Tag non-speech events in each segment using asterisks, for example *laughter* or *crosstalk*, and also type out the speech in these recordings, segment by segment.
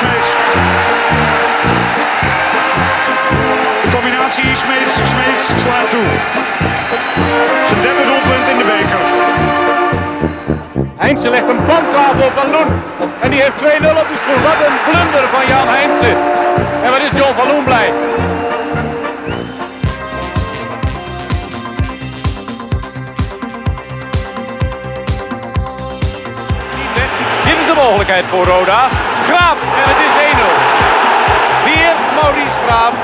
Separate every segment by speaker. Speaker 1: Smeets. De combinatie Smeets, Smeets slaat toe. Zijn derde doelpunt in de beker.
Speaker 2: Heinze legt een bandtafel op Van Loen. En die heeft 2-0 op de schoen. Wat een blunder van Jan Heinze. En wat is John van Loen blij. Dit is de mogelijkheid voor Roda. Graaf en het is 1-0. Weer Maurice Graaf.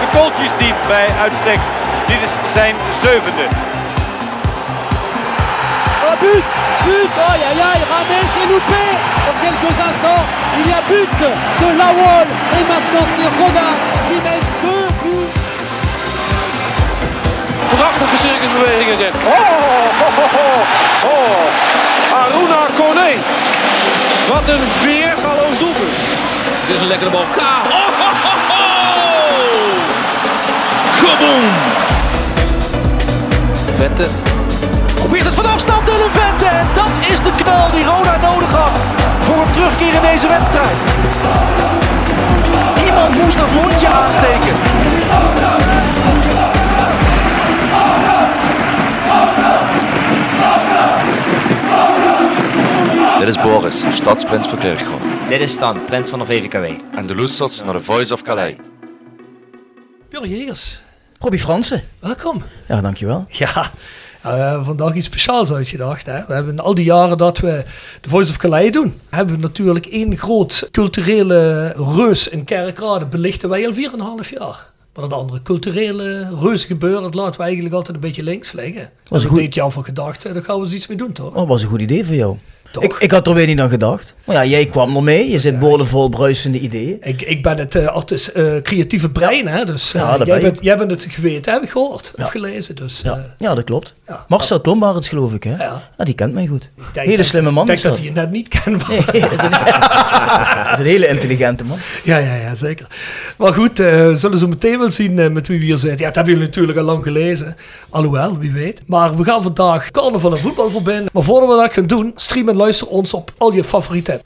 Speaker 2: De kooltjes diep bij uitstek. Dit is zijn zevende.
Speaker 3: Oh but But Aïe aïe aïe Ramet s'est loupé En quelques instants, il y a but de Lawol Et maintenant c'est Roda qui met deux buts
Speaker 4: prachtige circusbewegingen zet. Oh, oh, oh, oh, oh. Aruna Kone. Wat een weergaloos doelpunt. Dit is een lekkere bal. K. Oh, oh, oh, oh. Kaboom.
Speaker 5: Vette. Probeert het van afstand Dylan Vente. En dat is de knal die Roda nodig had voor een terugkeer in deze wedstrijd. Iemand moest dat mondje aansteken.
Speaker 6: Dit is Boris, stadsprins van Kerkgroen.
Speaker 7: Dit is Stan, prins van de VVKW.
Speaker 6: En de Loesters naar de Voice of Calais.
Speaker 8: Björn Jegers,
Speaker 5: Robbie Fransen.
Speaker 8: welkom.
Speaker 5: Ja, dankjewel. Oh,
Speaker 8: Ja, eh, we hebben vandaag iets speciaals uitgedacht. Hè? We hebben in al die jaren dat we de Voice of Calais doen, hebben we natuurlijk één groot culturele reus in Kerkrade. Belichten wij al 4,5 jaar. Maar dat andere culturele reus gebeuren, dat laten we eigenlijk altijd een beetje links liggen. Als ik
Speaker 5: goed.
Speaker 8: dit jaar van gedacht, eh, daar gaan we eens iets mee doen toch?
Speaker 5: Oh, was een goed idee van jou.
Speaker 8: Toch?
Speaker 5: Ik, ik had er weer niet aan gedacht. Maar ja, jij kwam er mee. Je zit boordevol bruisende ideeën.
Speaker 8: Ik, ik ben het eh, artis, eh, creatieve brein, hè? dus eh,
Speaker 5: Ja, dat
Speaker 8: jij,
Speaker 5: ben je.
Speaker 8: bent, jij bent het geweten, heb ik gehoord of gelezen. Dus, eh,
Speaker 5: Ja, ja dat klopt.
Speaker 8: Ja.
Speaker 5: Marcel Klombarens geloof ik, hè?
Speaker 8: Ja.
Speaker 5: die kent mij goed.
Speaker 8: ik denk-
Speaker 5: Hele slimme man
Speaker 8: Ik denk
Speaker 5: is
Speaker 8: dat
Speaker 5: dat.
Speaker 8: hij je net niet kent.
Speaker 5: Nee, dat is, een, dat is een hele intelligente man.
Speaker 8: Ja, ja, ja, zeker. Maar goed, eh, we zullen ze meteen wel zien eh, met wie we hier zijn. Ja, dat hebben jullie natuurlijk al lang gelezen. Alhoewel, wie weet. Maar we gaan vandaag carnaval en voetbal verbinden. Maar voordat we dat gaan doen, stream en luister ons op al je favoriete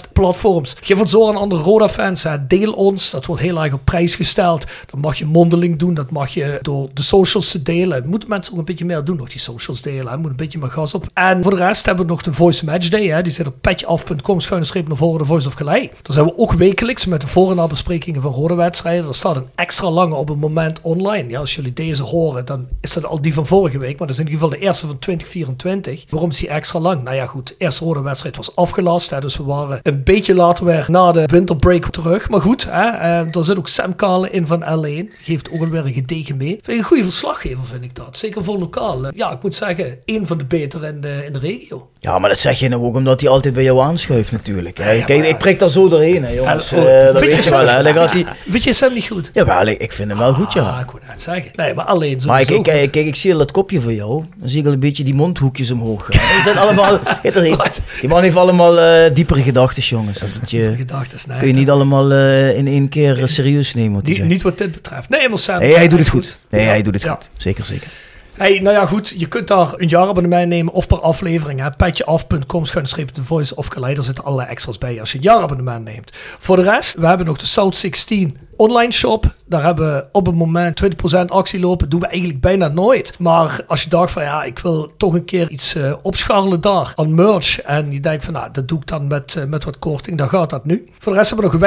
Speaker 8: podcastplatforms. Geef ons door aan andere Roda-fans. hè. Deel ons, dat wordt heel erg op prijs gesteld. Dat mag je mondeling doen, dat mag je door de socials te delen. Moeten mensen ook een beetje meer doen, nog die socials delen. Hè. Moet een beetje meer gas op. En voor de rest hebben we nog de Voice Match Day. Hè. Die zit op petjeaf.com, schuine streep naar voren, de Voice of Calais. Daar zijn we ook wekelijks met de voor- en nabesprekingen van rode wedstrijden. Er staat een extra lange op het moment online. Ja, als jullie deze horen, dan is dat al die van vorige week. Maar dat is in ieder geval de eerste van 2024. Waarom is die extra lang? Nou ja, goed. De eerste rode wedstrijd was afgelast. Hè, dus we waren een beetje later weer na de winterbreak terug. Maar goed, hè, eh, daar zit ook Sam Kalen in van L1. Geeft ook alweer een gedegen mee. Vind ik een goede verslaggever, vind ik dat. Zeker voor lokaal. Eh, Ja, ik moet zeggen, één van de betere in de, in de regio.
Speaker 5: Ja, maar dat zeg je nou ook omdat hij altijd bij jou aanschuift natuurlijk. Hè. Kijk, ik prik daar zo doorheen, hè, jongens.
Speaker 8: Ja,
Speaker 5: Eh, dat weet je
Speaker 8: oh, Sam-
Speaker 5: wel, hè. Dan gaat hij...
Speaker 8: *laughs* Vind je Sam niet goed?
Speaker 5: Jawel, ik, ik vind hem wel goed, ja.
Speaker 8: Ah, ik wou net zeggen. Nee, maar alleen zo.
Speaker 5: Maar ik, ik, kijk, ik zie al dat kopje van jou. Dan zie ik al een beetje die mondhoekjes omhoog. gaan. Dat zijn
Speaker 8: *laughs*
Speaker 5: allemaal, Kijk, dat heeft- die man heeft allemaal eh, diepere gedachten, jongens. Dat moet je,
Speaker 8: gedachten snijden.
Speaker 5: kun je niet allemaal eh, in één keer eh, serieus nemen. Wat hij
Speaker 8: Niet,
Speaker 5: zegt.
Speaker 8: niet wat dit betreft. Nee, maar Sam.
Speaker 5: nee, hij doet het goed. Nee,
Speaker 8: Ja.
Speaker 5: hij doet het
Speaker 8: Ja.
Speaker 5: goed. Zeker, zeker.
Speaker 8: Hey, nou ja, goed. Je kunt daar een jaarabonnement nemen of per aflevering. hè. Petjeaf.com, schuinstreep The Voice of Calais. Daar zitten allerlei extra's bij als je een jaarabonnement neemt. Voor de rest, we hebben nog de South 16 online shop. Daar hebben we op het moment 20% actie lopen. Doen we eigenlijk bijna nooit. Maar als je dacht van ja, ik wil toch een keer iets eh, opscharrelen daar aan merch. En je denkt van nou, dat doe ik dan met, eh, met wat korting. Dan gaat dat nu. Voor de rest hebben we nog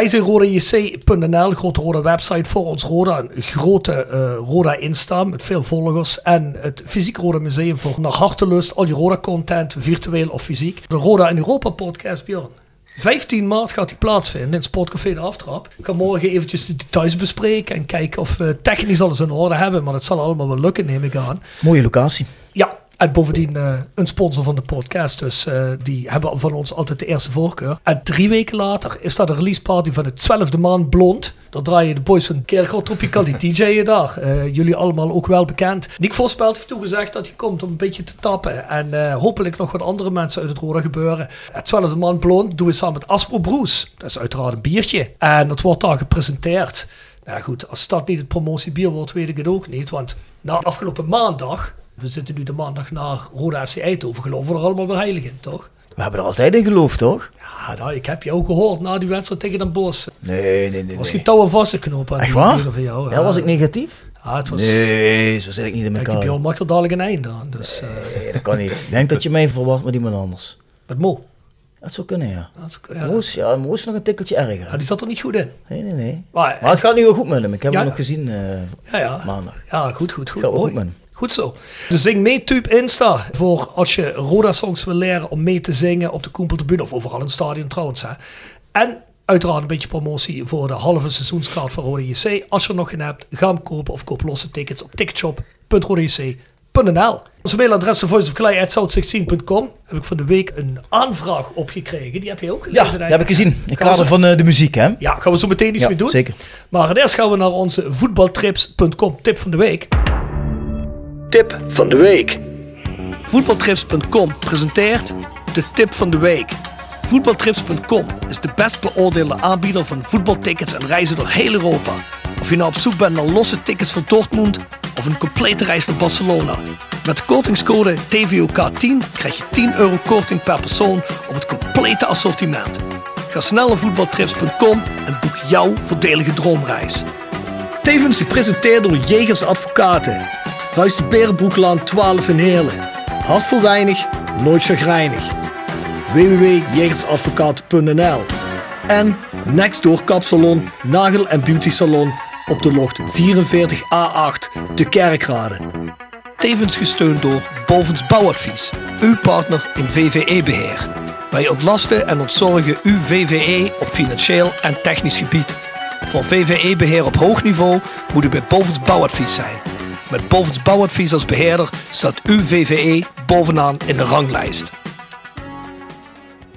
Speaker 8: wijzenrodejc.nl, grote rode website voor ons Roda. Een grote eh, Roda Insta met veel volgers. En het Fysiek Roda Museum voor naar hartelust al je Roda content, virtueel of fysiek. De Roda in Europa podcast, Björn. 15 maart gaat die plaatsvinden in het Sportcafé de Aftrap. Ik ga morgen eventjes de details bespreken en kijken of we technisch alles in orde hebben. Maar dat zal allemaal wel lukken, neem ik aan.
Speaker 5: Mooie locatie.
Speaker 8: Ja, en bovendien eh, een sponsor van de podcast. Dus eh, die hebben van ons altijd de eerste voorkeur. En drie weken later is dat de release party van het 12e maand Blond. Dan draai je de boys van Kerkhoff Tropical, die DJ je daar. Eh, jullie allemaal ook wel bekend. Nick Vosveld heeft toegezegd dat hij komt om een beetje te tappen. En eh, hopelijk nog wat andere mensen uit het roeren gebeuren. Het 12 man blond doen we samen met Aspro Broes. Dat is uiteraard een biertje. En dat wordt daar gepresenteerd. Nou goed, als dat niet het promotiebier wordt, weet ik het ook niet. Want na afgelopen maandag, we zitten nu de maandag na Roda FC Eindhoven, geloven we er allemaal weer heilig in, toch?
Speaker 5: We hebben er altijd in geloofd, toch?
Speaker 8: Ja, nou, ik heb jou gehoord na die wedstrijd tegen Den Bosch.
Speaker 5: Nee, nee, nee.
Speaker 8: Was je
Speaker 5: nee.
Speaker 8: touw en vaste knoop aan
Speaker 5: Echt
Speaker 8: die
Speaker 5: waar?
Speaker 8: dingen van jou?
Speaker 5: Ja, was ik negatief?
Speaker 8: Ja, het was...
Speaker 5: Nee, zo zit ik niet in
Speaker 8: Kijk, die
Speaker 5: elkaar.
Speaker 8: Bjorn maakt er dadelijk een einde aan, dus... eh,
Speaker 5: Nee, dat kan niet. Ik denk dat je mij verwacht met iemand anders.
Speaker 8: met Mo.
Speaker 5: Dat zou kunnen, ja.
Speaker 8: Dat is-
Speaker 5: Ja.
Speaker 8: Ja,
Speaker 5: Moos, ja, Moos is nog een tikkeltje
Speaker 8: Ja,
Speaker 5: erger.
Speaker 8: die zat er niet goed in.
Speaker 5: Nee, nee, nee.
Speaker 8: Maar,
Speaker 5: Maar het gaat nu wel goed met hem. Ik heb
Speaker 8: Ja.
Speaker 5: hem nog gezien eh,
Speaker 8: ja, ja.
Speaker 5: maandag.
Speaker 8: Ja, goed, goed, goed.
Speaker 5: Gaat wel
Speaker 8: mooi.
Speaker 5: goed, man.
Speaker 8: Goed zo. Dus zing mee Tube Insta voor als je Roda songs wil leren om mee te zingen op de Koempeltribune of overal in het stadion trouwens. Hè. En uiteraard een beetje promotie voor de halve seizoenskaart van Roda JC. Als je er nog geen hebt, ga hem kopen of koop losse tickets op ticketshop.rodajc.nl. Ons mailadres is voiceofklei.south16.com. Heb ik van de week een aanvraag opgekregen. Die heb je ook
Speaker 5: Ja,
Speaker 8: gelezen
Speaker 5: dat
Speaker 8: denk
Speaker 5: heb ik gezien. In
Speaker 8: Gaan we
Speaker 5: kader
Speaker 8: zo-
Speaker 5: van eh, de muziek, hè?
Speaker 8: ja, gaan we zo meteen iets
Speaker 5: Ja,
Speaker 8: mee doen.
Speaker 5: zeker.
Speaker 8: Maar eerst gaan we naar onze voetbaltrips.com tip van de week. Tip van de week. Voetbaltrips.com presenteert de tip van de week. Voetbaltrips.com is de best beoordeelde aanbieder van voetbaltickets en reizen door heel Europa. Of je nou op zoek bent naar losse tickets voor Dortmund of een complete reis naar Barcelona. Met de kortingscode TVOK10 krijg je 10 euro korting per persoon op het complete assortiment. Ga snel naar voetbaltrips.com en boek jouw voordelige droomreis. Tevens gepresenteerd door Jegers Advocaten. Ruist de Berenbroeklaan 12 in Heerlen. Hart voor weinig, nooit chagrijnig. www.jegersadvocaten.nl En Nextdoor Kapsalon, Nagel en Beauty Salon op de locht 44A8 te Kerkrade. Tevens gesteund door Bovens Bouwadvies, uw partner in VVE-beheer. Wij ontlasten en ontzorgen uw VVE op financieel en technisch gebied. Voor VVE-beheer op hoog niveau moet u bij Bovens Bouwadvies zijn. Met Bovens Bouwadvies als beheerder staat uw VVE bovenaan in de ranglijst.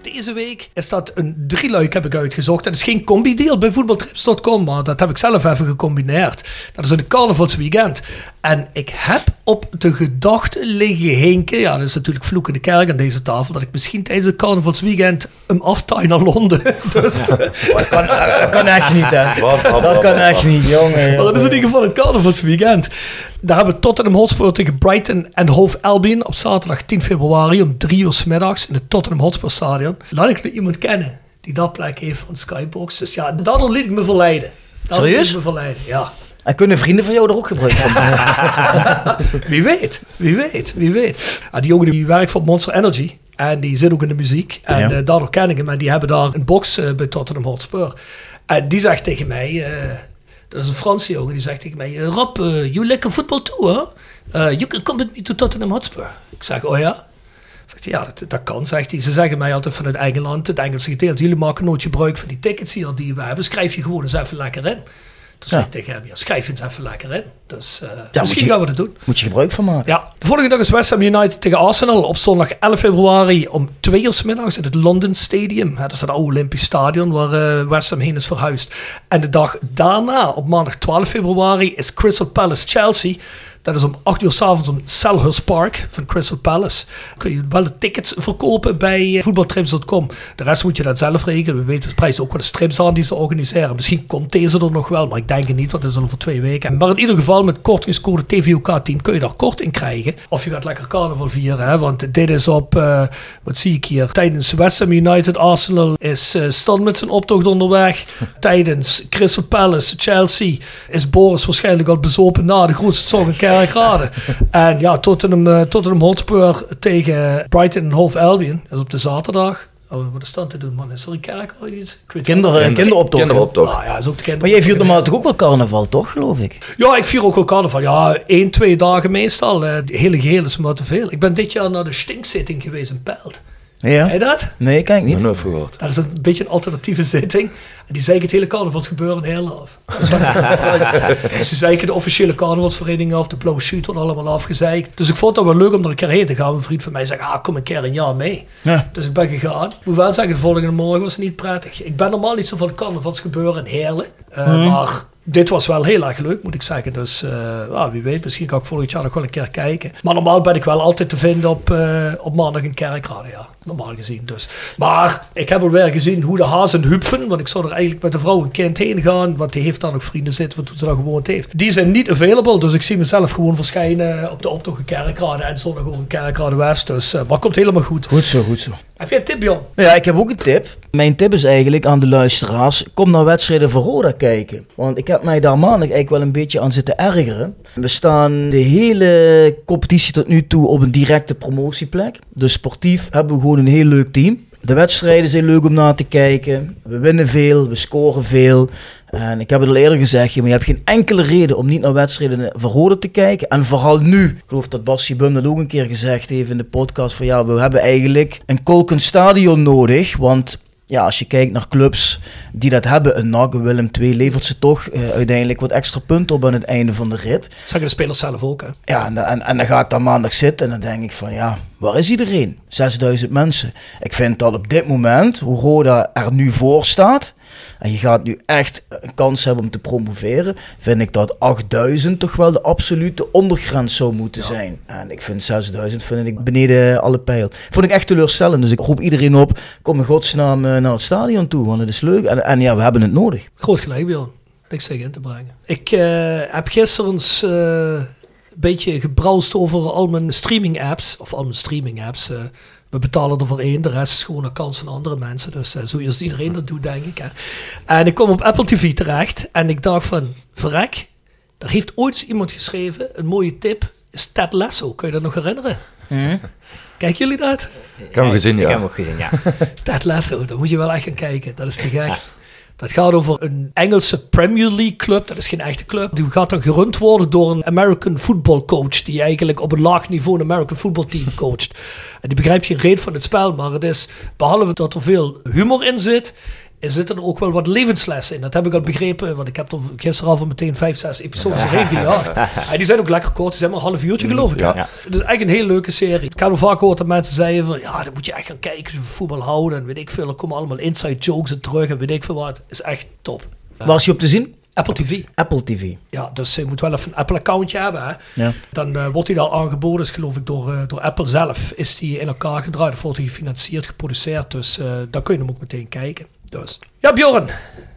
Speaker 8: Deze week is dat een drieluik heb ik uitgezocht. Dat is geen combi-deal bij voetbaltrips.com, maar dat heb ik zelf even gecombineerd. Dat is een carnavalsweekend. En ik heb op de gedachte liggen hinken, ja dat is natuurlijk vloek in de kerk aan deze tafel, dat ik misschien tijdens het carnavalsweekend hem aftuin naar Londen. *laughs* Dus,
Speaker 5: Dat kan, dat kan echt niet, hè?
Speaker 9: Wat, wat,
Speaker 5: Dat
Speaker 9: wat,
Speaker 5: kan
Speaker 9: wat,
Speaker 5: echt
Speaker 9: wat.
Speaker 5: niet, jongen.
Speaker 8: Maar dat is in
Speaker 5: jongen.
Speaker 8: ieder geval het carnavalsweekend. Daar hebben we Tottenham Hotspur tegen Brighton en Hove Albion op zaterdag 10 februari om 3 uur 's middags in het Tottenham Hotspur Stadion. Laat ik nu iemand kennen die dat plek heeft van Skybox. Dus ja, daardoor liet ik me verleiden. Daardoor
Speaker 5: Serieus?
Speaker 8: liet ik me verleiden, ja.
Speaker 5: En kunnen vrienden van jou er ook gebruik van maken?
Speaker 8: Wie weet, wie weet, wie weet. Ah, die jongen die werkt voor Monster Energy. En die zit ook in de muziek. En
Speaker 5: Ja.
Speaker 8: eh, daardoor ken ik hem. En die hebben daar een box eh, bij Tottenham Hotspur. En die zegt tegen mij... eh, dat is een Franse jongen. Die zegt tegen mij... eh, Rob, eh, you like football too, hè? Eh, you can come with me to Tottenham Hotspur. Ik zeg, oh ja? Zegt hij, ja, dat, dat kan, zegt hij. Ze zeggen mij altijd vanuit Engeland, het Engelse gedeelte... jullie maken nooit gebruik van die tickets hier die we hebben. Schrijf je gewoon eens even lekker in. Toen zei ik tegen hem, ja, schrijf eens even lekker in. Dus eh, misschien
Speaker 5: je-
Speaker 8: gaan we dat doen.
Speaker 5: Moet je gebruik van maken?
Speaker 8: Ja, de volgende dag is West Ham United tegen Arsenal op zondag 11 februari om 2 uur 's middags in het London Stadium. Ja, dat is het oude Olympisch Stadion waar eh, West Ham heen is verhuisd. En de dag daarna, op maandag 12 februari, is Crystal Palace Chelsea. Dat is om 8 uur 's avonds om Selhurst Park van Crystal Palace. Kun je wel de tickets verkopen bij eh, voetbaltrips.com. De rest moet je dan zelf rekenen. We weten de prijs ook wel de strips aan die ze organiseren. Misschien komt deze er nog wel, maar ik denk het niet, want het is al over twee weken. Maar in ieder geval met kortingscode TVOK10 kun je daar kort in krijgen. Of je gaat lekker carnaval vieren, hè? want dit is op, eh, wat zie ik hier, tijdens West Ham United Arsenal is eh Stan met zijn optocht
Speaker 5: *laughs*
Speaker 8: onderweg. tijdens Crystal Palace Chelsea is Boris waarschijnlijk al bezopen na de grootste zorg in
Speaker 5: *laughs*
Speaker 8: Kerkrade. en ja, Tottenham, eh, Tottenham Hotspur tegen Brighton en Hove Albion, dat is op de zaterdag. Oh, wat is dat te doen, man? Is er een kerk? Oh, iets? Ik weet het
Speaker 5: Kinderen,
Speaker 8: niet.
Speaker 5: kinderoptocht.
Speaker 9: Kinderoptocht.
Speaker 8: Ah, ja, is ook de kinder-
Speaker 5: Maar jij viert normaal toch ook wel carnaval, toch, geloof ik?
Speaker 8: Ja, ik vier ook wel carnaval. Ja, één, twee dagen meestal. Eh, Het hele geheel is maar te veel. Ik ben dit jaar naar de stinkzitting geweest in Pelt. Hij
Speaker 5: Ja?
Speaker 8: dat?
Speaker 5: Nee, kan ik niet.
Speaker 9: Nooit gehoord.
Speaker 8: Dat is een beetje een alternatieve zitting. En die zeiken het hele carnavalsgebeuren heel af. dus ze zeiken de officiële carnavalsvereniging af. De blauwe shoot wordt allemaal afgezeikt. Dus ik vond het wel leuk om er een keer heen te gaan. Een vriend van mij zei, ah, kom een keer een jaar mee.
Speaker 5: Ja.
Speaker 8: Dus ik ben gegaan. Ik moet wel zeggen, de volgende morgen was het niet prettig. Ik ben normaal niet zo van carnavalsgebeuren in Heerlen. Eh, Maar dit was wel heel erg leuk, moet ik zeggen. Dus eh, ah, wie weet, misschien kan ik volgend jaar nog wel een keer kijken. Maar normaal ben ik wel altijd te vinden op, eh, op maandag in Kerkrade, ja. Normaal gezien dus. Maar ik heb al wel gezien hoe de hazen hupfen. Want ik zou er eigenlijk met de vrouw en kind heen gaan. Want die heeft daar nog vrienden zitten van toen ze daar gewoond heeft. Die zijn niet available. Dus ik zie mezelf gewoon verschijnen op de optocht in Kerkrade. En zondag ook in Kerkrade West. Dus, eh, maar komt helemaal goed.
Speaker 5: Goed zo, goed zo.
Speaker 8: Heb jij een tip, Jan?
Speaker 5: Nou Ja, ik heb ook een tip. Mijn tip is eigenlijk aan de luisteraars: kom naar wedstrijden voor Roda kijken. Want ik heb mij daar maandag eigenlijk wel een beetje aan zitten ergeren. We staan de hele competitie tot nu toe op een directe promotieplek. Dus sportief hebben we gewoon een heel leuk team. De wedstrijden zijn leuk om naar te kijken. We winnen veel, we scoren veel. En ik heb het al eerder gezegd, maar je hebt geen enkele reden om niet naar wedstrijden van Roda te kijken. En vooral nu. Ik geloof dat Bassi Bum dat ook een keer gezegd heeft in de podcast. Van ja, we hebben eigenlijk een kolkend stadion nodig. Want ja, als je kijkt naar clubs die dat hebben, een NAC, een Willem II, levert ze toch eh, uiteindelijk wat extra punten op aan het einde van de rit.
Speaker 8: Zeggen de spelers zelf ook, hè?
Speaker 5: Ja, en, en, en dan ga ik daar maandag zitten en dan denk ik van ja, waar is iedereen? 6000 mensen. Ik vind dat op dit moment, hoe Roda er nu voor staat, en je gaat nu echt een kans hebben om te promoveren, vind ik dat 8000 toch wel de absolute ondergrens zou moeten zijn. En ik vind 6000 vind ik beneden alle pijl. Vond ik echt teleurstellend, dus ik roep iedereen op, kom in godsnaam eh, naar het stadion toe, want het is leuk. En, en ja, we hebben het nodig.
Speaker 8: Groot gelijk, Bjorn. Niks tegen in te brengen. Ik eh, heb gisteren eens, eh, een beetje gebrouwd over al mijn streaming apps. Of al mijn streaming apps. eh. we betalen er voor één, de rest is gewoon een kans van andere mensen. Dus eh, zoals iedereen dat doet, denk ik. Hè. En ik kom op Apple TV terecht en ik dacht van, verrek, daar heeft ooit eens iemand geschreven, een mooie tip, is Ted Lasso. Kun je dat nog herinneren? Kijken jullie dat?
Speaker 9: Ik heb hem
Speaker 7: Ik
Speaker 9: gezien,
Speaker 7: heb hem
Speaker 9: ja.
Speaker 7: ook gezien, ja.
Speaker 8: Ted Lasso, daar moet je wel echt gaan kijken. Dat is te gek. Dat gaat over een Engelse Premier League club. Dat is geen echte club. Die gaat dan gerund worden door een American football coach. Die eigenlijk op een laag niveau een American football team coacht. En die begrijpt geen reet van het spel. Maar het is, behalve dat er veel humor in zit, er zitten er ook wel wat levenslessen in. Dat heb ik al begrepen, want ik heb er gisteren al van meteen vijf, zes episodes heen gejaagd. En die zijn ook lekker kort, die zijn maar een half uurtje geloof ik. hè?
Speaker 6: Ja.
Speaker 8: Het is echt een heel leuke serie. Ik heb al vaak gehoord dat mensen zeiden van, ja, dan moet je echt gaan kijken, als je van voetbal houden en weet ik veel. Er komen allemaal inside jokes en terug en weet ik veel wat. is echt top.
Speaker 5: Waar is je op te zien?
Speaker 8: Apple TV.
Speaker 5: Apple TV.
Speaker 8: Ja, dus je moet wel even een Apple-accountje hebben. Hè?
Speaker 5: Ja.
Speaker 8: Dan eh, wordt hij daar aangeboden, is geloof ik, door, eh, door Apple zelf. Is die in elkaar gedraaid, of wordt hij gefinancierd, geproduceerd. Dus eh daar kun je hem ook meteen kijken. Dus. Ja, Bjorn,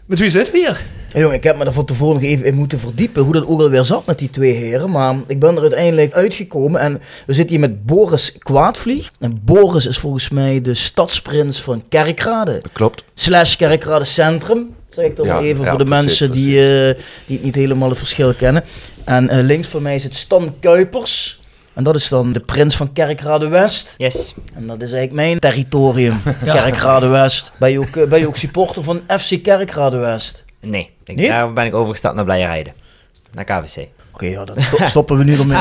Speaker 8: met wie zit we hier?
Speaker 5: Ja, Jongen, ik heb me daar van tevoren nog even in moeten verdiepen hoe dat ook alweer zat met die twee heren. Maar ik ben er uiteindelijk uitgekomen en we zitten hier met Boris Kwaadvlieg. En Boris is volgens mij de stadsprins van Kerkrade.
Speaker 9: Klopt.
Speaker 5: *laughs* Slash Kerkrade Centrum, zeg ik dan
Speaker 9: Ja,
Speaker 5: even
Speaker 9: ja,
Speaker 5: voor de
Speaker 9: precies,
Speaker 5: mensen die, eh, die het niet helemaal het verschil kennen. En eh, links van mij zit Stan Kuipers. En dat is dan de prins van Kerkrade West.
Speaker 7: Yes.
Speaker 5: En dat is eigenlijk mijn territorium, Kerkrade West. Ben je, ook, eh, ben je ook supporter van FC Kerkrade West?
Speaker 7: Nee. Ik,
Speaker 5: Niet?
Speaker 7: Daar ben ik overgestapt naar Blije Rijden. Naar KVC.
Speaker 5: Oké, ja, dan sto- stoppen we nu ermee.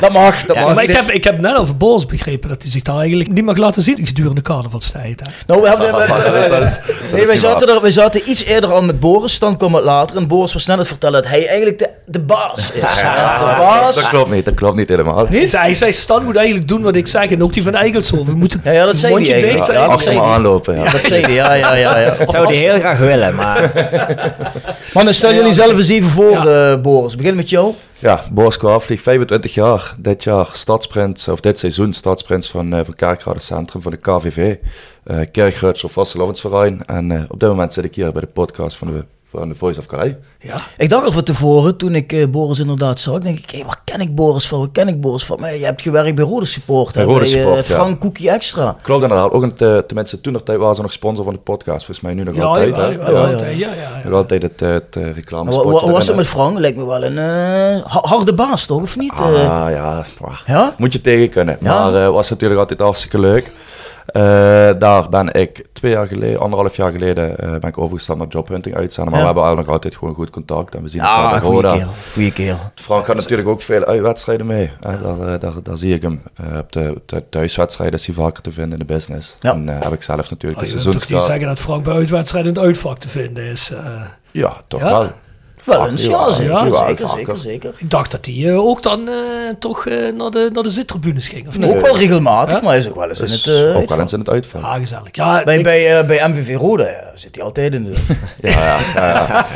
Speaker 5: dat mag, dat
Speaker 7: Ja,
Speaker 5: mag.
Speaker 8: maar ik heb, ik heb net over Boris begrepen dat hij zich daar eigenlijk niet mag laten zien gedurende carnavalstijd. Hè?
Speaker 5: Nou, we hebben...
Speaker 9: *laughs* Dat is- dat is
Speaker 5: Nee, wij
Speaker 9: niet
Speaker 5: zaten,
Speaker 9: waar.
Speaker 5: er, wij zaten iets eerder al met Boris, dan kwam het later. En Boris was net aan het vertellen dat hij eigenlijk de, de baas is. Ja, de
Speaker 9: Dat
Speaker 5: baas.
Speaker 9: klopt niet, dat klopt niet helemaal.
Speaker 8: Hij zei- Hij zei, Stan moet eigenlijk doen wat ik zeg. En ook die van Eigelshoven. We moeten
Speaker 5: Ja, ja, dat zei
Speaker 8: mondje
Speaker 5: hij
Speaker 8: dicht
Speaker 5: eigenlijk.
Speaker 8: zijn. Ja,
Speaker 5: Ja, dat
Speaker 9: Achter
Speaker 5: zei
Speaker 9: me
Speaker 5: hij.
Speaker 9: aanlopen, ja.
Speaker 5: Dat zei hij, ja, ja, ja. ja.
Speaker 4: Oh,
Speaker 7: Dat zou die heel graag willen, maar...
Speaker 5: Mannen, stel jullie zelf eens even voor,
Speaker 8: Ja.
Speaker 5: eh, Boris. Begin met jou.
Speaker 9: Ja, Boris Kwaafvlieg, 25 jaar. Dit jaar stadsprins, of dit seizoen stadsprins van, eh van Kerkrade Centrum van de KVV. eh Kerkrutsel Vastelavondsverein. En eh, op dit moment zit ik hier bij de podcast van de, van de Voice of Calais.
Speaker 5: Ik dacht al van tevoren, toen ik eh, Boris inderdaad zag, denk ik, hé, waar ken ik Boris van? Waar ken ik Boris van? Maar je hebt gewerkt bij Rode Support. hè,
Speaker 9: Bij Rode
Speaker 5: eh,
Speaker 9: Support, ja.
Speaker 5: Frank Koekie Extra.
Speaker 9: Klopt inderdaad, ook een, te- tenminste toen nog tijd waren ze nog sponsor van de podcast. Volgens mij nu nog
Speaker 8: ja,
Speaker 9: altijd.
Speaker 8: jawel,
Speaker 9: hè?
Speaker 8: jawel,
Speaker 5: Ja,
Speaker 8: altijd.
Speaker 5: ja.
Speaker 8: ja, ja, ja.
Speaker 9: Nog altijd het, eh, het eh, reclamespotje
Speaker 5: Hoe hoe was het
Speaker 9: erin,
Speaker 5: met
Speaker 9: hè.
Speaker 5: Frank? Lijkt me wel een eh, ha- harde baas, toch? Of niet? Eh,
Speaker 9: Ah ja, wah.
Speaker 5: ja?
Speaker 9: moet je tegen kunnen.
Speaker 5: Ja.
Speaker 9: Maar eh was natuurlijk altijd hartstikke leuk. Eh, daar ben ik twee jaar geleden, anderhalf jaar geleden, eh, ben ik overgestapt naar jobhunting uitzenden. Maar
Speaker 5: Ja.
Speaker 9: we hebben eigenlijk nog altijd gewoon goed contact. En we zien elkaar
Speaker 5: Ja,
Speaker 9: bij
Speaker 5: goede
Speaker 9: Roda.
Speaker 5: kerel. Goeie kerel.
Speaker 9: Frank gaat natuurlijk ook veel uitwedstrijden mee. hè. Daar, eh, daar, daar zie ik hem. Eh, op de, op de thuiswedstrijden is hij vaker te vinden in de business.
Speaker 5: Ja.
Speaker 9: En eh, heb ik zelf natuurlijk
Speaker 8: Oh,
Speaker 9: de
Speaker 8: je wilt toch niet
Speaker 9: seizoenskaart.
Speaker 8: zeggen dat Frank bij uitwedstrijden in het uitvak te vinden is. eh.
Speaker 9: Ja, toch
Speaker 8: Ja.
Speaker 9: wel.
Speaker 5: Wel eens, ja,
Speaker 9: jawel,
Speaker 5: zeker,
Speaker 9: jawel,
Speaker 5: zeker,
Speaker 9: vaker.
Speaker 5: zeker, zeker.
Speaker 8: ik dacht dat hij eh, ook dan eh, toch eh, naar, de, naar de zittribunes ging, of niet?
Speaker 5: Ook wel regelmatig,
Speaker 8: Ja?
Speaker 5: maar hij is ook wel eens in
Speaker 9: Dus
Speaker 5: het... eh,
Speaker 9: ook wel
Speaker 5: uitvak.
Speaker 9: eens in het uitval.
Speaker 8: Ja, Ah, gezellig. Ja,
Speaker 5: bij,
Speaker 8: ik-
Speaker 5: bij, eh, bij MVV Roda ja, zit hij altijd in de...
Speaker 8: *laughs* ja,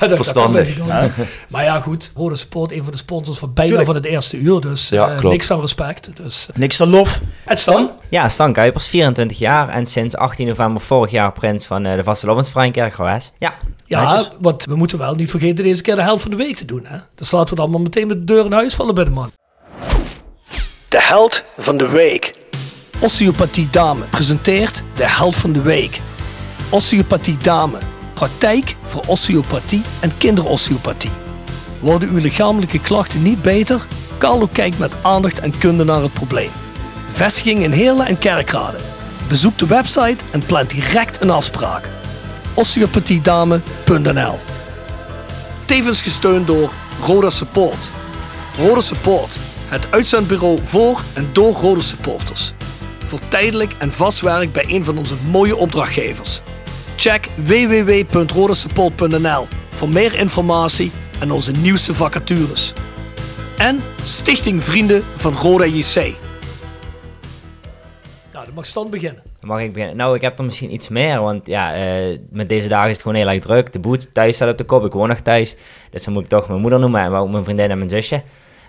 Speaker 8: dat- dat
Speaker 9: verstandig.
Speaker 8: kan bijna niet anders. Maar ja, goed. Rode Support, een van de sponsors van bijna
Speaker 5: Tuurlijk.
Speaker 8: van het eerste uur. Dus eh,
Speaker 9: Ja, klopt.
Speaker 8: niks aan respect. Dus, eh.
Speaker 5: Niks te lof.
Speaker 8: en Stan?
Speaker 7: Ja, Stan Kuipers, 24 jaar en sinds 18 november vorig jaar prins van eh, de Vastelovensverein Kerkroes. Ja,
Speaker 8: Ja,
Speaker 7: netjes.
Speaker 8: want we moeten wel niet vergeten deze keer de helft van de week te doen. Hè? Dus laten we het allemaal meteen met de deur in huis vallen bij de man. De held van de week. Osteopathie Dame presenteert de held van de week. Osteopathie Dame. Praktijk voor osteopathie en kinderosteopathie. Worden uw lichamelijke klachten niet beter? Carlo kijkt met aandacht en kunde naar het probleem. Vestiging in Heerlen en Kerkrade. Bezoek de website en plan direct een afspraak osteopathiedame.nl. Tevens gesteund door Roda Support. Roda Support, het uitzendbureau voor en door Roda supporters. Voor tijdelijk en vast werk bij een van onze mooie opdrachtgevers. Check www.rodasupport.nl voor meer informatie en onze nieuwste vacatures. En Stichting Vrienden van Roda JC. Nou, dat mag stand beginnen.
Speaker 7: Dan mag ik beginnen. Nou, ik heb er misschien iets meer, want ja, eh, met deze dagen is het gewoon heel erg druk. De boet thuis staat op de kop, ik woon nog thuis. Dus dan moet ik toch mijn moeder noemen, maar ook mijn vriendin en mijn zusje.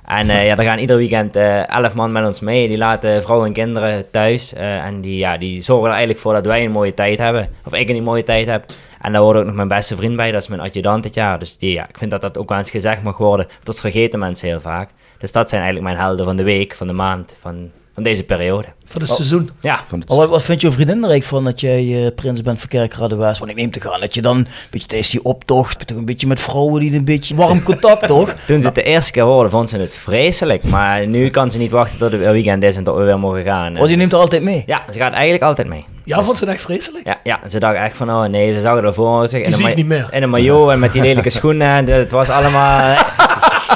Speaker 7: En eh, ja, daar gaan ieder weekend eh elf man met ons mee. Die laten vrouwen en kinderen thuis. eh, en die, ja, die zorgen er eigenlijk voor dat wij een mooie tijd hebben. Of ik een mooie tijd heb. En daar hoort ook nog mijn beste vriend bij, dat is mijn adjudant dit jaar. Dus die, ja, ik vind dat dat ook wel eens gezegd mag worden. Dat vergeten mensen heel vaak. Dus dat zijn eigenlijk mijn helden van de week, van de maand, van, van deze periode.
Speaker 8: Voor het seizoen.
Speaker 7: Ja.
Speaker 9: Van het-
Speaker 5: Maar wat, wat vindt jouw vriendin er eigenlijk van dat jij eh, prins bent van Kerkrade West? Want ik neem te aan dat je dan een beetje tijdens die optocht, toch een beetje met vrouwen die een beetje warm contact toch?
Speaker 7: Toen ze het de eerste keer hoorden, vond ze het vreselijk. Maar nu kan ze niet wachten tot het weer weekend is en tot we weer mogen gaan. eh.
Speaker 5: Want je neemt er altijd mee.
Speaker 7: Ja, ze gaat eigenlijk altijd mee.
Speaker 8: Ja, vond ze het echt vreselijk?
Speaker 7: Ja, ja, ze dacht echt van, oh nee, ze zag ervoor. Die
Speaker 8: zie ik niet meer.
Speaker 7: In een maillot en met die
Speaker 8: *laughs*
Speaker 7: lelijke schoenen. en Het was allemaal... eh.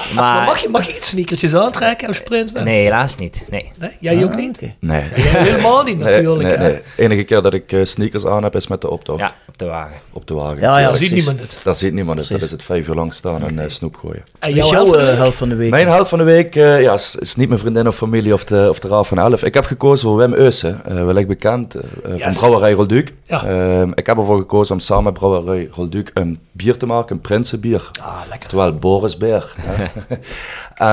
Speaker 5: Ah,
Speaker 8: Maar
Speaker 7: maar
Speaker 8: mag je, mag je iets sneakertjes aantrekken als je prins bent?
Speaker 7: nee, helaas niet. Nee.
Speaker 8: Nee, jij
Speaker 5: Ah,
Speaker 8: ook niet?
Speaker 9: Nee.
Speaker 8: Jij helemaal
Speaker 5: *laughs*
Speaker 8: niet
Speaker 9: Nee,
Speaker 8: natuurlijk.
Speaker 9: nee,
Speaker 8: hè?
Speaker 9: nee. enige keer dat ik eh, sneakers aan heb is met de optocht
Speaker 7: Ja, op de wagen.
Speaker 9: op de wagen.
Speaker 5: Ja, ja,
Speaker 8: Dan
Speaker 5: precies.
Speaker 8: Ah ziet niemand het.
Speaker 9: Daar ziet niemand het. Dat is het vijf uur lang staan en eh, snoep gooien.
Speaker 8: En
Speaker 5: Wie is
Speaker 8: jouw
Speaker 5: jouw
Speaker 8: helft?
Speaker 5: eh, helft van de week?
Speaker 9: Mijn helft van de week eh, ja, is, is niet mijn vriendin of familie of de, of de Raaf van Elf. Ik heb gekozen voor Wim Eusen, eh wellicht bekend eh, eh, van
Speaker 8: Yes.
Speaker 9: Brouwerij Rolduc.
Speaker 8: Ja.
Speaker 9: Ehm, ik heb ervoor gekozen om samen met Brouwerij Rolduc een bier te maken, een prinsenbier.
Speaker 8: Ah, lekker.
Speaker 9: Terwijl Boris
Speaker 8: *laughs*
Speaker 9: Beer. hè.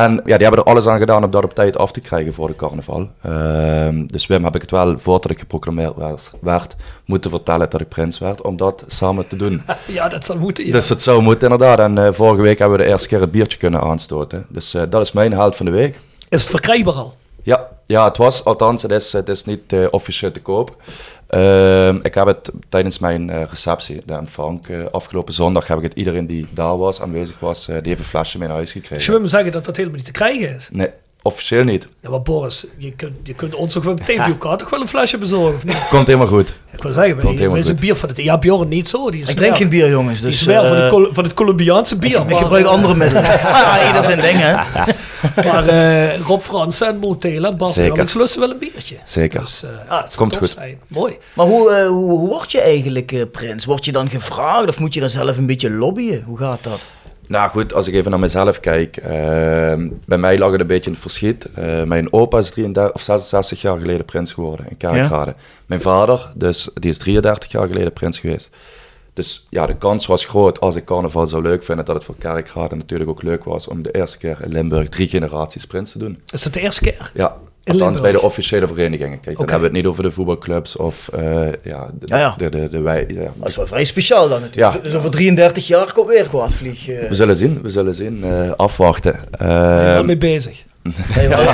Speaker 9: en ja, die hebben er alles aan gedaan om dat op tijd af te krijgen voor de carnaval. Ehm, dus Wim heb ik het wel, voordat ik geproclameerd werd, werd, moeten vertellen dat ik prins werd, om dat samen te doen.
Speaker 8: Ja, dat zal moeten. ja.
Speaker 9: Dus het zou moeten, inderdaad. En eh, vorige week hebben we de eerste keer het biertje kunnen aanstoten. Dus eh, dat is mijn held van de week.
Speaker 8: Is het verkrijgbaar al?
Speaker 9: Ja, ja het was, althans, het is, het is niet eh, officieel te koop. Ehm, ik heb het tijdens mijn eh, receptie, de ontvang, eh, afgelopen zondag heb ik het iedereen die daar was, aanwezig was, eh, die heeft een flesje mee naar huis gekregen.
Speaker 8: Dus je wil me zeggen dat dat helemaal niet te krijgen is?
Speaker 9: Nee, officieel niet.
Speaker 8: Ja, maar Boris, je kunt, je kunt ons toch wel meteen voor elkaar toch wel een flesje bezorgen, of niet?
Speaker 9: Komt helemaal goed.
Speaker 8: Ik wil zeggen,
Speaker 9: Komt
Speaker 8: wij,
Speaker 9: helemaal
Speaker 8: wij zijn
Speaker 9: goed.
Speaker 8: bier van het... Ja, Bjorn niet zo. Die is
Speaker 5: Ik drink geen bier jongens,
Speaker 8: Die
Speaker 5: dus...
Speaker 8: is wel van,
Speaker 5: eh,
Speaker 8: het Col- van het Colombiaanse bier.
Speaker 5: ik
Speaker 8: maar,
Speaker 5: gebruik
Speaker 8: eh,
Speaker 5: andere middelen. Ah, *laughs* ja, ieder zijn ding hè.
Speaker 8: Maar eh, Rob Frans en Motel en Bart
Speaker 9: Zeker.
Speaker 8: Jannings lusten wel een biertje.
Speaker 9: Zeker.
Speaker 8: Dus eh, ja, dat
Speaker 9: Komt
Speaker 8: Komt goed.
Speaker 9: goed.
Speaker 8: zijn. Mooi.
Speaker 5: Maar hoe, eh, hoe, hoe word je eigenlijk eh, prins? Word je dan gevraagd of moet je dan zelf een beetje lobbyen? Hoe gaat dat?
Speaker 9: Nou goed, als ik even naar mezelf kijk. ehm, bij mij lag het een beetje in het verschiet. Eh, mijn opa is 33, of 66 jaar geleden prins geworden in Kerkrade. Mijn vader, dus, die is 33 jaar geleden prins geweest. Dus ja, de kans was groot als ik carnaval zou leuk vinden, dat het voor Kerkrade natuurlijk ook leuk was om de eerste keer in Limburg drie generaties prins te doen.
Speaker 8: Is dat de eerste keer?
Speaker 9: Ja,
Speaker 8: In
Speaker 9: althans bij de
Speaker 8: Limburg?
Speaker 9: officiële verenigingen. Kijk, dan
Speaker 8: Oké.
Speaker 9: hebben we het niet over de voetbalclubs of eh, ja, de,
Speaker 5: Ja, ja.
Speaker 9: de, de, de wij- ja,
Speaker 5: Dat is wel vrij speciaal dan natuurlijk.
Speaker 9: Ja.
Speaker 5: Dus over 33 jaar komt weer gewoon vlieg.
Speaker 9: *laughs*
Speaker 5: eh.
Speaker 9: We zullen zien, we zullen zien. eh, afwachten.
Speaker 8: Ben je
Speaker 9: Ehm,
Speaker 8: daarmee bezig?
Speaker 5: Nee, wel.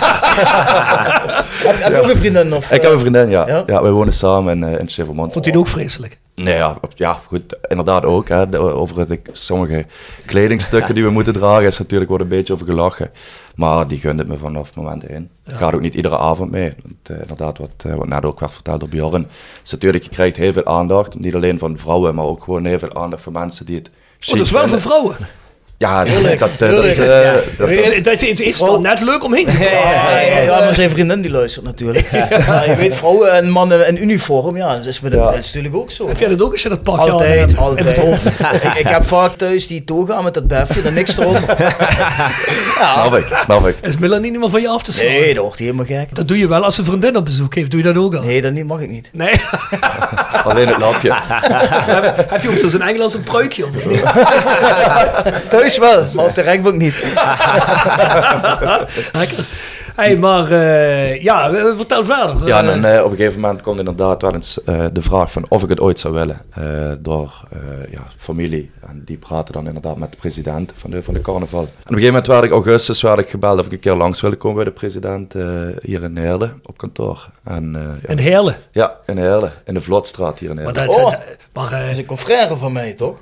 Speaker 5: *laughs* heb, heb je ook een vriendin? Of, eh?
Speaker 9: Ik heb
Speaker 8: Eh,
Speaker 9: een vriendin, ja.
Speaker 5: Ja?
Speaker 9: ja? wij wonen samen in, eh in Chevermont.
Speaker 8: Vond hij het ook vreselijk?
Speaker 9: Nee, ja, op- ja, goed, inderdaad ook. Hè. De- over het, sommige kledingstukken die we moeten dragen is natuurlijk wordt een beetje over gelachen. Maar die gunt het me vanaf het moment in. Ik ga er ook niet iedere avond mee. Want, eh, inderdaad, wat, eh, wat net ook werd verteld door Bjorn. Het is natuurlijk, je krijgt heel veel aandacht. Niet alleen van vrouwen, maar ook gewoon heel veel aandacht van mensen die het
Speaker 8: Oh, dat is wel voor vrouwen.
Speaker 9: Ja, dat, eh, dat is... eh, dat is-
Speaker 8: Dat- Dat is is dan net leuk omheen. te praten.
Speaker 5: Ja, ja, ja, maar zijn vriendin die luistert natuurlijk. *laughs* Ja, je weet, vrouwen en mannen in uniform, ja, dat is met een
Speaker 9: Ja.
Speaker 5: prins natuurlijk ook zo.
Speaker 8: Heb jij dat ook als je dat pakje aan hebt?
Speaker 5: Altijd,
Speaker 8: In het
Speaker 5: altijd.
Speaker 8: hoofd.
Speaker 5: ik, ik heb vaak thuis die toga met dat befje, dan niks *laughs* eronder.
Speaker 9: Snap ik, snap ik.
Speaker 8: Is Melanie niet meer van je af te slaan?
Speaker 5: Nee, dat wordt helemaal gek.
Speaker 8: Dat doe je wel als een vriendin op bezoek heeft. Doe je dat ook al?
Speaker 5: Nee, dat niet, mag ik niet.
Speaker 8: Nee. *laughs*
Speaker 9: Alleen het lapje.
Speaker 8: Heb je ook zo'n Engels een pruikje op? *laughs*
Speaker 5: Thuis wel, maar op de rechtbank
Speaker 8: *laughs*
Speaker 5: niet.
Speaker 8: Lekker. hey, maar eh, ja, eh, vertel verder.
Speaker 9: Ja, en
Speaker 8: Eh,
Speaker 9: dan, eh, op een gegeven moment komt inderdaad wel eens eh, de vraag van of ik het ooit zou willen eh, door eh, ja, familie. En die praten dan inderdaad met de president van de, van de carnaval. En op een gegeven moment werd ik augustus werd ik gebeld of ik een keer langs wilde komen bij de president eh, hier in Heerlen op kantoor. En, eh, ja,
Speaker 8: Een hele.
Speaker 9: ja, in Heerlen, in de Vlotstraat hier in
Speaker 8: Maar,
Speaker 9: Heerlen.
Speaker 8: dat,
Speaker 5: Oh.
Speaker 8: maar, eh,
Speaker 5: Dat is een confrère van mij, toch?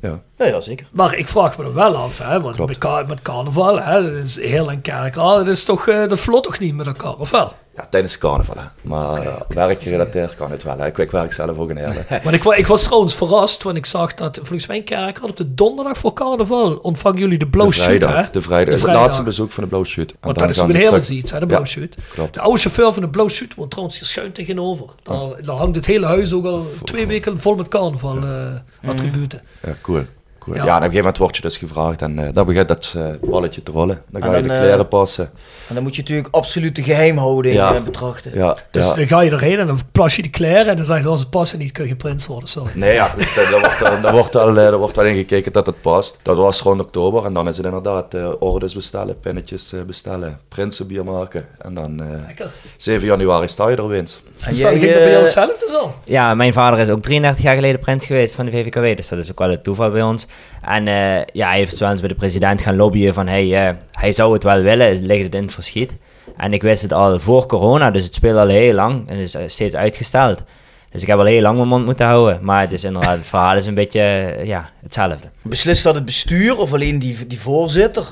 Speaker 9: Ja.
Speaker 5: Ja, ja zeker.
Speaker 8: maar ik vraag me er wel af, hè, want
Speaker 9: Klopt.
Speaker 8: met, ka- met carnaval, hè, dat is heel en kerkraad, dat is toch, eh dat vlot toch niet met elkaar, of wel?
Speaker 9: ja, tijdens carnaval. Hè. Maar eh, werkgerelateerd kan het wel. Hè. Ik, ik werk zelf ook in
Speaker 8: *laughs*
Speaker 9: Heerlen.
Speaker 8: Maar ik, wa- ik was trouwens verrast toen ik zag dat, volgens mij in kerk had op de donderdag voor carnaval, ontvangen jullie de blauw
Speaker 9: de
Speaker 8: shoot,
Speaker 9: vrijdag,
Speaker 8: hè?
Speaker 9: de vrijdag.
Speaker 8: De
Speaker 9: is het laatste bezoek van de Blauw Shoot. En
Speaker 8: Want
Speaker 9: dan
Speaker 8: dat is
Speaker 9: gaan
Speaker 8: ook een
Speaker 9: ze
Speaker 8: heel
Speaker 9: terug.
Speaker 8: iets, hè, de
Speaker 9: Ja,
Speaker 8: blauw shoot.
Speaker 9: klopt.
Speaker 8: De oude chauffeur van de blauw shoot woont trouwens hier schuin tegenover. Daar, daar hangt het hele huis ook al twee weken vol met carnaval eh attributen.
Speaker 9: Ja, cool. cool.
Speaker 8: Ja.
Speaker 9: Ja. en op een gegeven moment word je dus gevraagd en eh, dan begint dat eh, balletje te rollen. Dan ga
Speaker 5: En
Speaker 9: je
Speaker 5: dan,
Speaker 9: de
Speaker 5: eh,
Speaker 9: kleren passen.
Speaker 5: En dan moet je natuurlijk absoluut de geheimhouding
Speaker 9: Ja.
Speaker 5: eh, betrachten.
Speaker 9: Ja,
Speaker 8: Dus
Speaker 9: ja.
Speaker 8: dan ga je erheen en dan plas je die kleren en dan zeg je, als het past niet, kun je prins worden.
Speaker 9: *laughs*
Speaker 8: Sorry.
Speaker 9: Nee, ja, goed, eh, daar wordt, eh, daar wordt wel, eh, daar wordt wel in gekeken dat het past. Dat was rond oktober en dan is het inderdaad eh, orders bestellen, pinnetjes eh, bestellen, prinsenbier maken. En dan eh,
Speaker 8: Lekker.
Speaker 9: 7 januari sta je er winst.
Speaker 5: En
Speaker 8: Zo,
Speaker 5: jij,
Speaker 8: ging dat bij jou
Speaker 5: eh,
Speaker 8: hetzelfde zo?
Speaker 7: Ja, mijn vader is ook 33 jaar geleden prins geweest van de VVKW, dus dat is ook wel het toeval bij ons. En eh, ja, hij heeft wel eens bij de president gaan lobbyen van hey, eh, hij zou het wel willen, ligt het in het verschiet. En ik wist het al voor corona, dus het speelde al heel lang en is eh, steeds uitgesteld. Dus ik heb al heel lang mijn mond moeten houden, maar het is inderdaad, het verhaal is een beetje eh, ja, hetzelfde.
Speaker 5: Beslist dat het bestuur of alleen die, die voorzitter?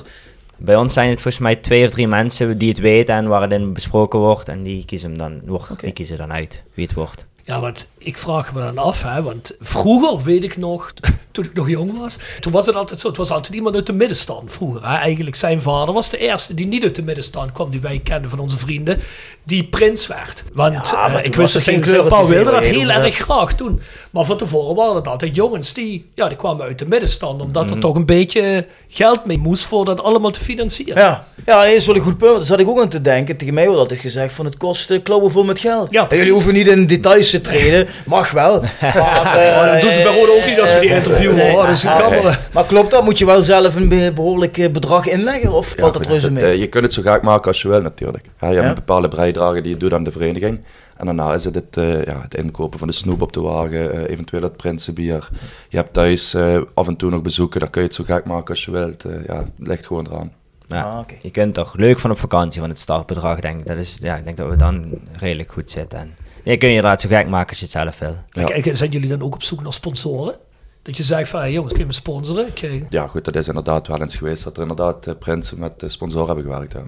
Speaker 7: Bij ons zijn het volgens mij twee of drie mensen die het weten en waar het in besproken wordt en die kiezen, hem dan, wordt, die kiezen dan uit wie het wordt.
Speaker 8: Ja, want ik vraag me dan af, hè, want vroeger weet ik nog, *laughs* toen ik nog jong was, toen was het altijd zo, het was altijd iemand uit de middenstand vroeger. Hè. Eigenlijk zijn vader was de eerste die niet uit de middenstand kwam, die wij kenden van onze vrienden, die prins werd. Want
Speaker 5: Ja, maar
Speaker 8: eh,
Speaker 5: toen
Speaker 8: ik
Speaker 5: was
Speaker 8: wist
Speaker 5: er
Speaker 8: dat
Speaker 5: geen
Speaker 8: zijn
Speaker 5: kleuren
Speaker 8: pa
Speaker 5: TV
Speaker 8: wilde dat
Speaker 5: waar je
Speaker 8: heel
Speaker 5: over
Speaker 8: erg graag toen. Maar van tevoren waren het altijd jongens die, ja, die kwamen uit de middenstand, omdat er toch een beetje geld mee moest voor dat allemaal te financieren.
Speaker 5: Ja, ja dat is wel een goed punt. Daar zat ik ook aan te denken. Tegen mij wordt altijd gezegd van het kost eh, klauwen vol met geld.
Speaker 8: Ja, precies.
Speaker 5: Jullie hoeven niet in details te treden.
Speaker 9: *laughs*
Speaker 5: Mag wel. Maar, eh,
Speaker 8: Maar dat doen ze bij Rode ook niet als we die interviewen.
Speaker 5: *laughs* nee.
Speaker 8: hoor. Dus ik kan wel-
Speaker 5: Maar klopt dat? Moet je wel zelf een be- behoorlijk eh, bedrag inleggen? Of
Speaker 9: Ja,
Speaker 5: valt dat
Speaker 9: goed,
Speaker 5: reuze
Speaker 9: dat,
Speaker 5: mee?
Speaker 9: eh, je kunt het zo gaaf maken als je wil natuurlijk. Ja, je hebt
Speaker 5: Ja.
Speaker 9: een bepaalde bijdrage die je doet aan de vereniging. En daarna is het het, eh, ja, het inkopen van de snoep op de wagen, eh, eventueel het prinsenbier. Je hebt thuis eh, af en toe nog bezoeken, dan kun je het zo gaaf maken als je wilt. Eh, ja, het ligt gewoon eraan.
Speaker 7: Ja.
Speaker 5: Ah, oké.
Speaker 7: Je kunt toch leuk van op vakantie van het startbedrag, denk ik. Dat is, ja, ik denk dat we dan redelijk goed zitten. En je kun je inderdaad zo gek maken als je het zelf wil.
Speaker 8: Maar Kijk, zijn jullie dan ook op zoek naar sponsoren? Dat je zegt van, hey, jongens, kun je me sponsoren? Ik, eh,
Speaker 9: Ja goed, dat is inderdaad wel eens geweest dat er inderdaad eh, prinsen met eh, sponsoren hebben gewerkt. hè.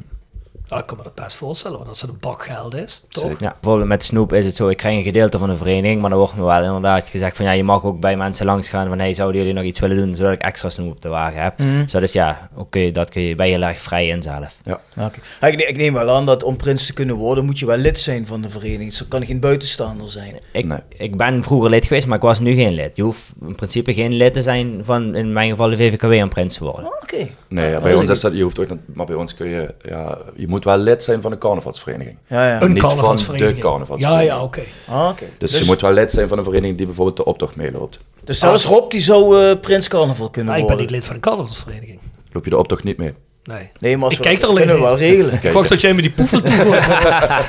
Speaker 8: nou, ik kan me dat best voorstellen, want als het een bak geld is, toch?
Speaker 9: Zeker.
Speaker 7: Ja, bijvoorbeeld met snoep is het zo, ik krijg een gedeelte van een vereniging, maar dan wordt me wel inderdaad gezegd van ja, je mag ook bij mensen langs gaan van hey, zouden jullie nog iets willen doen zodat ik extra snoep op de wagen heb.
Speaker 5: Mhm.
Speaker 7: Dus dat is ja, oké, dat kun je, ben je heel erg vrij in zelf.
Speaker 5: Ah, oké. Ah, Ik, ne- ik neem wel aan dat om prins te kunnen worden moet je wel lid zijn van de vereniging. Zo kan geen buitenstaander zijn.
Speaker 7: Ik,
Speaker 9: Nee.
Speaker 7: ik ben vroeger lid geweest, maar ik was nu geen lid. Je hoeft in principe geen lid te zijn van, in mijn geval, de VVKW en prins te worden.
Speaker 5: Ah, Oké.
Speaker 9: Nee, ja, bij ons is dat, je hoeft ook, niet- maar bij ons kun je, ja, je moet wel lid zijn van een carnavalsvereniging.
Speaker 5: Ja, ja.
Speaker 8: Een
Speaker 9: Niet van de
Speaker 8: carnavalsvereniging. Ja,
Speaker 9: carnavalsvereniging.
Speaker 8: ja, oké.
Speaker 5: Ah, oké.
Speaker 9: Dus, je moet Ah. wel lid zijn van een vereniging die bijvoorbeeld de optocht meeloopt.
Speaker 5: dus zelfs Rob die zou eh, prins carnaval kunnen
Speaker 8: Maar Ah, ik ben niet
Speaker 5: worden.
Speaker 8: lid van een carnavalsvereniging.
Speaker 9: Loop je de optocht niet mee?
Speaker 8: Nee.
Speaker 5: Nee, maar als
Speaker 8: Ik
Speaker 5: we-
Speaker 8: kijk er alleen
Speaker 5: kunnen we wel
Speaker 8: *laughs*
Speaker 5: regelen.
Speaker 8: Ik
Speaker 9: Kijk,
Speaker 8: wacht dat jij me die poefel toe
Speaker 9: *laughs*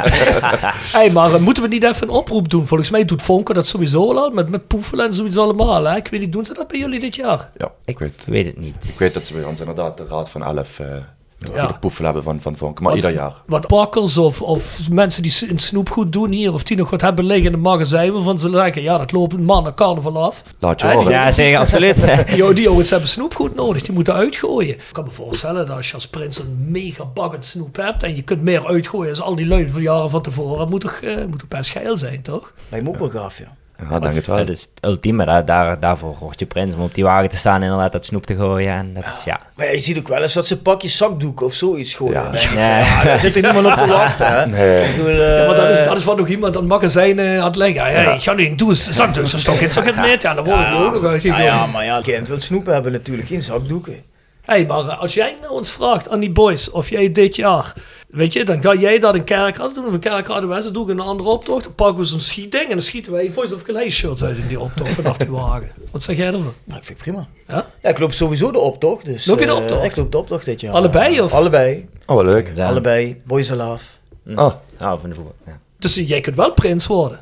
Speaker 8: hey, maar eh, moeten we niet even een oproep doen? Volgens mij doet Fonke dat sowieso al, met, met poefelen en zoiets allemaal. Hè? Ik weet niet, doen ze dat bij jullie dit jaar?
Speaker 9: ja, ik weet
Speaker 7: Ik weet het niet.
Speaker 9: Ik weet dat ze bij ons inderdaad de Raad van Elf eh,
Speaker 8: Ja.
Speaker 9: Ja. De poefel hebben van, van vonk. Maar
Speaker 8: Wat-
Speaker 9: ieder jaar.
Speaker 8: Wat bakkers of, of mensen die s- in snoepgoed doen hier, of die nog wat hebben liggen in het magazijn, waarvan ze denken, ja, dat loopt een mannen carnaval af.
Speaker 9: Laat je
Speaker 7: Ah,
Speaker 8: Ja, die-
Speaker 9: horen.
Speaker 7: Ja, zeker,
Speaker 5: *laughs*
Speaker 7: absoluut.
Speaker 8: Die, jo- die jongens hebben snoepgoed nodig, die moeten uitgooien. Ik kan me voorstellen dat als je als prins een mega bakkend snoep hebt en je kunt meer uitgooien als al die lui van jaren van tevoren, dat moet toch, eh, moet toch best geil zijn, toch?
Speaker 5: Lijkt me ook wel gaaf, ja.
Speaker 9: Ja, denk het wel.
Speaker 7: Dat is het ultieme. Daar, daar, daarvoor hoort je prins om op die wagen te staan en inderdaad dat snoep te gooien. En dat is ja.
Speaker 5: Maar ja, je ziet ook wel eens dat ze een pakje zakdoek of zoiets gooien.
Speaker 9: Ja.
Speaker 5: Dan denk ik van, ah, daar zit er niemand op te *laughs* wachten,
Speaker 9: *laughs*
Speaker 5: hè?
Speaker 9: Nee.
Speaker 5: Ik bedoel, eh,
Speaker 8: Ja, maar dat is, dat is wat nog iemand aan het magazijn eh, aan het leggen. Ja, Ik ga nu een doe, zak dus, zak het, zak het net. Ja, dan word ik er ook nog
Speaker 5: Ah, ja,
Speaker 8: uitgegooid.
Speaker 5: ja, maar ja, een kind wil snoepen hebben natuurlijk, geen zakdoeken.
Speaker 8: hey, maar eh, als jij nou ons vraagt aan die boys of jij dit jaar, weet je, dan ga jij dat in Kerkrade doen of in Kerkrade West, dan doe ik een andere optocht, dan pakken we zo'n schietding en dan schieten wij Voice of Calais shirts uit in die optocht vanaf die wagen. Wat zeg jij ervan?
Speaker 5: Nou, ik vind het prima.
Speaker 8: Ja?
Speaker 5: Ja, ik loop sowieso de optocht. Dus,
Speaker 8: Loop je de
Speaker 5: eh,
Speaker 8: optocht?
Speaker 5: ik loop de optocht dit jaar.
Speaker 8: Allebei, of?
Speaker 5: Allebei.
Speaker 9: Oh, wel leuk.
Speaker 7: Ja.
Speaker 5: Allebei. Boys are love.
Speaker 9: Oh,
Speaker 7: Oh, van de voetbal. Ja.
Speaker 8: Dus jij kunt wel prins worden.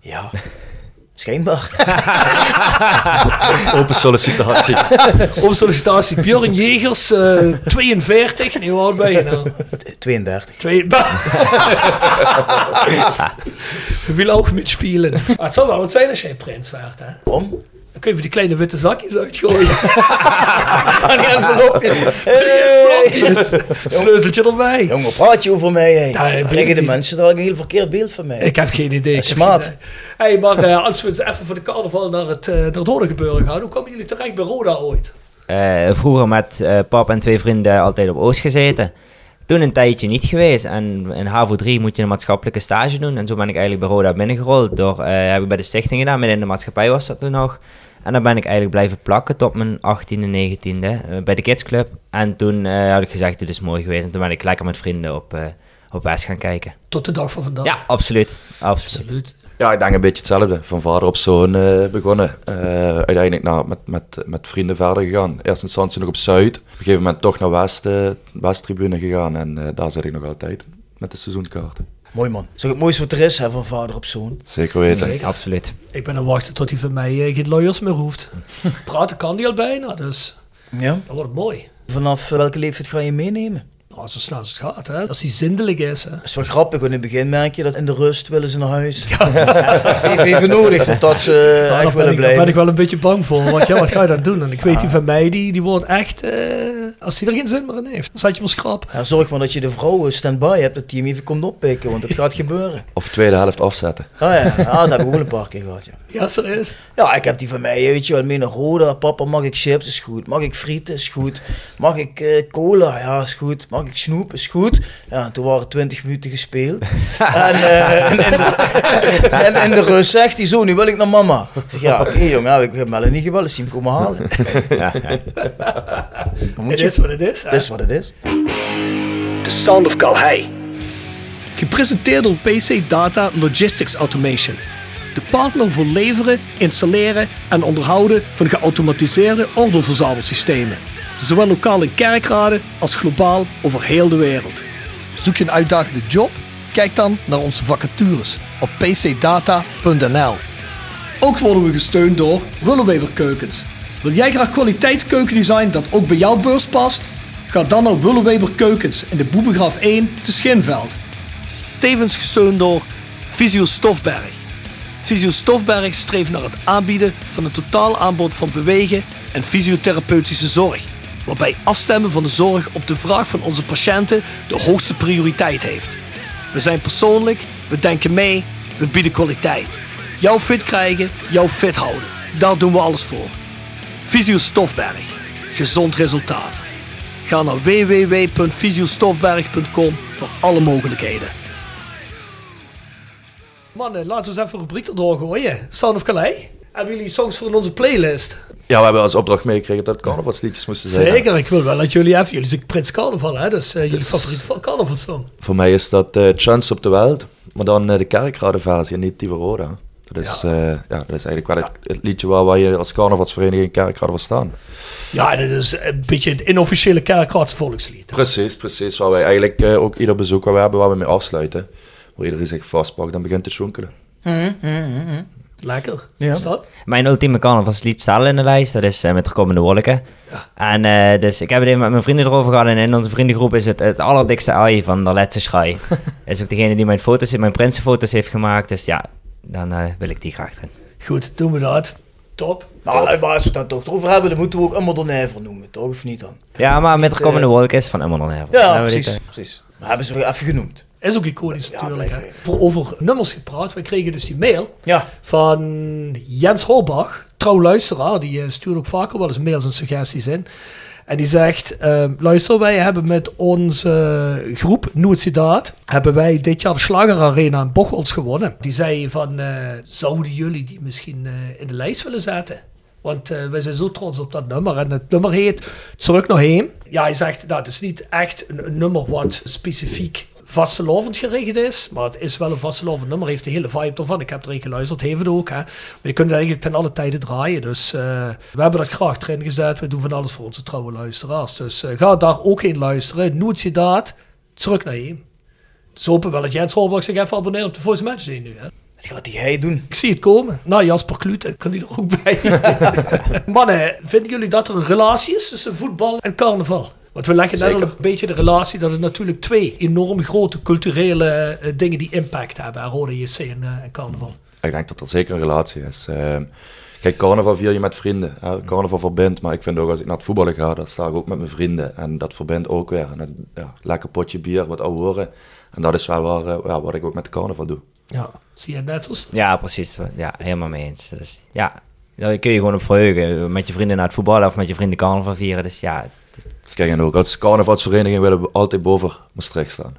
Speaker 5: Ja. Schijnbaar. *laughs*
Speaker 9: open sollicitatie.
Speaker 8: Over sollicitatie. Björn Jegers, eh, 42. Nee, hoe oud ben je nou?
Speaker 5: 32.
Speaker 8: Twee. *laughs* Je wil ook mitspielen. Maar het zou wel wat zijn als jij prins werd, hè?
Speaker 5: Om?
Speaker 8: Dan kun je voor die kleine witte zakjes
Speaker 5: *laughs*
Speaker 8: uitgooien.
Speaker 5: Aan die envelopjes. Hey.
Speaker 8: Yes. Sleuteltje erbij.
Speaker 5: Jongen, praat je over mij, hey.
Speaker 8: Ja, ik
Speaker 5: Dan
Speaker 8: weet
Speaker 5: krijgen de
Speaker 8: niet.
Speaker 5: mensen daar ook een heel verkeerd beeld van mij.
Speaker 8: Ik heb geen idee. ik heb
Speaker 5: Smaad.
Speaker 8: geen idee. hey, maar eh, als we eens even van de carnaval naar het, eh naar het horen gebeuren gaan. Hoe komen jullie terecht bij Roda ooit?
Speaker 7: Eh, vroeger met eh pap en twee vrienden altijd op Oost gezeten. Toen een tijdje niet geweest. En in HAVO 3 moet je een maatschappelijke stage doen. En zo ben ik eigenlijk bij Roda binnengerold. Door, eh, heb ik bij de stichting gedaan, midden in de maatschappij was dat toen nog. En dan ben ik eigenlijk blijven plakken tot mijn 18e, 19e eh, bij de kidsclub. En toen eh, had ik gezegd, dit is mooi geweest. En toen ben ik lekker met vrienden op, eh op West gaan kijken.
Speaker 8: Tot de dag van
Speaker 5: Oh.
Speaker 8: vandaag.
Speaker 7: Ja, absoluut. absoluut.
Speaker 8: Absoluut.
Speaker 9: *laughs* Ja, ik denk een beetje hetzelfde. Van vader op zoon eh, begonnen. Eh, uiteindelijk nou, met, met, met vrienden verder gegaan. Eerst instantie nog op Zuid. Op een gegeven moment toch naar West, eh, Westtribune gegaan. En eh, daar zit ik nog altijd met de seizoenkaarten.
Speaker 5: Mooi man. Zo het mooiste wat er is, hè, van vader op zoon.
Speaker 9: Zeker weten.
Speaker 7: Absoluut.
Speaker 8: Ik ben aan het wachten tot hij van mij eh, geen lawyers meer
Speaker 5: *laughs*
Speaker 8: hoeft. Praten kan die al bijna, dus
Speaker 5: Ja.
Speaker 8: dat wordt mooi.
Speaker 5: Vanaf eh, welke leeftijd ga je meenemen?
Speaker 8: Nou, zo snel als het gaat, hè. Als hij zindelijk is, hè.
Speaker 5: Dat is wel grappig, want in het begin merk je dat in de rust willen ze naar huis. *laughs* Even, even nodig, totdat ze
Speaker 8: Ja, daar
Speaker 5: echt
Speaker 8: ben,
Speaker 5: willen
Speaker 8: ik, daar ben
Speaker 5: blijven. Ah.
Speaker 8: ik wel een beetje bang voor. Want ja, wat ga je dan doen? En ik weet, die van mij, die, die wordt echt... eh, als hij er geen zin meer in heeft, dan zet je hem schrap.
Speaker 5: Ja, zorg maar dat je de vrouwen stand-by hebt, dat die hem even komt oppikken, want het gaat gebeuren.
Speaker 9: Of tweede helft afzetten.
Speaker 5: Ah ja, ja, dat heb ik ook wel een paar keer gehad, ja.
Speaker 8: Ja, serieus.
Speaker 5: Ja, ik heb die van mij, weet je wel, mee naar Roda. Papa, mag ik chips? Is goed. Mag ik frieten? Is goed. Mag ik eh, cola? Ja, is goed. Mag ik snoep? Is goed. Ja, toen waren 20 minuten
Speaker 7: *laughs*
Speaker 5: gespeeld. en, eh, en, in de, *laughs* en in de rust zegt hij zo, nu wil ik naar mama. Ik zeg, ja, oké jongen, ja, ik heb Melle niet gebeld, is die hem komen halen.
Speaker 7: *laughs*
Speaker 5: *laughs* Dan moet
Speaker 8: Het
Speaker 5: je,
Speaker 8: is wat het is.
Speaker 5: het is wat het is.
Speaker 8: The Sound of Calhei. Gepresenteerd door PC Data Logistics Automation. De partner voor leveren, installeren en onderhouden van geautomatiseerde ordeelverzamelsystemen. Zowel lokaal in kerkraden als globaal over heel de wereld. Zoek je een uitdagende job? Kijk dan naar onze vacatures op pcdata.nl. Ook worden we gesteund door Willeweber Keukens. Wil jij graag kwaliteitskeukendesign dat ook bij jouw beurs past? Ga dan naar Willeweber Keukens in de Boebegraaf 1 te Schinveld. Tevens gesteund door Visio Stofberg. Visio Stofberg streeft naar het aanbieden van een totaal aanbod van bewegen en fysiotherapeutische zorg. Waarbij afstemmen van de zorg op de vraag van onze patiënten de hoogste prioriteit heeft. We zijn persoonlijk, we denken mee, we bieden kwaliteit. Jou fit krijgen, jou fit houden. Daar doen we alles voor. Visio Stofberg. Gezond resultaat. Ga naar www.visiostofberg.com voor alle mogelijkheden. Mannen, laten we eens even een rubriek erdoor gooien. Sound of Calais. Hebben jullie songs voor in onze playlist?
Speaker 9: Ja, we hebben als opdracht meegekregen dat het carnavalsliedjes moesten zijn.
Speaker 8: Zeker, ik wil wel dat jullie even... Jullie zijn Prins Carnaval, hè? Dus eh, jullie favoriete carnavalsong.
Speaker 9: Voor mij is dat eh, Chance op de Wild. Maar dan eh, de kerkradenversie en niet die van Roda. Dat is, eh, ja. dat is eigenlijk wel het, het liedje waar wij als carnavalsvereniging Kerkrade voor staan.
Speaker 8: Ja, dat is een beetje het inofficiële kerkraadse volkslied.
Speaker 9: Precies, precies. Waar wij eigenlijk eh, ook ieder bezoek waar we hebben, waar we mee afsluiten. Waar iedereen zich vastpakt en begint te schonkelen.
Speaker 8: Lekker.
Speaker 5: Ja.
Speaker 8: Is dat?
Speaker 7: Mijn ultieme carnavalslied staat al in de lijst. Dat is eh, met Komende Wolken. En eh, dus ik heb het even met mijn vrienden erover gehad. En in onze vriendengroep is het het allerdikste ai van de Letse
Speaker 5: *laughs*
Speaker 7: Schrai. is ook degene die mijn foto's, mijn prinsenfoto's heeft gemaakt. Dus ja, dan eh, wil ik die graag erin.
Speaker 8: Goed, doen we dat. Top.
Speaker 5: Nou, maar als we het daar toch over hebben, dan moeten we ook een modernijver noemen, toch? Of niet dan?
Speaker 7: Ja, maar met
Speaker 5: eh,
Speaker 7: Komende Wolken is van Emmerland Hervel.
Speaker 5: Ja,
Speaker 7: Dan hebben we dit,
Speaker 5: precies, precies. Maar hebben ze even genoemd.
Speaker 8: Is ook iconisch
Speaker 5: Ja,
Speaker 8: natuurlijk.
Speaker 5: blijf
Speaker 8: Hè. Voor over nummers gepraat. We kregen dus die mail
Speaker 5: Ja.
Speaker 8: van Jens Horbach, trouw luisteraar. Die eh, stuurt ook vaker wel eens mails en suggesties in. En die zegt, eh, luister, wij hebben met onze eh, groep Noetzidaat, hebben wij dit jaar de Slager Arena in Bochels gewonnen. Die zei van, eh, zouden jullie die misschien eh, in de lijst willen zetten? Want eh, wij zijn zo trots op dat nummer. En het nummer heet Terug naar Heem. Ja, hij zegt, dat is niet echt een, een nummer wat specifiek vastelovend gericht is. Maar het is wel een vastelovend nummer. Heeft de hele vibe ervan. Ik heb erin geluisterd. Heeft het ook. Hè. Maar je kunt het eigenlijk ten alle tijden draaien. Dus eh, we hebben dat graag erin gezet. We doen van alles voor onze trouwe luisteraars. Dus eh, ga daar ook heen luisteren. Noet je daad. Terug naar Heem. Dus hopen wel dat Jens Holbach zich even abonneert op de Voice Magazine nu. Hè.
Speaker 5: Dat gaat die hij doen.
Speaker 8: Ik zie het komen. Nou, Jasper Klute kan die er ook *laughs* bij. Mannen, vinden jullie dat er een relatie is tussen voetbal en carnaval? Want we leggen net al een beetje de relatie dat het natuurlijk twee enorm grote culturele eh, dingen die impact hebben. hè, Rode JC en, eh, en carnaval.
Speaker 9: Ik denk dat er zeker een relatie is. Ehm, kijk, carnaval vier je met vrienden. hè. Carnaval verbindt, maar ik vind ook als ik naar het voetballen ga, dan sta ik ook met mijn vrienden. En dat verbindt ook weer. En een ja, lekker potje bier, wat ouwe horen. En dat is wel waar, eh, ja, wat ik ook met carnaval doe.
Speaker 8: Ja, zie je het net zo?
Speaker 7: eh. Ja, precies. Ja, helemaal mee eens. Dus ja, daar kun je gewoon op verheugen. Met je vrienden naar het voetballen of met je vrienden carnaval vieren. Dus ja,
Speaker 9: Kijk, en ook als carnavalsvereniging willen we altijd boven Maastricht
Speaker 7: *laughs*
Speaker 9: staan.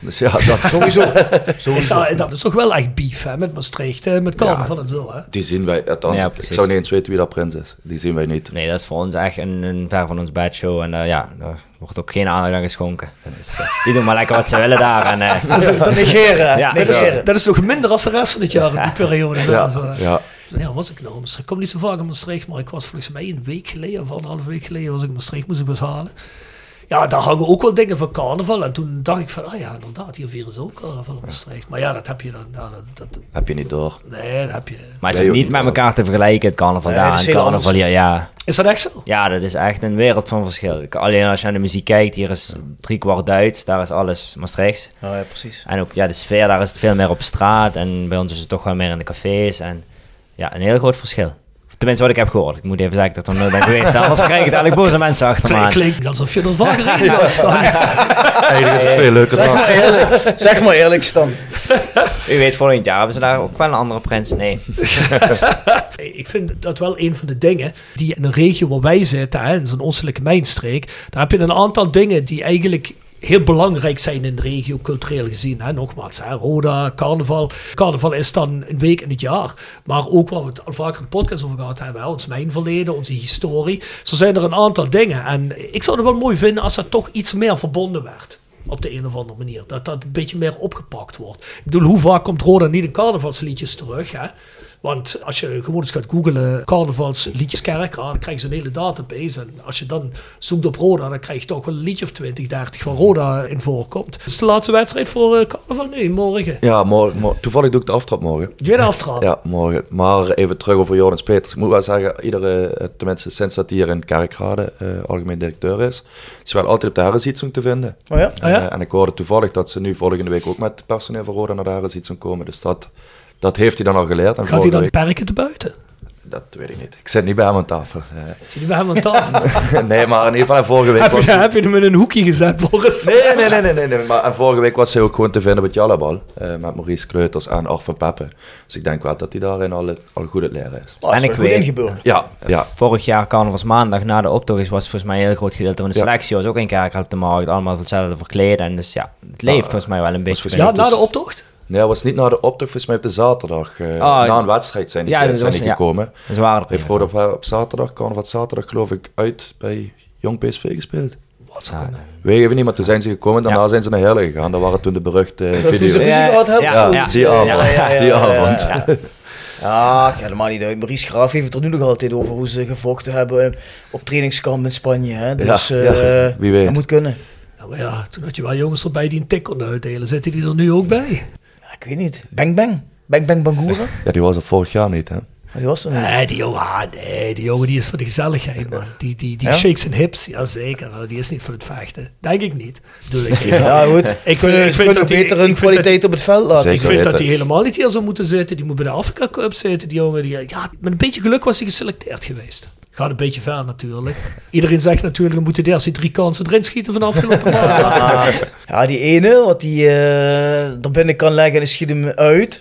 Speaker 9: dus ja, dat,
Speaker 5: Sowieso.
Speaker 8: Is
Speaker 5: Sowieso.
Speaker 8: dat, dat is toch wel echt beef hè, met Maastricht, eh, met carnaval en zo. Hè?
Speaker 9: die zien wij, althans,
Speaker 7: Ja,
Speaker 9: ik
Speaker 7: precies.
Speaker 9: zou niet eens weten wie dat prins is. Die zien wij niet.
Speaker 7: Nee, dat is voor ons echt een, een ver van ons bedshow. En eh, ja, daar wordt ook geen aandacht aan geschonken. Dat is, eh, die doen maar lekker wat ze willen daar. En,
Speaker 5: *laughs*
Speaker 7: eh,
Speaker 5: Negeren,
Speaker 7: Ja.
Speaker 5: negeren.
Speaker 8: Dat is nog minder als de rest van het jaar in die periode. hè,
Speaker 9: Ja,
Speaker 8: zo, hè.
Speaker 9: ja.
Speaker 8: eh, Ja, was ik nou in Maastricht? Ik kom niet zo vaak in Maastricht, maar ik was volgens mij een week geleden of anderhalf week geleden was ik in Maastricht, moest ik was halen. Ja, daar hangen ook wel dingen van carnaval. En toen dacht ik van, ah ja, inderdaad, hier vieren ze ook carnaval in Maastricht. Maar ja, dat heb je dan, ja, dat, dat-
Speaker 9: Heb je niet door.
Speaker 8: nee, dat heb je.
Speaker 7: maar het
Speaker 9: Nee,
Speaker 7: is ook
Speaker 9: joh,
Speaker 7: niet met elkaar te vergelijken, het carnaval
Speaker 5: Nee, dat
Speaker 7: daar
Speaker 5: is
Speaker 7: en
Speaker 5: heel
Speaker 7: carnaval
Speaker 5: anders.
Speaker 7: hier. Ja.
Speaker 8: Is dat echt zo?
Speaker 7: ja, dat is echt een wereld van verschil. Ik- Alleen als je naar de muziek kijkt, hier is drie kwart Duits, daar is alles Maastrichts.
Speaker 5: Nou ja, precies.
Speaker 7: En ook ja, de sfeer, daar is het veel meer op straat. En bij ons is het toch wel meer in de cafés. En ja, een heel groot verschil. Tenminste, wat ik heb gehoord. Ik moet even zeggen dat ik er nooit ben
Speaker 5: *laughs*
Speaker 7: geweest. Anders krijg ik dadelijk boze mensen achter me
Speaker 8: Klink-
Speaker 7: aan.
Speaker 8: Klinkt alsof je er vaker in was. Dan.
Speaker 9: Eigenlijk is het veel leuker dan.
Speaker 5: Eerlijk, zeg maar eerlijk, Stan.
Speaker 7: U weet, volgend jaar hebben ze daar ook wel een andere prins. Nee.
Speaker 8: Ik vind dat wel een van de dingen die in een regio waar wij zitten, hè, in zo'n oostelijke mijnstreek, daar heb je een aantal dingen die eigenlijk heel belangrijk zijn in de regio cultureel gezien. Hè. Nogmaals, hè, Roda, carnaval. Carnaval is dan een week in het jaar. Maar ook waar we het al vaker in de podcast over gehad hebben, hè, ons mijn verleden, onze historie. Zo zijn er een aantal dingen. En ik zou het wel mooi vinden als dat toch iets meer verbonden werd op de een of andere manier. Dat dat een beetje meer opgepakt wordt. Ik bedoel, hoe vaak komt Roda niet in carnavalsliedjes terug? Hè? Want als je gewoon eens gaat googlen carnavalsliedjes Kerkraad, dan krijg je een hele database. En als je dan zoekt op Roda, dan krijg je toch wel een liedje of 20, 30 waar Roda in voorkomt. Het is de laatste wedstrijd voor eh, carnaval nu, morgen.
Speaker 9: Ja, morgen, mor- toevallig doe ik de aftrap morgen.
Speaker 8: Tweede aftrap.
Speaker 9: Ja, morgen. Maar even terug over Joris Peters. Ik moet wel zeggen, iedere, eh, tenminste sinds dat hij hier in Kerkrade eh, algemeen directeur is, is wel altijd op de herrensitzing te vinden.
Speaker 5: Oh ja?
Speaker 8: Ah, ja?
Speaker 9: Eh, en ik hoorde toevallig dat ze nu volgende week ook met personeel van Roda naar de herrensitzing komen. Dus dat, dat heeft hij dan al geleerd. En
Speaker 8: Gaat hij
Speaker 9: volgende
Speaker 8: dan perken te buiten?
Speaker 9: week- dat weet ik niet. Ik zit niet bij hem aan tafel.
Speaker 8: Zit hij bij hem aan
Speaker 9: *laughs*
Speaker 8: tafel?
Speaker 9: Eh, nee, maar in ieder geval en vorige week
Speaker 8: heb,
Speaker 9: was
Speaker 8: je,
Speaker 9: hij...
Speaker 8: heb je hem in een hoekje gezet, Boris?
Speaker 9: Nee, nee, nee, nee, nee, nee. Maar en vorige week was hij ook gewoon te vinden met Jallebal. eh met Maurice Kleuters en Arve Peppe. Dus ik denk wel dat hij daarin al, al goed het leren is. Eh,
Speaker 5: Oh, dat is
Speaker 7: En
Speaker 5: wel
Speaker 7: ik
Speaker 5: goed
Speaker 7: weet-
Speaker 5: ingeburgerd.
Speaker 9: Ja, ja.
Speaker 7: Vorig jaar carnavalsmaandag na de optocht was volgens mij een heel groot gedeelte van de
Speaker 9: Ja.
Speaker 7: selectie. Was ook in Kerkrade op de markt, allemaal hetzelfde verkleed. En dus ja, het leeft volgens mij wel een beetje.
Speaker 9: volgens
Speaker 8: Ja,
Speaker 9: mij-
Speaker 8: na de optocht?
Speaker 9: Nee, hij was niet naar de optocht, volgens mij op de zaterdag. eh,
Speaker 7: Ah,
Speaker 9: na een wedstrijd zijn die, eh,
Speaker 7: ja, dat
Speaker 9: zijn
Speaker 7: was-
Speaker 9: die
Speaker 7: ja.
Speaker 9: gekomen.
Speaker 7: Dat is waar. dat
Speaker 9: Heeft
Speaker 7: niet.
Speaker 9: Roda op, eh, op zaterdag, Carnaval zaterdag geloof ik, uit bij Jong PSV gespeeld.
Speaker 8: Wat
Speaker 7: Ja,
Speaker 9: Weet ik niet, maar toen zijn ze gekomen en daarna
Speaker 7: Ja.
Speaker 9: zijn ze naar Heerlen gegaan. Dat waren toen de beruchte eh,
Speaker 5: Toen ze
Speaker 9: video's.
Speaker 5: ruzie
Speaker 9: Ja,
Speaker 5: gehad hebben.
Speaker 7: Ja,
Speaker 5: zoiets.
Speaker 9: die avond.
Speaker 5: ja,
Speaker 9: *laughs*
Speaker 5: ja,
Speaker 9: die
Speaker 5: ja, ja.
Speaker 9: avond.
Speaker 7: ja.
Speaker 5: Ja, ik helemaal niet uit. Maurice Graaf heeft het er nu nog altijd over hoe ze gevochten hebben eh, op trainingskamp in Spanje. Hè? Dus
Speaker 9: Ja,
Speaker 5: eh
Speaker 9: ja, wie weet.
Speaker 5: dat moet kunnen.
Speaker 8: Nou maar ja, toen had je wel jongens erbij die een tik konden uitdelen. Zitten die er nu ook bij?
Speaker 5: Ja, ik weet niet. Bang bang. Bang Bang Bangoeren?
Speaker 9: Ja, die was er vorig jaar niet, hè?
Speaker 5: Maar die was er niet.
Speaker 8: Nee, die jongen, ah, nee, die jongen die is voor de gezelligheid, man. Die, die, die
Speaker 5: Ja?
Speaker 8: shakes en hips, jazeker. Die is niet voor het vechten. Denk ik niet. Bedoel ik.
Speaker 5: Ja, goed.
Speaker 8: vind-
Speaker 5: Kunnen-
Speaker 8: ik vind
Speaker 5: ze kunnen
Speaker 8: dat die-
Speaker 5: beter
Speaker 8: ik
Speaker 5: hun
Speaker 8: vind dat-
Speaker 5: kwaliteit op het veld laten
Speaker 9: Zeker.
Speaker 8: Ik vind dat
Speaker 9: weten.
Speaker 8: die helemaal niet hier zou moeten zitten. Die moet bij de Afrika Cup zitten, die jongen. Die, ja, met een beetje geluk was hij geselecteerd geweest. Gaat een beetje ver natuurlijk. Iedereen zegt natuurlijk, we moeten de eerste drie kansen erin schieten van de afgelopen maand.
Speaker 5: Ja, die ene, wat hij eh er binnen kan leggen en hij schiet hem uit.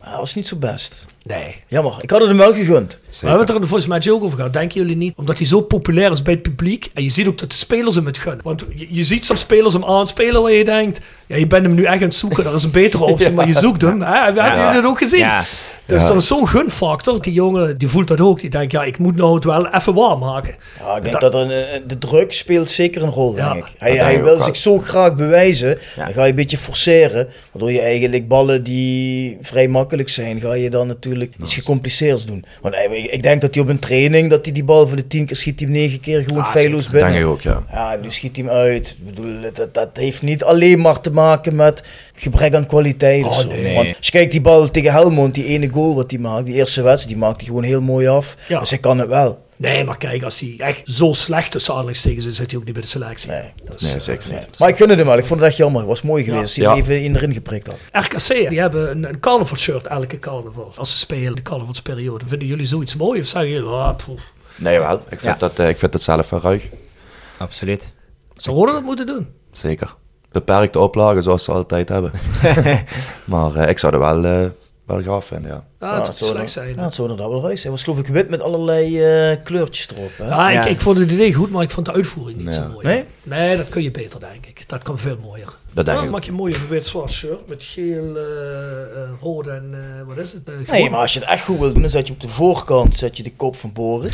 Speaker 5: Maar dat was niet zo best.
Speaker 8: Nee.
Speaker 5: Jammer, ik had het hem wel gegund.
Speaker 8: We hebben het er in de voice match ook over gehad, denken jullie niet? Omdat hij zo populair is bij het publiek. En je ziet ook dat de spelers hem het gunnen. Want je, je ziet soms spelers hem aanspelen waar je denkt... Ja, je bent hem nu echt aan het zoeken. Er is een betere optie, maar je zoekt hem. Hè? Hebben jullie dat ook gezien?
Speaker 7: Ja.
Speaker 8: Dus dat is zo'n gunfactor. Die jongen die voelt dat ook. Die denkt, ja, ik moet nou het wel even waarmaken.
Speaker 5: Ja, ik denk dat, er een- een- de druk speelt zeker een rol,
Speaker 8: Ja.
Speaker 5: denk ik. Hij, hij wil zich zo graag bewijzen,
Speaker 7: Ja.
Speaker 5: dan ga je een beetje forceren. Waardoor je eigenlijk ballen die vrij makkelijk zijn, ga je dan natuurlijk iets gecompliceerds doen. Want hij- ik, ik denk dat hij op een training, dat hij die bal voor de tien keer schiet, hij hem negen keer gewoon
Speaker 8: Ah,
Speaker 5: feilloos
Speaker 9: Denk ik
Speaker 5: binnen.
Speaker 9: ook, ja.
Speaker 5: Ja, nu schiet hij hem uit. Ik bedoel, dat, dat heeft niet alleen maar te maken met gebrek aan kwaliteit. of
Speaker 8: Oh,
Speaker 5: zo.
Speaker 8: nee.
Speaker 5: Want als je kijkt die bal tegen Helmond, die ene goal wat hij maakt, die eerste wedstrijd, die maakt hij gewoon heel mooi af.
Speaker 8: Ja.
Speaker 5: Dus hij kan het wel.
Speaker 8: Nee, maar kijk, als hij echt zo slecht tussen aanhalingstekens is, zit hij ook niet bij de selectie.
Speaker 5: Nee.
Speaker 8: Dat is, eh,
Speaker 9: Nee, zeker niet.
Speaker 5: Maar ik gun het hem wel. Ik vond het echt jammer. Het was mooi geweest als hij
Speaker 9: Ja.
Speaker 5: er even in erin geprikt had.
Speaker 8: eh, RKC, die hebben een, een carnavalshirt elke carnaval. Als ze spelen, de carnavalsperiode. Vinden jullie zoiets mooi? Of zeggen jullie, ah, poeh,
Speaker 9: Nee, wel. Ik vind,
Speaker 7: Ja.
Speaker 9: dat, eh, ik vind dat zelf wel ruig.
Speaker 7: Absoluut.
Speaker 8: ze horen dat moeten doen.
Speaker 9: Zeker. Beperkte oplagen zoals ze
Speaker 8: *laughs*
Speaker 9: altijd hebben. maar eh, ik zou er wel, eh, wel gaaf vinden, ja.
Speaker 8: Ja, het
Speaker 5: Ja,
Speaker 8: zou
Speaker 5: zou
Speaker 8: slecht
Speaker 5: dan-
Speaker 8: zijn.
Speaker 5: Ja,
Speaker 8: hè.
Speaker 5: het zou inderdaad wel ruis zijn. Het was geloof ik wit met allerlei eh, kleurtjes erop. Hè?
Speaker 8: Ah,
Speaker 7: Ja.
Speaker 8: ik, ik vond het idee goed, maar ik vond de uitvoering niet zo
Speaker 9: Ja.
Speaker 8: mooi.
Speaker 5: Nee?
Speaker 8: Nee, dat kun je beter, denk ik. Dat kan veel mooier.
Speaker 9: Dat denk
Speaker 8: dan
Speaker 9: ik
Speaker 8: maak je een mooie wit-zwart shirt met geel, eh, eh, rood en eh, wat is het? Eh, groen.
Speaker 5: Nee, maar als je het echt goed wil doen, dan zet je op de voorkant zet je de kop van
Speaker 8: *laughs*
Speaker 5: Boris.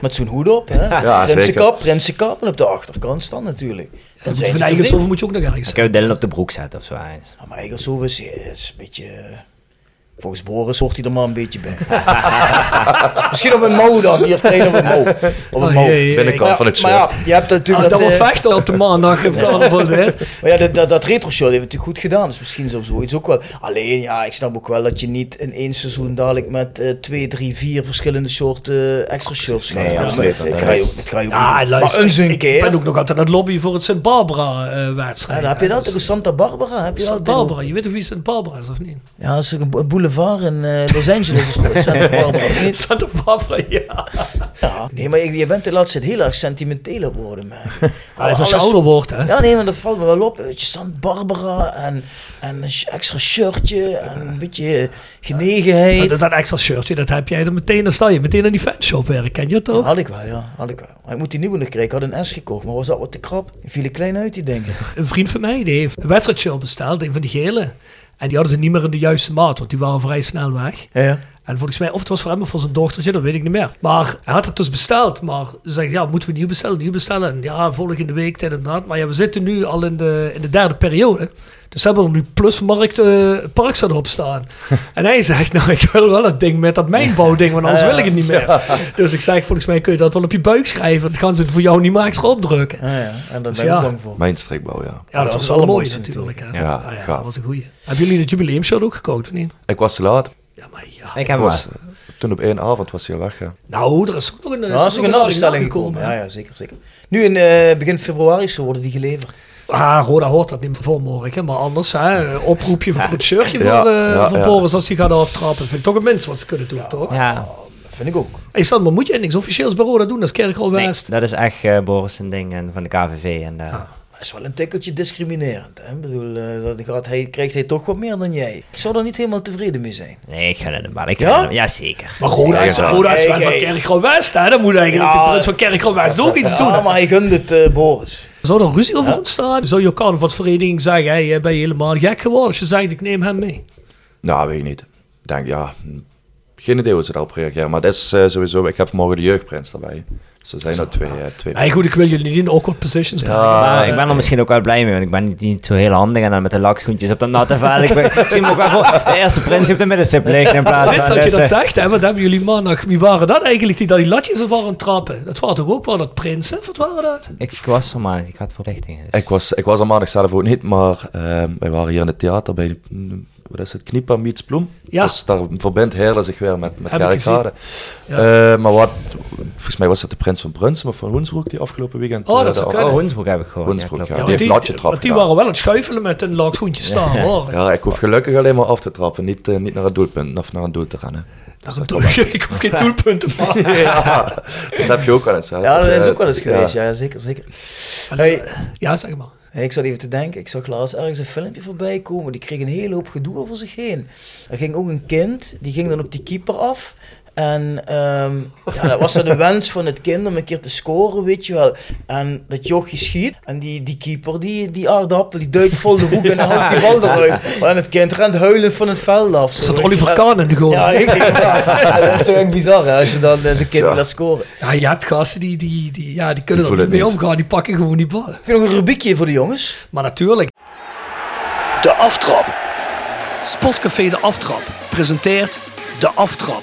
Speaker 5: met zo'n hoed op. Hè?
Speaker 9: Ja,
Speaker 5: prinsenkap, prinsenkap. En op de achterkant staan natuurlijk.
Speaker 8: Dan
Speaker 5: Dan
Speaker 8: moet je van
Speaker 5: zijn ze tevreden.
Speaker 8: Eigenshoven moet je ook nog ergens
Speaker 7: Dan kunnen we Dylan op de broek zetten of zo. hè.
Speaker 5: Ja, maar Eigelshoven is, is een beetje... eh, Volgens Boris hoort hij er maar een beetje bij. *laughs* Misschien op een mouw dan. Hier trainen op een mouw. Op een
Speaker 8: Oh,
Speaker 5: mouw.
Speaker 8: jee, jee,
Speaker 9: Binnenkant
Speaker 8: jee.
Speaker 9: van het
Speaker 5: maar ja, je hebt
Speaker 8: Ah,
Speaker 5: natuurlijk
Speaker 8: dat we
Speaker 5: eh,
Speaker 8: vechten op de maandag op carnaval. hè.
Speaker 5: Maar ja, dat, dat, dat retroshow heeft het natuurlijk goed gedaan. Dus misschien zou zoiets ook wel. Alleen, ja, ik snap ook wel dat je niet in één seizoen dadelijk met eh, twee, drie, vier verschillende soorten eh, extra shows gaat.
Speaker 7: Nee,
Speaker 5: komen.
Speaker 7: absoluut.
Speaker 5: Dat ga je ook, dat ga je ook niet
Speaker 8: Ja,
Speaker 5: doen.
Speaker 8: Ah, luister,
Speaker 5: maar eens een
Speaker 8: ik
Speaker 5: keer.
Speaker 8: ben ook nog altijd aan het lobbyen voor het Sint eh,
Speaker 5: Ja,
Speaker 8: Barbara-wedstrijd.
Speaker 5: dan heb je dat, ook Santa Barbara. Heb je dat
Speaker 8: Sint Barbara, je weet toch wie Sint Barbara is of niet?
Speaker 5: Ja, dat is ook een bo- een boulevard in eh, Los Angeles. of zo, Santa Barbara. of niet?
Speaker 8: Santa Barbara, ja.
Speaker 5: Ja. Nee, maar je, je bent de laatste tijd heel erg sentimenteel op
Speaker 8: *laughs*
Speaker 5: worden, man.
Speaker 8: Hij is als je
Speaker 5: Alles-
Speaker 8: ouder wordt, hè.
Speaker 5: Ja, nee, maar dat valt me wel op. Weet je, Santa Barbara en, en een extra shirtje en een beetje genegenheid.
Speaker 8: Dat is dat extra shirtje, dat heb jij dan meteen, dan sta je meteen in die fanshop werken, ken je dat ook?
Speaker 5: Had ik wel, ja. Had ik wel. Maar ik moet die nieuwe nog krijgen. Ik had een S gekocht, maar was dat wat te krap? Die vielen klein uit, die
Speaker 8: *laughs*
Speaker 5: dingen.
Speaker 8: Een vriend van mij, die heeft een wedstrijdshirt besteld, een van die gele. En die hadden ze niet meer in de juiste maat, want die waren vrij snel weg.
Speaker 5: Ja.
Speaker 8: En volgens mij, of het was voor hem of voor zijn dochtertje, dat weet ik niet meer. Maar hij had het dus besteld. Maar ze zegt, ja, moeten we nieuw bestellen, nieuw bestellen. En ja, volgende week, dit en dat. Maar ja, we zitten nu al in de, in de derde periode. Dus ze hebben er nu plusmarkt eh parks erop staan. En hij zegt, nou, ik wil wel dat ding met dat mijnbouwding, want anders wil ik het niet meer. Dus ik zeg, volgens mij kun je dat wel op je buik schrijven. Dan gaan ze het voor jou niet meer extra opdrukken.
Speaker 5: Ah, ja. En daar ben ik
Speaker 8: Dus ja.
Speaker 5: ook bang voor.
Speaker 9: Mijn streekbouw, ja.
Speaker 8: Ja, dat,
Speaker 5: dat
Speaker 8: was
Speaker 5: is
Speaker 8: wel een
Speaker 5: wel
Speaker 8: mooie
Speaker 5: mooi
Speaker 8: natuurlijk. hè.
Speaker 9: Ja,
Speaker 8: Ah ja,
Speaker 9: gaaf.
Speaker 8: dat was een goeie. Hebben jullie het jubileumshirt ook gekookt of niet?
Speaker 9: Ik was te laat.
Speaker 8: Ja, maar ja.
Speaker 7: Ik heb hem wel.
Speaker 9: Was, eh, toen op één avond was hij al weg, ja.
Speaker 8: Nou, er is ook nog een,
Speaker 5: Ja, is ook een
Speaker 8: bestelling
Speaker 5: nabestelling gekomen. Ja, ja, zeker, zeker. Nu in eh, begin februari is ze worden die geleverd.
Speaker 8: Ah, Roda hoort dat niet meer voor morgen. Maar anders, hè, oproepje voor het shirtje
Speaker 9: Ja,
Speaker 8: voor, eh,
Speaker 9: ja,
Speaker 8: voor
Speaker 9: ja.
Speaker 8: Boris als hij gaat aftrappen. Vind ik toch het minste wat ze kunnen doen, toch?
Speaker 7: Ja,
Speaker 5: Dat vind ik ook.
Speaker 8: Hey Sam, maar moet jij niks officieels bij Roda doen als Kerkrol
Speaker 7: nee,
Speaker 8: West?
Speaker 7: dat is echt eh Boris een ding en van de KVV. En, eh,
Speaker 5: Dat is wel een tikkeltje discriminerend. Hè? Ik bedoel, eh, dat gaat, hij, krijgt hij toch wat meer dan jij. Ik zou daar niet helemaal tevreden mee zijn.
Speaker 7: Nee, ik gun het hem wel. Ik
Speaker 5: Ja?
Speaker 7: gun hem- ja, zeker.
Speaker 8: Maar Roda is,
Speaker 9: Ja, ja.
Speaker 8: Roda is wel
Speaker 5: Hey,
Speaker 8: van
Speaker 5: hey.
Speaker 8: Kerkrol West, hè? Dan moet eigenlijk
Speaker 5: Ja.
Speaker 8: de prins van Kerkrol West ook iets doen.
Speaker 5: Ja, Ah, maar hij gunde het eh, Boris.
Speaker 8: Zou er ruzie over ontstaan? Zou je carnavalsvereniging zeggen, hey, jij bent helemaal gek geworden als je zegt, ik neem hem mee?
Speaker 9: Nou, weet ik niet. Ik denk, ja, hm, geen idee hoe ze daarop reageren. Maar dat is eh, sowieso, ik heb morgen de jeugdprins erbij. Dus er zijn er twee. eh, twee
Speaker 8: Hey, goed, ik wil jullie niet in awkward positions brengen.
Speaker 9: Ah.
Speaker 7: Maar ik ben er misschien ook wel blij mee, want ik ben niet, niet zo heel handig. En dan met de lakschoentjes op dat natte vel. Ik, ben- ik zie me ook wel gewoon de eerste prins op de middenstip liggen in plaats
Speaker 8: Wist
Speaker 7: van...
Speaker 8: dat je
Speaker 7: dus,
Speaker 8: dat
Speaker 7: eh,
Speaker 8: zegt, hè? Wat hebben jullie maandag? Wie waren dat eigenlijk die dat die latjes waren aan het trappen? Dat waren toch ook wel dat prinsen? Wat waren dat?
Speaker 7: ik, ik was er maar, ik had verplichtingen. dus-
Speaker 9: Ik was, ik was er maandag zelf ook niet, maar ehm, wij waren hier in het theater bij de mm, wat is het, Kniepa Miets Ploem.
Speaker 8: Ja.
Speaker 9: Dus daar verbindt Heerlen zich weer met, met
Speaker 8: Heb ik
Speaker 9: Kerkrade.
Speaker 8: gezien.
Speaker 9: Eh, maar wat, volgens mij was dat de prins van Brunsum of van Hoensbroek die afgelopen weekend...
Speaker 8: Oh,
Speaker 9: eh,
Speaker 8: dat
Speaker 9: de
Speaker 8: zou
Speaker 9: af-
Speaker 8: kunnen.
Speaker 7: Oh, Hoensbroek heb ik gewoon.
Speaker 9: Hoensbroek,
Speaker 7: klopt.
Speaker 9: ja.
Speaker 8: Ja,
Speaker 9: die
Speaker 8: want
Speaker 9: heeft een latje trap
Speaker 8: want die
Speaker 9: gedaan.
Speaker 8: waren wel aan het schuifelen met een laag schoentje staan, hoor.
Speaker 9: Oh. Ja, ik hoef gelukkig alleen maar af te trappen, niet, eh, niet naar het doelpunt of naar een doel te rennen.
Speaker 8: Naar een doel- Ik hoef geen doelpunt te maken.
Speaker 9: *laughs* ja, *laughs* dat heb je ook wel eens. hè.
Speaker 5: Ja, dat is
Speaker 9: eh,
Speaker 5: ook wel eens
Speaker 9: ja.
Speaker 5: geweest. Ja, zeker, zeker.
Speaker 8: Ja, zeg maar.
Speaker 5: Hey, ik zat even te denken, ik zag laatst ergens een filmpje voorbij komen. Die kreeg een hele hoop gedoe over zich heen. Er ging ook een kind, die ging dan op die keeper af. En ehm, ja, dat was dan
Speaker 8: *laughs*
Speaker 5: de wens van het kind om een keer te scoren, weet je wel. En dat jochie schiet. En die, die keeper, die, die aardappel, die duikt vol de hoek en dan houdt die
Speaker 8: *laughs*
Speaker 5: bal eruit. En het kind rent huilend van het veld af.
Speaker 8: Er zat
Speaker 5: Zo,
Speaker 8: Oliver
Speaker 5: weet je wel.
Speaker 8: Kahn in de goal.
Speaker 5: Ja,
Speaker 8: *laughs*
Speaker 5: ik, *laughs*
Speaker 9: *laughs*
Speaker 5: ja, dat is toch echt bizar hè, als je dan eh, zo'n kind
Speaker 9: Ja.
Speaker 5: laat scoren.
Speaker 8: Ja, je hebt gasten die, die, die, ja, die kunnen
Speaker 9: Die
Speaker 8: er
Speaker 9: voelen
Speaker 8: niet mee
Speaker 9: het niet.
Speaker 8: omgaan. Die pakken gewoon die bal.
Speaker 5: Heb je nog een rubiekje voor de jongens?
Speaker 8: Maar natuurlijk. De aftrap. Sportcafé De Aftrap presenteert De Aftrap.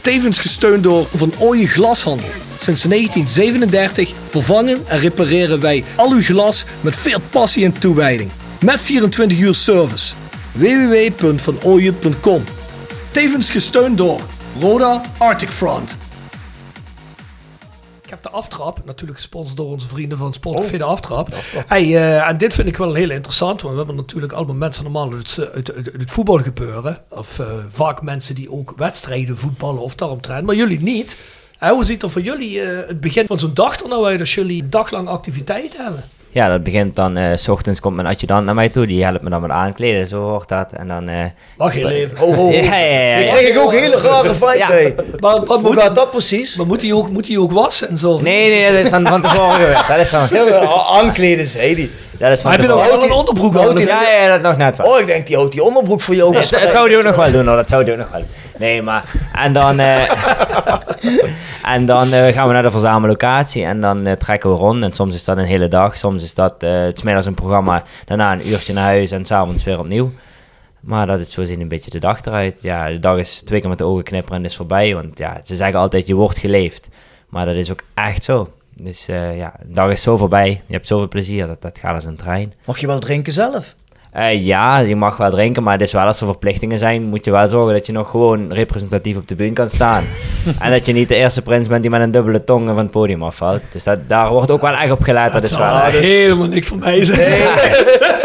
Speaker 8: Tevens gesteund door Van Ooyen Glashandel. Sinds 1937 vervangen en repareren wij al uw glas met veel passie en toewijding. Met 24 uur service. www.vanooyen.com Tevens gesteund door Roda Arctic Front. Ik heb de aftrap, natuurlijk gesponsord door onze vrienden van Sportcafé de Aftrap. Hey, eh, en dit vind ik wel heel interessant, want we hebben natuurlijk allemaal mensen normaal uit, het- uit, uit, uit het voetbal gebeuren. Of eh, vaak mensen die ook wedstrijden voetballen of daaromtrent, maar jullie niet. Hè, hoe ziet er voor jullie eh, het begin van zo'n dag er nou uit als jullie daglang activiteit hebben?
Speaker 7: Ja, dat begint dan, eh, s ochtends komt mijn adjudant naar mij toe, die helpt me dan met aankleden, zo hoort dat. En dan... eh,
Speaker 8: Wacht heel even.
Speaker 5: Oh, oh,
Speaker 7: ja, ja, ja,
Speaker 5: Daar
Speaker 7: ja.
Speaker 5: kreeg ik ook hele rare vibe
Speaker 7: Ja.
Speaker 5: bij.
Speaker 8: Maar, wat
Speaker 5: Hoe
Speaker 8: moet,
Speaker 5: gaat dat precies?
Speaker 8: maar moet, hij ook, moet hij ook wassen en zo?
Speaker 7: Nee, nee, dat is dan van tevoren gebeurd. Dat is dan...
Speaker 5: Ja, *laughs* maar Aankleden, zei die.
Speaker 7: Dat is van
Speaker 8: Maar heb je dan
Speaker 7: tevoren.
Speaker 8: wel een onderbroek aan?
Speaker 5: Houdt hij-
Speaker 7: Ja, ja, dat nog net wel.
Speaker 5: Oh, ik denk die houdt die onderbroek voor jou.
Speaker 7: Dat, dat zou die ook nog wel doen hoor, dat zou die ook nog wel. Nee, maar... En dan... *laughs* eh, en dan eh, gaan we naar de verzamellocatie en dan eh, trekken we rond. En soms is dat een hele dag, soms is dat eh, het 's middags een programma, daarna een uurtje naar huis en s'avonds weer opnieuw. Maar dat is zo zien een beetje de dag eruit. Ja, de dag is twee keer met de ogen knipperen en is voorbij. Want ja, ze zeggen altijd je wordt geleefd. Maar dat is ook echt zo. Dus eh, ja, de dag is zo voorbij. Je hebt zoveel plezier, dat, dat gaat als een trein.
Speaker 5: Mag je wel drinken zelf?
Speaker 7: Eh, ja, je mag wel drinken, maar het is wel als er verplichtingen zijn, moet je wel zorgen dat je nog gewoon representatief op de bühne kan *laughs* staan. en dat je niet de eerste prins bent die met een dubbele tong van het podium afvalt. Dus dat, daar wordt ook wel echt op gelet, dat is wel
Speaker 8: Ah, helemaal niks van mij zijn.
Speaker 5: *laughs*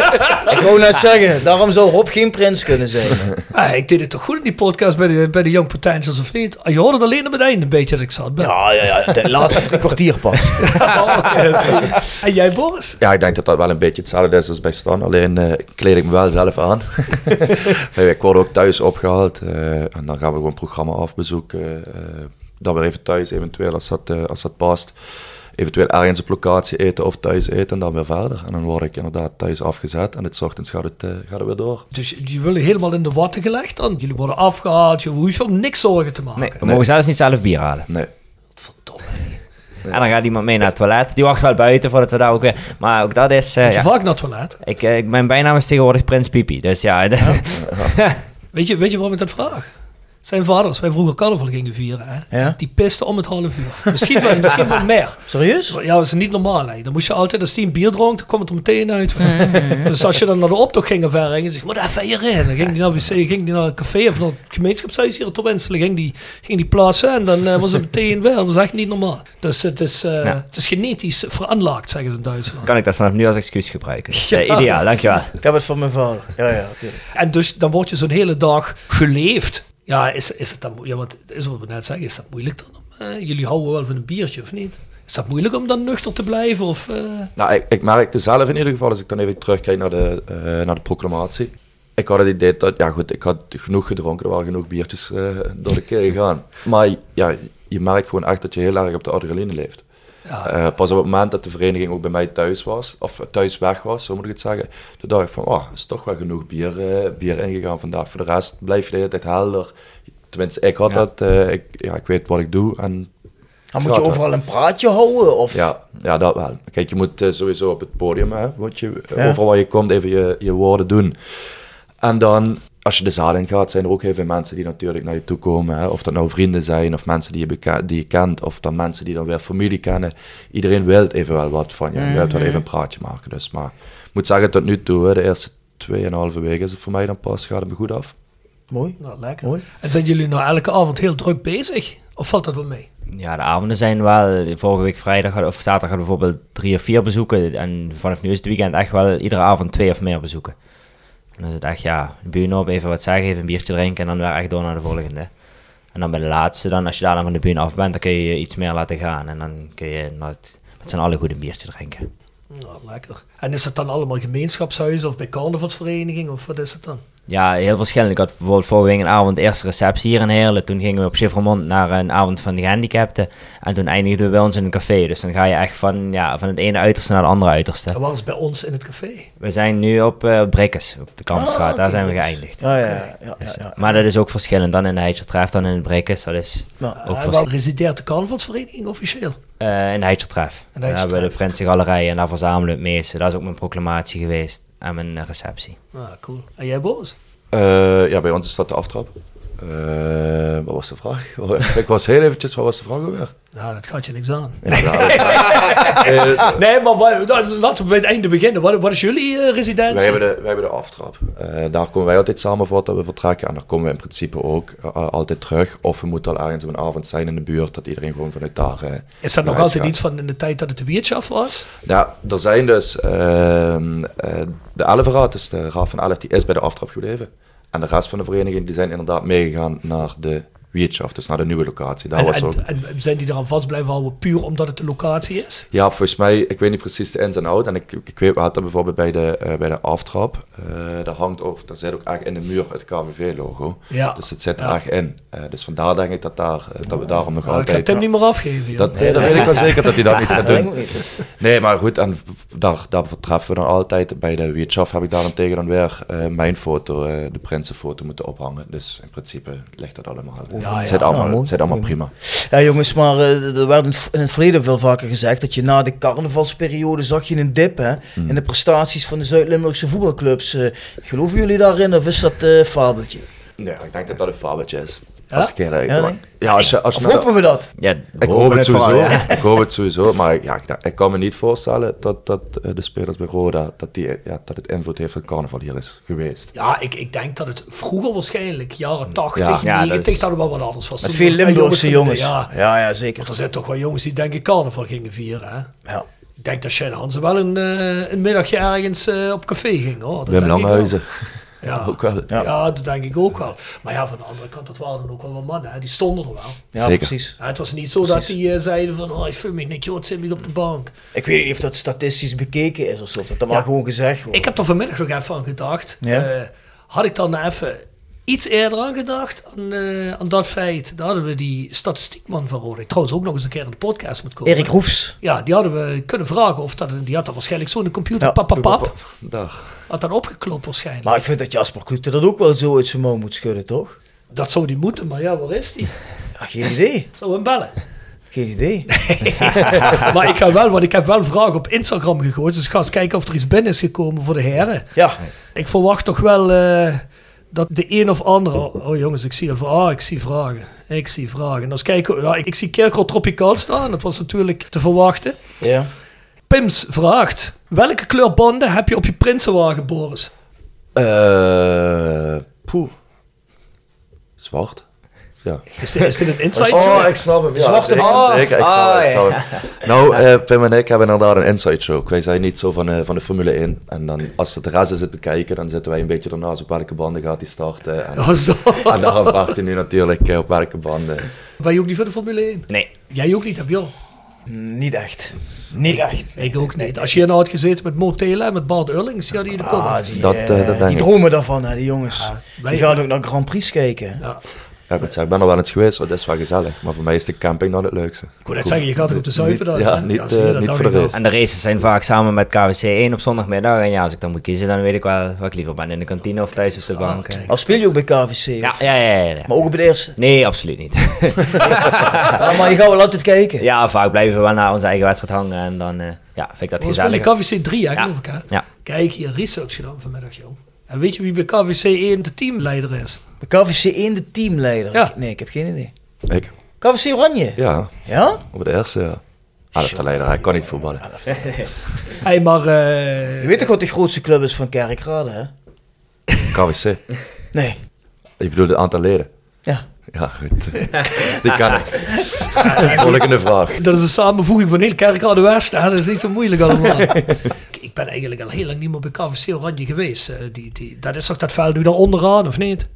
Speaker 5: Ik wou net zeggen, daarom zou Rob geen prins kunnen zijn.
Speaker 8: Ah, ik deed het toch goed in die podcast bij de, bij de Young Potentials of niet? Ah, Je hoorde het alleen op het einde een beetje dat ik zat ben.
Speaker 5: *laughs* Ja, ja, ja, de laatste drie kwartier pas.
Speaker 8: *laughs* Oh, oké, dat is goed. en jij Boris?
Speaker 9: Ja, ik denk dat dat wel een beetje hetzelfde is als bij Stan. Alleen eh, kleed ik me wel zelf aan. *laughs* Eh, ik word ook thuis opgehaald. eh, en dan gaan we gewoon programma afbezoeken. eh, dan weer even thuis, eventueel als dat, eh, als dat past. Eventueel ergens op locatie eten of thuis eten en dan weer verder. En dan word ik inderdaad thuis afgezet en het 's ochtends gaat het, eh, gaat het weer door.
Speaker 8: Dus jullie willen helemaal in de watten gelegd dan? Jullie worden afgehaald, je hoeft je om niks zorgen te maken.
Speaker 7: Nee, we mogen zelfs niet zelf bier halen.
Speaker 9: Nee.
Speaker 8: Verdomme.
Speaker 7: En dan gaat iemand mee naar het toilet. Die wacht wel buiten voordat we daar ook weer... Maar ook dat is... eh,
Speaker 8: Moet je
Speaker 7: ja.
Speaker 8: vaak naar het toilet?
Speaker 7: ik, eh, ik, mijn bijnaam is tegenwoordig Prins Pipi, dus ja... *laughs* dat-
Speaker 8: Weet je, weet je waarom ik dat vraag? Zijn vaders, wij vroeger carnaval gingen vieren, hè?
Speaker 5: Ja.
Speaker 8: die pisten om het half uur. Misschien wel, misschien
Speaker 7: *laughs*
Speaker 8: wel meer.
Speaker 5: Serieus?
Speaker 8: Ja, dat is niet normaal. Hè. Dan moest je altijd, als die een bier dronk, dan kwam het er meteen uit. *laughs* dus als je dan naar de optocht ging of ergens, je moet even hierin. Dan ging die naar wc, ging die naar een café of naar het gemeenschapshuis hier op Inselen, ging die, ging die plaatsen en dan eh, was het meteen wel. Dat was echt niet normaal. Dus het is, eh,
Speaker 7: Ja.
Speaker 8: het is genetisch veranlaagd, zeggen ze in Duitsland.
Speaker 7: kan ik dat vanaf nu als excuus gebruiken. Dus,
Speaker 8: Ja,
Speaker 7: eh, ideaal, dankjewel.
Speaker 5: Ik heb het van mijn vader. Ja, ja, natuurlijk.
Speaker 8: En dus dan word je zo'n hele dag geleefd. Ja, is, is het dan, mo- ja, want het is wat we net zeggen, is dat moeilijk dan? om, eh, jullie houden wel van een biertje of niet? Is dat moeilijk om dan nuchter te blijven? Of, eh?
Speaker 9: Nou, ik, ik merkte zelf in ieder geval, als ik dan even terugkijk naar de, eh, naar de proclamatie. Ik had het idee dat, ja goed, ik had genoeg gedronken, er waren genoeg biertjes eh, door de keel gegaan. Maar ja, je merkt gewoon echt dat je heel erg op de adrenaline leeft. Eh, pas op het moment dat de vereniging ook bij mij thuis was, of thuis weg was, zo moet ik het zeggen. Toen dacht ik van, oh, is toch wel genoeg bier, eh, bier ingegaan vandaag. Voor de rest blijf je de hele tijd helder. Tenminste, ik had
Speaker 7: Ja.
Speaker 9: dat. eh, ik, ja, ik weet wat ik doe. En
Speaker 5: Dan moet je
Speaker 9: Gaat, hè?
Speaker 5: overal een praatje houden. Of...
Speaker 9: ja, ja, dat wel. Kijk, je moet eh, sowieso op het podium, hè, moet je, eh,
Speaker 5: Ja.
Speaker 9: overal waar je komt, even je, je woorden doen. En dan, als je de zaal in gaat, zijn er ook heel veel mensen die natuurlijk naar je toe komen. Hè. Of dat nou vrienden zijn, of mensen die je, beka- die je kent, of dan mensen die dan weer familie kennen. Iedereen wil even wel wat van je. Je wilt wel even een praatje maken. Dus, maar ik moet zeggen, tot nu toe, hè, de eerste 2,5 weken is het voor mij dan pas, gaat het me goed af.
Speaker 5: Mooi.
Speaker 8: Nou, lekker.
Speaker 5: Mooi.
Speaker 8: En zijn jullie nou elke avond heel druk bezig? Of valt dat wel mee?
Speaker 7: Ja, de avonden zijn wel. Vorige week vrijdag hadden- of zaterdag hadden we bijvoorbeeld drie of vier bezoeken. En vanaf nu is het weekend echt wel iedere avond twee of meer bezoeken. En dan is het echt, ja, de buren op, even wat zeggen, even een biertje drinken en dan weer echt door naar de volgende. En dan bij de laatste, dan, als je daar dan van de buren af bent, dan kun je je iets meer laten gaan. En dan kun je naar het- met z'n allen goed een biertje drinken.
Speaker 8: Nou, lekker. En is het dan allemaal gemeenschapshuizen of bij carnavalsvereniging? Of wat is het dan?
Speaker 7: Ja, heel verschillend. Ik had bijvoorbeeld vorige week een avond de eerste receptie hier in Heerlen. Toen gingen we op Schiffermond naar een avond van de gehandicapten. En toen eindigden we bij ons in een café. Dus dan ga je echt van, ja, van het ene uiterste naar het andere uiterste.
Speaker 8: Dat was bij ons in het café.
Speaker 7: We zijn nu op eh Brikkes, op de Kampstraat.
Speaker 5: Ah,
Speaker 7: Daar
Speaker 5: oké,
Speaker 7: zijn we
Speaker 5: dus-
Speaker 7: geëindigd.
Speaker 5: Ja, ja, ja, ja, ja, ja.
Speaker 7: Maar dat is ook verschillend. Dan in de Heidjertreff, dan in het Brikkes. Dat is
Speaker 5: Nou,
Speaker 7: ook
Speaker 8: En waar
Speaker 7: verschillend.
Speaker 8: resideert de carnavalsvereniging officieel?
Speaker 7: Eh, in de Heidjertreff.
Speaker 8: de
Speaker 7: Daar hebben we de
Speaker 8: Heidjertreff.
Speaker 7: Friendse Galerij en daar verzamelen we het meeste. Dat is ook mijn proclamatie geweest en mijn eh, receptie.
Speaker 8: Ah, cool. En jij Boris?
Speaker 9: Eh, ja, bij ons is dat de aftrap. Eh, wat was de vraag? *laughs* ik was heel eventjes, wat was de vraag ook weer?
Speaker 8: Nou, dat gaat je niks aan.
Speaker 9: Eh,
Speaker 8: Nee, maar wa- nou, laten we bij het einde beginnen. Wat, wat is jullie eh, residentie?
Speaker 9: Wij hebben de, wij hebben de aftrap. Eh, daar komen wij altijd samen voor dat we vertrekken. En daar komen we in principe ook eh, altijd terug. Of we moeten al ergens op een avond zijn in de buurt, dat iedereen gewoon vanuit daar... eh,
Speaker 8: Is dat nog
Speaker 9: naar huis
Speaker 8: altijd
Speaker 9: gaat.
Speaker 8: iets van in de tijd dat het de biertjaf was?
Speaker 9: Ja, er zijn dus... ehm, eh, de 11 raad, dus de raad van 11, die is bij de aftrap gebleven. En de rest van de vereniging, die zijn inderdaad meegegaan naar de Wietschaft, dus naar de nieuwe locatie. Daar
Speaker 8: En,
Speaker 9: was ook...
Speaker 8: en, en zijn die eraan vast blijven houden puur omdat het de locatie is?
Speaker 9: Ja, volgens mij, ik weet niet precies de ins en outs. En ik, ik weet wel dat bijvoorbeeld bij de, eh, bij de aftrap, eh daar hangt ook, daar zit ook echt in de muur het KVV-logo.
Speaker 8: Ja. Nou,
Speaker 9: Dus het zit er
Speaker 8: Ja.
Speaker 9: echt in. Eh, dus vandaar denk ik dat, daar, eh, dat we daarom nog
Speaker 8: Nou, ik ga
Speaker 9: altijd...
Speaker 8: Tim niet meer afgeven. joh.
Speaker 9: dat, nee, dat weet ik wel zeker dat hij dat niet gaat
Speaker 5: Dat denk
Speaker 9: doen.
Speaker 5: ik ook niet.
Speaker 9: Nee, maar goed, en v- daar, daar vertreffen we dan altijd. Bij de Wietschaf heb ik daarentegen dan weer eh, mijn foto, eh, de prinsenfoto moeten ophangen. Dus in principe ligt dat allemaal.
Speaker 8: ja. Nou,
Speaker 9: het zit allemaal,
Speaker 5: Ja, mooi.
Speaker 9: het zit allemaal
Speaker 5: Mooi.
Speaker 9: prima.
Speaker 5: Ja, jongens, maar eh, er werd in het v- in het verleden veel vaker gezegd dat je na de carnavalsperiode zag je een dip hè, in de prestaties van de Zuid-Limburgse voetbalclubs. Eh, geloven jullie daarin of is dat eh fabeltje?
Speaker 9: Nee, ik denk dat dat een fabeltje is.
Speaker 8: Ja?
Speaker 9: Als ik heel eerlijk
Speaker 5: Ja,
Speaker 9: ben.
Speaker 5: nee?
Speaker 9: ja, als je, als je
Speaker 5: Of
Speaker 9: naar de-
Speaker 5: hopen we dat?
Speaker 7: Ja,
Speaker 9: Ik hoop het
Speaker 7: vooral,
Speaker 9: sowieso.
Speaker 7: ja.
Speaker 9: *laughs* Ik hoop het sowieso. Maar ik- ja, ik, denk- ik kan me niet voorstellen dat, dat eh, de spelers bij Roda dat, die, eh, ja, dat het invloed heeft dat carnaval hier is geweest.
Speaker 8: Ja, ik, ik denk dat het vroeger waarschijnlijk, jaren 80,
Speaker 9: Ja, ja,
Speaker 8: 90, dat,
Speaker 7: dat is-
Speaker 8: het wel wat anders was.
Speaker 5: Met
Speaker 8: Toen-
Speaker 5: veel
Speaker 8: en jongens
Speaker 5: Limburgse
Speaker 8: van-
Speaker 5: jongens.
Speaker 8: Ja,
Speaker 5: Ja, ja, zeker.
Speaker 8: want er zijn toch wel jongens die denken carnaval gingen vieren. Hè?
Speaker 5: Ja.
Speaker 8: Ik denk dat Shane Hansen wel een, eh, een middagje ergens eh, op café ging. Hoor. Dat
Speaker 9: Wim
Speaker 8: denk ik wel.
Speaker 9: Langhuizen.
Speaker 8: Ja.
Speaker 9: Ook wel.
Speaker 8: Ja. dat denk ik ook wel. Maar ja, van de andere kant, dat waren dan ook wel wat mannen. Hè? Die stonden er wel.
Speaker 5: Ja,
Speaker 9: Zeker.
Speaker 5: precies.
Speaker 8: Ja, het was niet zo dat die eh, zeiden van, oh, ik vind me niet, joh, het zit me op de bank.
Speaker 5: Ik weet niet of dat statistisch bekeken is of zo, of dat dan maar gewoon gezegd wordt.
Speaker 8: Ik heb er vanmiddag nog even aan gedacht.
Speaker 5: Ja?
Speaker 8: Eh, had ik dan even iets eerder aan gedacht aan, eh, aan dat feit. Daar hadden we die statistiekman van Roda. die Trouwens ook nog eens een keer in de podcast moet komen.
Speaker 5: Erik Roefs.
Speaker 8: Ja, die hadden we kunnen vragen. Of dat, die had dan waarschijnlijk zo'n computer.
Speaker 5: Ja,
Speaker 8: pap, pap, pap.
Speaker 9: Dag.
Speaker 8: Had dan opgeklopt waarschijnlijk.
Speaker 5: Maar ik vind dat Jasper Kloete dat ook wel zo uit zijn mouw moet schudden, toch?
Speaker 8: Dat zou die moeten, maar ja, waar is
Speaker 5: *laughs*
Speaker 8: die?
Speaker 5: Ja, geen idee.
Speaker 8: Zou hem bellen.
Speaker 5: Geen idee.
Speaker 8: maar ik ga wel, want ik heb wel vragen op Instagram gegooid. Dus ik ga eens kijken of er iets binnen is gekomen voor de heren.
Speaker 5: Ja,
Speaker 8: Ik verwacht toch wel eh, dat de een of andere... Oh, oh, jongens, ik zie al vra- Ah, ik zie vragen. Ik zie vragen. En als kijken, nou, ik, ik zie Kerkro Tropicaal staan. Dat was natuurlijk te verwachten.
Speaker 5: ja.
Speaker 8: Pims vraagt... Welke kleur banden heb je op je prinsenwagen, Boris?
Speaker 9: Eh, poeh. Zwart. Ja.
Speaker 8: Is dit, is dit een insight?
Speaker 9: Oh, ik snap hem. Ja,
Speaker 5: Zwarte
Speaker 9: zeker,
Speaker 5: bal.
Speaker 9: zeker. Ik snap
Speaker 5: Ah,
Speaker 9: hem, ik
Speaker 5: ja.
Speaker 9: snap hem. Nou, eh, Pim en ik hebben inderdaad een inside joke. Wij zijn niet zo van, eh, van de Formule 1. En dan, als het de rest is het bekijken, dan zitten wij een beetje ernaast op welke banden gaat hij starten.
Speaker 8: *laughs* *laughs*
Speaker 9: En,
Speaker 8: Oh, zo.
Speaker 9: en daarom vraagt hij nu natuurlijk eh, op welke banden.
Speaker 8: Ben je ook niet van de Formule 1?
Speaker 7: Nee,
Speaker 8: Jij ook niet, heb je al.
Speaker 5: Niet echt. Niet echt.
Speaker 8: Ik ook niet. Als je hier nou had gezeten met Mo Telen en met Bart Eurlings, die hadden hier de kop.
Speaker 5: Ah, die,
Speaker 9: Dat,
Speaker 5: eh,
Speaker 9: eh, dat denk
Speaker 5: die
Speaker 9: ik.
Speaker 5: dromen daarvan, hè, Ah, die jongens.
Speaker 8: Ja, wij-
Speaker 5: die gaan ook naar Grand Prix kijken.
Speaker 8: Ja.
Speaker 9: Ja, ik, moet zeggen, ik ben er wel eens geweest, hoor, dat is wel gezellig. Maar voor mij is de camping dan het leukste.
Speaker 8: Ik wou net zeggen, je gaat toch op de zuipen dan?
Speaker 9: Niet- ja,
Speaker 8: hè?
Speaker 9: niet,
Speaker 8: zie je,
Speaker 9: eh,
Speaker 8: dat nou
Speaker 9: niet
Speaker 8: dacht
Speaker 9: voor de
Speaker 8: ik al.
Speaker 9: rest.
Speaker 7: En de races zijn vaak samen met KWC 1 op zondagmiddag. En ja, als ik dan moet kiezen, dan weet ik wel wat ik liever ben. In de kantine of thuis op de bank. hè.
Speaker 5: Al speel je ook bij KVC?
Speaker 7: Ja,
Speaker 5: of-
Speaker 7: ja, ja. ja, ja.
Speaker 5: Maar ook op het eerste.
Speaker 7: Nee, absoluut niet. *laughs*
Speaker 5: Ah, maar je gaat wel altijd kijken.
Speaker 7: Ja, vaak blijven we wel naar onze eigen wedstrijd hangen. En dan eh, ja, vind ik dat
Speaker 8: We spelen
Speaker 7: gezellig.
Speaker 8: die KVC 3, hè,
Speaker 7: Ja.
Speaker 8: geloof ik, hè?
Speaker 7: Ja.
Speaker 8: Kijk, hier research gedaan vanmiddag, joh. En weet je wie bij KVC 1 de teamleider is?
Speaker 5: Bij KVC 1 de teamleider.
Speaker 8: Ja.
Speaker 5: Nee, ik heb geen idee.
Speaker 9: Ik?
Speaker 5: KVC Oranje?
Speaker 9: Ja,
Speaker 5: Ja?
Speaker 9: op de eerste, ja. Ah, Elfde leider, hij kan niet voetballen.
Speaker 8: Hey, maar...
Speaker 5: Je
Speaker 8: eh
Speaker 5: weet toch wat de grootste club is van Kerkrade, hè?
Speaker 9: KWC.
Speaker 5: Nee.
Speaker 9: Je bedoelt het aantal leden?
Speaker 5: Ja.
Speaker 9: Ja, goed. Die kan ik. Volgende vraag.
Speaker 8: dat is een samenvoeging van heel Kerkrade West, hè? Dat is niet zo moeilijk allemaal. Ik- ik ben eigenlijk al heel lang niet meer bij KVC Oranje geweest. Eh, die, die, dat is toch dat veld nu daar onderaan, of niet?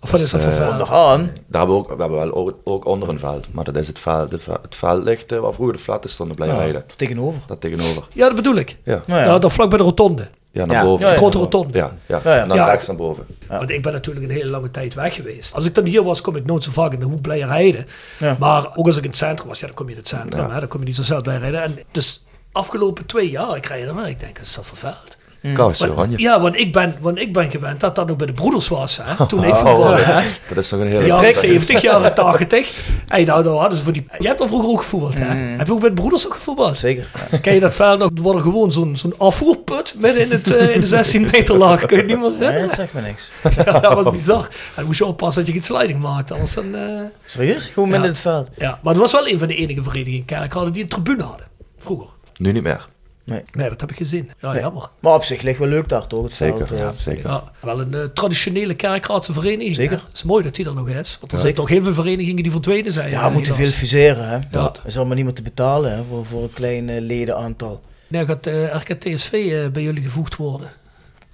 Speaker 8: Of wat is dat voor
Speaker 9: eh,
Speaker 8: veld?
Speaker 5: Aan.
Speaker 9: Daar hebben we, ook, we hebben wel ook, ook onder een veld, maar dat is het veld. Het, veld- het veld ligt eh, waar vroeger de flatten stonden blijven rijden.
Speaker 5: Tegenover.
Speaker 9: Dat tegenover.
Speaker 8: Ja, dat bedoel ik.
Speaker 9: Ja,
Speaker 5: Nou ja.
Speaker 8: Daar, daar vlak bij de rotonde.
Speaker 9: ja naar
Speaker 7: Ja.
Speaker 9: boven.
Speaker 8: De
Speaker 5: Ja,
Speaker 8: grote rotonde.
Speaker 9: Ja, ja.
Speaker 5: Ja, ja.
Speaker 9: En dan
Speaker 8: Ja.
Speaker 9: rechts naar boven.
Speaker 8: Want ik ben natuurlijk een hele lange tijd weg geweest. Als ik dan hier was, kom ik nooit zo vaak in de hoek blijven rijden.
Speaker 5: Ja.
Speaker 8: Maar ook als ik in het centrum was, ja, dan kom je in het centrum. Hè, dan kom je niet zo snel blijven rijden. En dus afgelopen twee jaar, ik rij er wel. Ik denk, dat is toch vervuild.
Speaker 9: KWC
Speaker 8: Want-
Speaker 9: Oranje.
Speaker 8: Ja, want ik, ben, want ik ben gewend dat dat nog bij de broeders was. Hè, toen ik
Speaker 9: Oh,
Speaker 8: voetbalde. hè.
Speaker 9: dat is nog een hele...
Speaker 8: Jaren
Speaker 9: tijd.
Speaker 8: 70, jaren 80. Hey, nou, nou hadden ze voor die... Je hebt al vroeger ook gevoetbald, hè? Heb je ook met broeders ook gevoetbald?
Speaker 5: Zeker.
Speaker 8: *laughs* Ken je dat veld nog? Er wordt gewoon zo'n zo'n afvoerput midden in, het, eh, in de 16 meter laag. Kun je het niet meer
Speaker 5: Nee,
Speaker 8: redden?
Speaker 5: dat zegt me niks.
Speaker 8: *laughs* Ja, dat was bizar. Dan moest je oppassen dat je geen sliding maakt. Anders dan, eh,
Speaker 5: Serieus? Gewoon midden
Speaker 8: Ja.
Speaker 5: in het veld.
Speaker 8: ja. Maar het was wel een van de enige verenigingen in Kerkrade die een tribune hadden. Vroeger.
Speaker 9: Nu niet meer.
Speaker 8: Nee, dat heb ik gezien. Ja, jammer.
Speaker 5: Maar op zich ligt wel leuk daar toch? Het
Speaker 9: Zeker,
Speaker 5: veld, eh.
Speaker 9: zeker.
Speaker 8: Ja, wel een eh, traditionele kerkraadse vereniging.
Speaker 5: Zeker.
Speaker 8: hè? Het is mooi dat die er nog is. Want er zijn
Speaker 5: Zeker.
Speaker 8: toch heel veel verenigingen die verdwenen zijn.
Speaker 5: Ja,
Speaker 8: eh,
Speaker 5: we moeten veel
Speaker 8: helaas.
Speaker 5: fuseren hè.
Speaker 8: Ja.
Speaker 5: Er is allemaal niemand te betalen hè, voor, voor een klein eh, ledenaantal.
Speaker 8: Nee, gaat eh RKTSV eh, bij jullie gevoegd worden?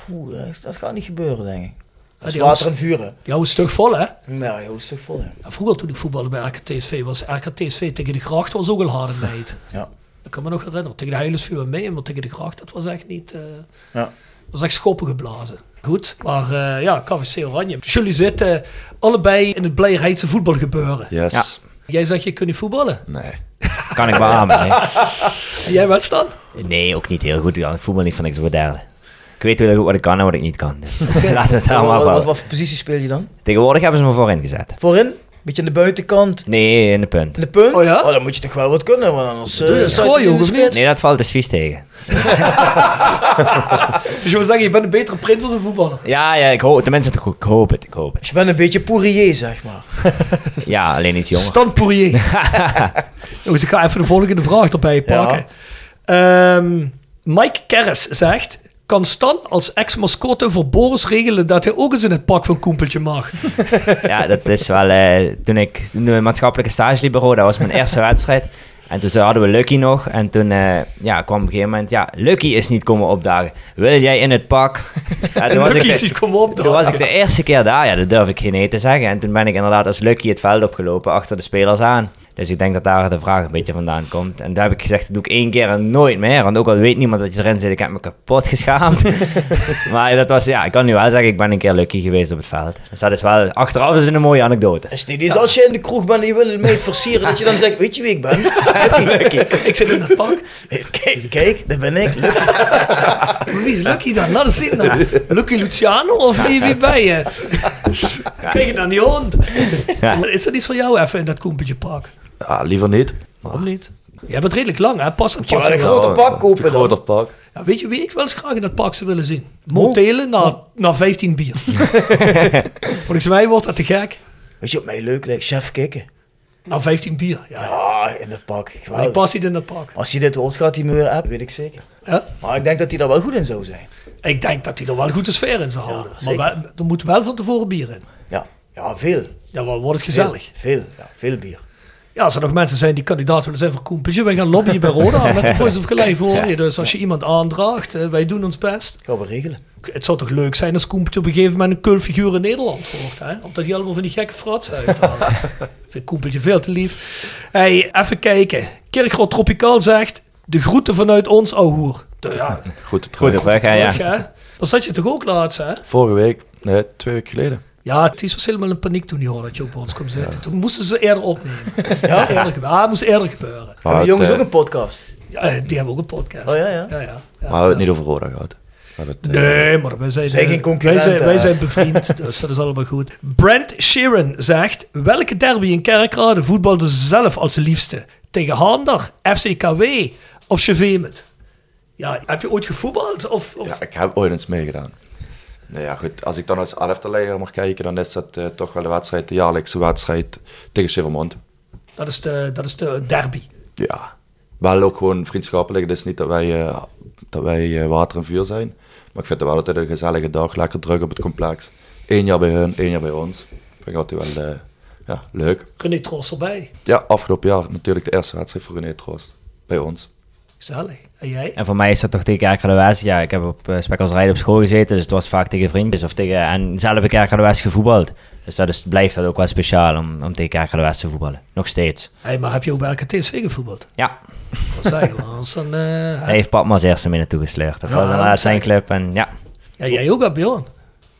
Speaker 5: Poeh, dat is- dat gaat niet gebeuren denk ik. Dat is
Speaker 8: die
Speaker 5: water en
Speaker 8: jongens-
Speaker 5: vuren.
Speaker 8: Die houden stuk vol, hè?
Speaker 5: Nou, joh, dat is toch vol hè.
Speaker 8: Ja, vroeger toen ik voetbalde bij RKTSV was RKTSV tegen de gracht was ook al harde meid.
Speaker 5: Ja.
Speaker 8: Dat kan me nog herinneren. Tegen de Heilers viel wel mee, maar tegen de gracht dat was echt niet... eh,
Speaker 5: Ja.
Speaker 8: dat was echt schoppen geblazen. Goed, maar eh, ja, KVC Oranje. Dus jullie zitten allebei in het blijrijtse voetbalgebeuren.
Speaker 9: Yes.
Speaker 8: Jij zegt, je kunt niet voetballen.
Speaker 9: Nee.
Speaker 7: Kan ik wel aan,
Speaker 8: En jij wel staan?
Speaker 7: Nee, ook niet heel goed. Ik voel me niet van niks te derde. Ik weet heel goed wat ik kan en wat ik niet kan.
Speaker 5: *laughs*
Speaker 7: Dus laten we het daar maar op
Speaker 5: Wat, wat, wat,
Speaker 7: houden.
Speaker 5: wat voor positie speel je dan?
Speaker 7: Tegenwoordig hebben ze me voorin gezet.
Speaker 5: Voorin? Beetje aan de buitenkant.
Speaker 7: Nee, in de punt.
Speaker 5: In de punt?
Speaker 8: Oh ja?
Speaker 5: dan moet je toch wel wat kunnen, want anders... eh,
Speaker 8: doe je.
Speaker 5: dan staat
Speaker 8: Gooi,
Speaker 5: in de
Speaker 8: jongen, of
Speaker 5: spits.
Speaker 7: Nee, dat valt dus vies tegen.
Speaker 8: Dus je wil zeggen, je bent een betere prins als een voetballer.
Speaker 7: Ja, ja, ik hoop, tenminste, ik ho- ik hoop het, ik hoop het.
Speaker 5: Je bent een beetje Poirier, zeg maar.
Speaker 7: Ja, alleen iets jonger.
Speaker 8: Stan
Speaker 7: *laughs*
Speaker 8: Poirier. Jongens, ik ga even de volgende vraag erbij pakken. Ehm, Mike Kerris zegt... Kan Stan als ex-mascotte voor Boris regelen dat hij ook eens in het pak van Koempeltje mag?
Speaker 7: Ja, dat is wel... eh, toen ik toen de maatschappelijke stage liep bij Roda, was mijn eerste wedstrijd. En toen hadden we Lucky nog. En toen eh, ja, kwam op een gegeven moment... Ja, Lucky is niet komen opdagen. Wil jij in het pak? *laughs* Ja, toen was ik
Speaker 8: Lucky
Speaker 7: de-
Speaker 8: is niet komen op
Speaker 7: Toen was ik de eerste keer daar, ja, dat durf ik geen nee te zeggen. En toen ben ik inderdaad als Lucky het veld opgelopen achter de spelers aan. Dus ik denk dat daar de vraag een beetje vandaan komt. En daar heb ik gezegd, dat doe ik één keer en nooit meer. Want ook al weet niemand dat je erin zit, ik heb me kapot *laughs* geschaamd. maar dat was, ja, ik kan nu wel zeggen, ik ben een keer Lucky geweest op het veld. Dus dat is wel, achteraf is het een mooie anekdote.
Speaker 5: Is het niet eens als je in de kroeg bent en je wil het mee versieren, dat je dan zegt, weet je wie ik ben? Lucky.
Speaker 8: Ik zit in het pak.
Speaker 5: *laughs* Kijk, kijk, daar ben ik. Lucky.
Speaker 8: Wie is Lucky dan? Laat eens zien dan. Lucky Luciano of wie, wie ben je? Krijg je dan die hond?
Speaker 7: Ja.
Speaker 8: Is dat iets voor jou even in dat Koempeltje pak?
Speaker 9: Ja, Ah, liever niet.
Speaker 8: Waarom niet? Jij bent redelijk lang, hè? Pas een
Speaker 5: Je wel een
Speaker 8: pak.
Speaker 5: grote pak kopen
Speaker 9: Oh, Een
Speaker 5: dan.
Speaker 9: groter pak.
Speaker 8: Ja, Nou, weet je wie ik wel eens graag in dat park zou willen zien? Montelen na, na 15 bier. *laughs* Volgens mij wordt dat te gek.
Speaker 5: Weet je wat mij leuk lijkt? Chef kikken.
Speaker 8: Na 15 bier. Ja.
Speaker 5: Ah, in dat pak.
Speaker 8: Maar die
Speaker 5: Geweldig.
Speaker 8: past niet in dat park.
Speaker 5: Als hij dit hoort, gaat hij me weer appen, weet ik zeker.
Speaker 8: Ja?
Speaker 5: Maar ik denk dat hij daar wel goed in zou zijn.
Speaker 8: Ik denk dat die er wel goed de sfeer in zou houden. maar
Speaker 5: zeker.
Speaker 8: wel- er moet wel van tevoren bier in.
Speaker 5: Ja, ja veel.
Speaker 8: Ja, dan wordt het gezellig.
Speaker 5: Veel, veel, ja, veel bier.
Speaker 8: Ja, als er nog mensen zijn die kandidaat willen zijn voor Koempeltje, wij gaan lobbyen bij Roda met de Voice of Gelijk hoor je. Dus als je iemand aandraagt, eh, wij doen ons best.
Speaker 5: Gaan we regelen.
Speaker 8: Het zou toch leuk zijn als Koempeltje op een gegeven moment een kulfiguur in Nederland wordt, hè? Omdat hij allemaal van die gekke frats uithaalt. Ik vind Koempeltje veel te lief. Hey, even kijken. Kerkrot Tropicaal zegt, de groeten vanuit ons, ouwhoer. De- ja,
Speaker 9: Goed, het
Speaker 7: Goede vraag, ja.
Speaker 8: terug, hè? Dat zat je toch ook laatst, hè?
Speaker 9: Vorige week, nee, twee weken geleden.
Speaker 8: Ja, Ties was helemaal in paniek toen hij hoorde dat je ook bij ons kwam zitten. Toen moesten ze eerder opnemen. Ja, eerder gebeuren. Ah, moest eerder gebeuren.
Speaker 9: Maar
Speaker 5: de
Speaker 9: het,
Speaker 5: jongens
Speaker 9: eh,
Speaker 5: ook een podcast.
Speaker 8: Ja, eh, die hebben ook een podcast.
Speaker 5: Oh, ja, ja.
Speaker 8: ja, ja, ja.
Speaker 9: Maar we hebben het niet over Roda gehad. We hebben het, eh,
Speaker 8: Nee, maar wij zijn,
Speaker 5: Zijn
Speaker 8: eh,
Speaker 5: geen concurrenten,
Speaker 8: wij zijn, wij
Speaker 5: hè?
Speaker 8: zijn bevriend, *laughs* dus dat is allemaal goed. Brent Sheeran zegt, welke derby in Kerkrade voetbalde ze zelf als liefste? Tegen Haander, FCKW of Chevemet? Ja, heb je ooit gevoetbald? Of, of...
Speaker 9: Ja, ik heb ooit eens meegedaan. Nou ja, goed, als ik dan als elfteleider mag kijken, dan is dat eh, toch wel de wedstrijd, de jaarlijkse wedstrijd tegen Chevermond.
Speaker 8: Dat, is de, dat is de derby.
Speaker 9: Ja, wel ook gewoon vriendschappelijk. Het is niet dat wij, eh, dat wij eh, water en vuur zijn. Maar ik vind het wel altijd een gezellige dag, lekker druk op het complex. Eén jaar bij hun, één jaar bij ons. Vind ik altijd wel eh, ja, leuk.
Speaker 8: René Trost erbij.
Speaker 9: Ja, afgelopen jaar natuurlijk de eerste wedstrijd voor René Troost. Bij ons.
Speaker 8: Gezellig. En jij?
Speaker 7: En voor mij is dat toch tegen Kerkradewijs. Ja, ik heb op uh, Rijden op school gezeten, dus het was vaak tegen vriendjes of tegen... En zelf heb ik Kerkradewijs gevoetbald. Dus dat is, blijft dat ook wel speciaal om, om tegen Kerkradewijs te voetballen. Nog steeds.
Speaker 8: Hey, maar heb je ook bij TSV gevoetbald?
Speaker 7: Ja,
Speaker 8: Dat zeggen maar anders dan... eh,
Speaker 7: hij heeft pap maar als eerste mee naartoe gesleurd. Dat
Speaker 8: Ja,
Speaker 7: was
Speaker 8: dat
Speaker 7: inderdaad zijn club en ja.
Speaker 8: ja, jij ook, hè, Bjorn.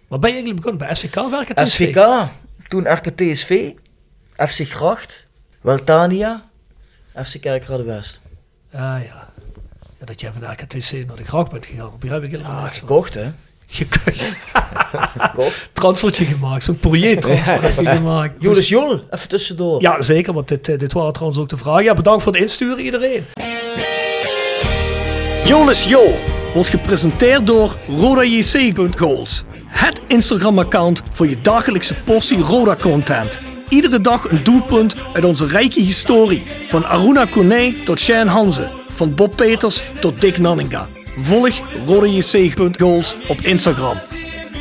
Speaker 8: Waar ben je eigenlijk begonnen? Bij SVK of RKTSV?
Speaker 5: SVK, toen RKTSV, FC Gracht, Weltania, FC Kerkrade West.
Speaker 8: Ah ja. ja dat jij van de AKTC naar de gracht bent gegaan. Hier heb ik helemaal niks van.
Speaker 5: Gekocht hè?
Speaker 8: Je-
Speaker 5: Gekocht.
Speaker 8: transfertje gemaakt, zo'n Poirier-transfertje gemaakt.
Speaker 5: Joris Jol, even tussendoor.
Speaker 8: Ja, zeker, want dit, eh, dit waren trouwens ook de vragen. Ja, bedankt voor het insturen iedereen. Jonas Jo wordt gepresenteerd door RodaJC.goals. Het Instagram-account voor je dagelijkse portie Roda-content. Iedere dag een doelpunt uit onze rijke historie. Van Aruna Kone tot Shane Hanze. Van Bob Peters tot Dick Nanninga. Volg RodaJC.goals op Instagram.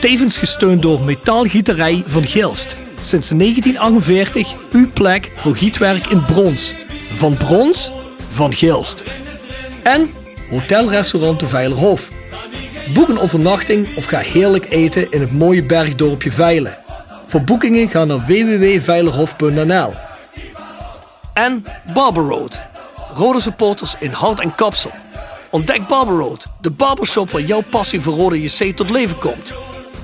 Speaker 8: Tevens gesteund door Metaalgieterij van Gilst. Sinds 1948 uw plek voor gietwerk in brons. Van brons, van Gilst en hotelrestaurant De Veilerhof. Boek een overnachting of ga heerlijk eten in het mooie bergdorpje Veilen. Voor boekingen ga naar www.veilerhof.nl En Barber Road. Rode supporters in hout en kapsel. Ontdek Barber Road, de barbershop waar jouw passie voor rode JC tot leven komt.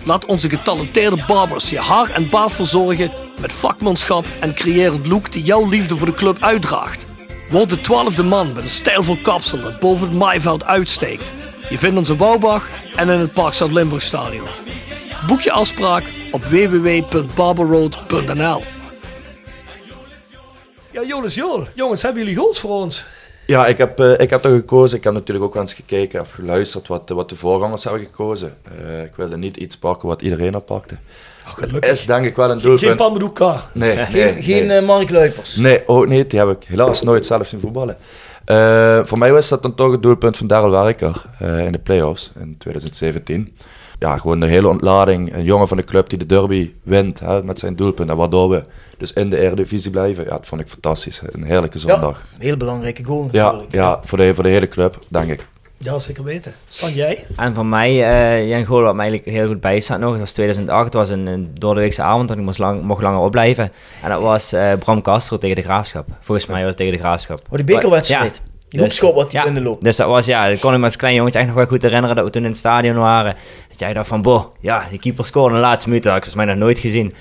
Speaker 8: Laat onze getalenteerde barbers je haar en baard verzorgen met vakmanschap en creërend look die jouw liefde voor de club uitdraagt. Word de twaalfde man met een stijlvol kapsel dat boven het maaiveld uitsteekt. Je vindt ons in Bouwbach en in het Park Zuid-Limburg Stadion. Boek je afspraak op www.barberroad.nl Ja, Jonas Jol, jongens, hebben jullie goals voor ons?
Speaker 9: Ja, ik heb, eh, ik heb er gekozen. Ik heb natuurlijk ook wel eens gekeken of geluisterd wat, eh, wat de voorgangers hebben gekozen. Eh, ik wilde niet iets pakken wat iedereen al pakte.
Speaker 5: Oh,
Speaker 9: Het is denk ik wel een
Speaker 8: Geen
Speaker 9: doelpunt.
Speaker 8: Pambedoek
Speaker 9: nee, nee,
Speaker 5: Geen, geen
Speaker 9: nee.
Speaker 5: eh, Mark Luipers.
Speaker 9: Nee, ook niet. Die heb ik helaas nooit zelf zien voetballen. Eh, voor mij was dat dan toch het doelpunt van Daryl Werker eh, in de play-offs in 2017. Ja, gewoon een hele ontlading. Een jongen van de club die de derby wint hè, met zijn doelpunt. En waardoor we dus in de Eredivisie blijven. Ja, dat vond ik fantastisch. Een heerlijke zondag.
Speaker 5: Ja, heel belangrijke goal
Speaker 9: Ja,
Speaker 5: natuurlijk.
Speaker 9: ja voor, de, voor de hele club, denk ik.
Speaker 8: Ja, zeker weten. San, jij?
Speaker 7: En van mij, eh Jan Gool, wat mij eigenlijk heel goed bijstaat nog, dat was 2008, het was een, een doordeweekse avond, want ik moest lang, mocht langer opblijven. En dat was eh, Bram Castro tegen de Graafschap. Volgens mij was het tegen de Graafschap.
Speaker 5: Oh, die bekerwedstrijd.
Speaker 7: Ja.
Speaker 5: Die hoekschop wat hij
Speaker 7: ja,
Speaker 5: in de loop.
Speaker 7: Dus dat was, ja, dat kon ik me als klein jongetje echt nog wel goed herinneren dat we toen in het stadion waren. Dat jij dacht van, boh, ja, die keeper scoorde in de laatste minuut, dat had ik volgens mij nog nooit gezien.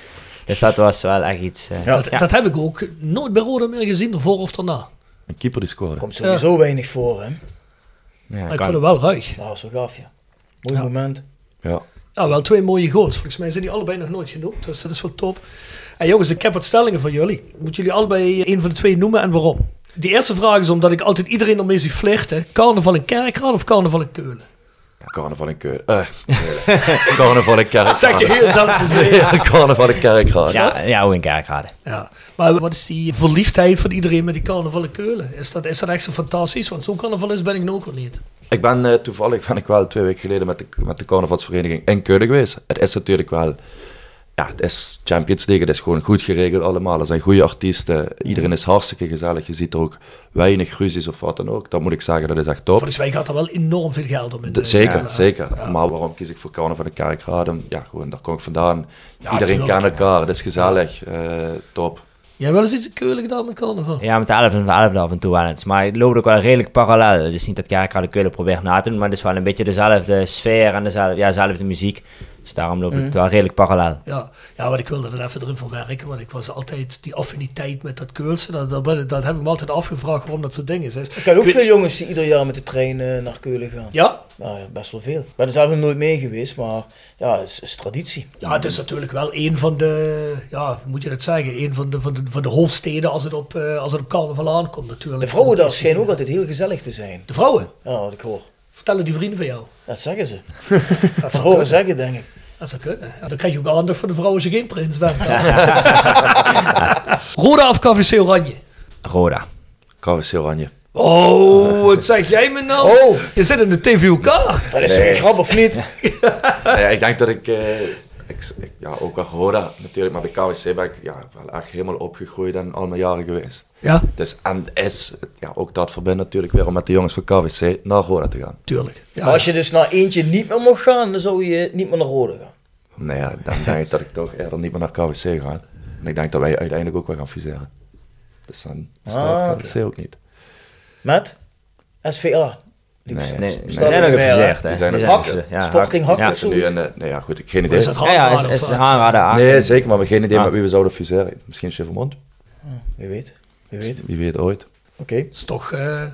Speaker 7: Dus dat was wel echt iets... eh,
Speaker 8: dat, dat heb ik ook nooit bij Roda meer gezien, ervoor of daarna.
Speaker 9: Een keeper die scoorde.
Speaker 5: Komt sowieso weinig voor hè.
Speaker 7: ja,
Speaker 8: ik
Speaker 7: kan.
Speaker 8: vond het wel ruig.
Speaker 5: Nou, zo gaf je. Mooi moment.
Speaker 9: Ja.
Speaker 8: Ja, wel twee mooie goals. Volgens mij zijn die allebei nog nooit genoemd, dus dat is wel top. En jongens, ik heb wat stellingen voor jullie. Moeten jullie allebei één van de twee noemen en waarom? Die eerste vraag is omdat ik altijd iedereen ermee zie flirten. Carnaval in Kerkraad of carnaval in Keulen?
Speaker 9: Carnaval in Keulen. *laughs* Eh, Keulen. Carnaval in Kerkraad.
Speaker 8: Zeg je heel zelfverzekerd.
Speaker 9: Ja, Carnaval in Kerkraad.
Speaker 7: Ja, ja, ook in Kerkrade.
Speaker 8: Ja, maar wat is die verliefdheid van iedereen met die carnaval in Keulen? Is dat, is dat echt zo fantastisch? Want zo'n carnavalist ben ik nou ook wel niet.
Speaker 9: Ik ben eh, toevallig ben ik wel twee weken geleden met de, met de carnavalsvereniging in Keulen geweest. Het is natuurlijk wel... Ja, het is Champions League. Het is gewoon goed geregeld allemaal. Er zijn goede artiesten. Iedereen is hartstikke gezellig. Je ziet er ook weinig ruzies of wat dan ook. Dat moet ik zeggen, dat is echt top.
Speaker 8: Volgens mij gaat er wel enorm veel geld om in. eh,
Speaker 9: De-
Speaker 8: de-
Speaker 9: zeker,
Speaker 8: ja.
Speaker 9: zeker. Maar waarom kies ik voor Carnaval van de Kerkraden? Ja, gewoon, daar kom ik vandaan. Iedereen
Speaker 8: tuurlijk.
Speaker 9: kent elkaar. Het is gezellig. eh, top.
Speaker 8: Jij hebt wel eens iets in Keulen gedaan met carnaval?
Speaker 7: Ja, met de 11 en de 11 af en toe wel eens. Maar het loopt ook wel redelijk parallel. Het is niet dat Kerkrade Keulen probeert na te doen, maar het is wel een beetje dezelfde sfeer en dezelfde, ja, dezelfde muziek. Dus daarom loop ik
Speaker 5: Mhm.
Speaker 7: het wel redelijk parallel.
Speaker 8: Ja, ja want ik wilde er even erin verwerken, want ik was altijd die affiniteit met dat Keulse, dat, dat, ben ik- dat heb ik me altijd afgevraagd waarom dat zo'n ding is. Is-
Speaker 5: Ik ken ook
Speaker 8: weet-
Speaker 5: veel jongens die ieder jaar met de trein eh, naar Keulen gaan.
Speaker 8: Ja?
Speaker 5: Nou ja, best wel veel. Ik ben er zelf nog nooit mee geweest, maar ja, het is, is traditie.
Speaker 8: ja, het is natuurlijk wel een van de, ja, hoe moet je dat zeggen, een van de, van de, van de hoofdsteden als het op, eh, als het op carnaval aankomt natuurlijk.
Speaker 5: De vrouwen daar schijnen ook altijd heel gezellig te zijn.
Speaker 8: De vrouwen?
Speaker 5: Ja, wat ik hoor.
Speaker 8: Vertellen die vrienden van jou.
Speaker 5: Dat
Speaker 7: *laughs*
Speaker 5: zeggen ze.
Speaker 8: Dat
Speaker 5: Dat
Speaker 8: zou
Speaker 5: horen
Speaker 8: kunnen.
Speaker 5: zeggen, denk ik.
Speaker 8: Dat zou kunnen. Ja, dan krijg je ook aandacht voor de vrouwen als je geen prins bent.
Speaker 5: *laughs*
Speaker 8: Roda of KVC Oranje?
Speaker 7: Roda.
Speaker 9: KWC Oranje.
Speaker 8: Oh, wat zeg jij me nou?
Speaker 5: Oh.
Speaker 8: Je zit in de TVOK.
Speaker 5: Dat is toch een grap of niet?
Speaker 7: *laughs*
Speaker 9: Nee, ik denk dat ik, eh, ik, ik- ja, ook wel Roda natuurlijk, maar bij KWC ben ik ja, wel echt helemaal opgegroeid en al mijn jaren geweest.
Speaker 8: Ja,
Speaker 9: Dus en is, ja, ook dat verbindt natuurlijk weer om met de jongens van KWC naar Roda te gaan.
Speaker 8: tuurlijk. Ja.
Speaker 5: Maar als je dus naar eentje niet meer mocht gaan, dan zou je niet meer naar Rode gaan.
Speaker 9: Nee, ja, dan denk ik dat ik toch eerder niet meer naar KWC ga. En ik denk dat wij uiteindelijk ook wel gaan fuseren. Dus dan
Speaker 5: Ah,
Speaker 9: staat
Speaker 5: oké.
Speaker 9: KWC ook niet.
Speaker 5: Met? SVA. Die
Speaker 9: Nee,
Speaker 5: best-
Speaker 7: Nee,
Speaker 9: nee.
Speaker 7: die zijn
Speaker 5: er
Speaker 7: ook
Speaker 5: niet meer, hè?
Speaker 7: gefuseerd. hè.
Speaker 9: Die zijn
Speaker 7: Die
Speaker 9: er
Speaker 7: zijn
Speaker 9: gefuseerd.
Speaker 7: gefuseerd. Ja,
Speaker 5: Sporting
Speaker 7: Hak-
Speaker 5: Hak of
Speaker 7: Ja,
Speaker 9: Ze nu
Speaker 5: zoiets.
Speaker 9: een, eh, nee, ja, goed, ik geen idee.
Speaker 8: Is dat
Speaker 7: Ja, ja, is,
Speaker 8: Hanraden
Speaker 7: is
Speaker 8: of wat?
Speaker 7: aanraden aan.
Speaker 9: Nee, zeker, maar we hebben geen idee
Speaker 7: Ah.
Speaker 9: met wie we zouden fuseren. Misschien Chevermond,
Speaker 5: Wie weet. Wie weet. Oké.
Speaker 9: wie weet ooit.
Speaker 8: is toch... eh,
Speaker 5: Het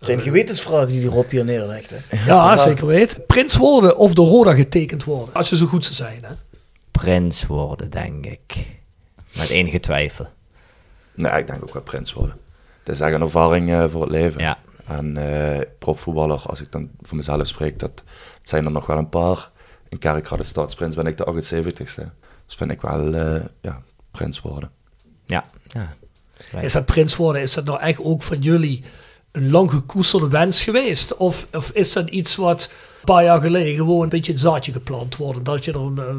Speaker 5: zijn gewetensvragen die die Rob hier neerlegt. Hè.
Speaker 8: ja, zeker weet. Prins worden of door Roda getekend worden. Als je zo goed zou zijn, hè.
Speaker 7: Prins worden, denk ik. Met enige twijfel.
Speaker 9: Nee, ik denk ook wel prins worden. Het is echt een ervaring eh, voor het leven.
Speaker 7: Ja.
Speaker 9: En eh, profvoetballer, als ik dan voor mezelf spreek, dat het zijn er nog wel een paar. In Kerkrade Stadsprins ben ik de 78ste. Dus vind ik wel, eh, ja, prins worden.
Speaker 7: Ja. ja.
Speaker 8: Is dat prins worden, is dat nou echt ook van jullie een lang gekoesterde wens geweest? Of, of is dat iets wat een paar jaar geleden gewoon een beetje het zaadje geplant wordt? Dat je er... een, eh,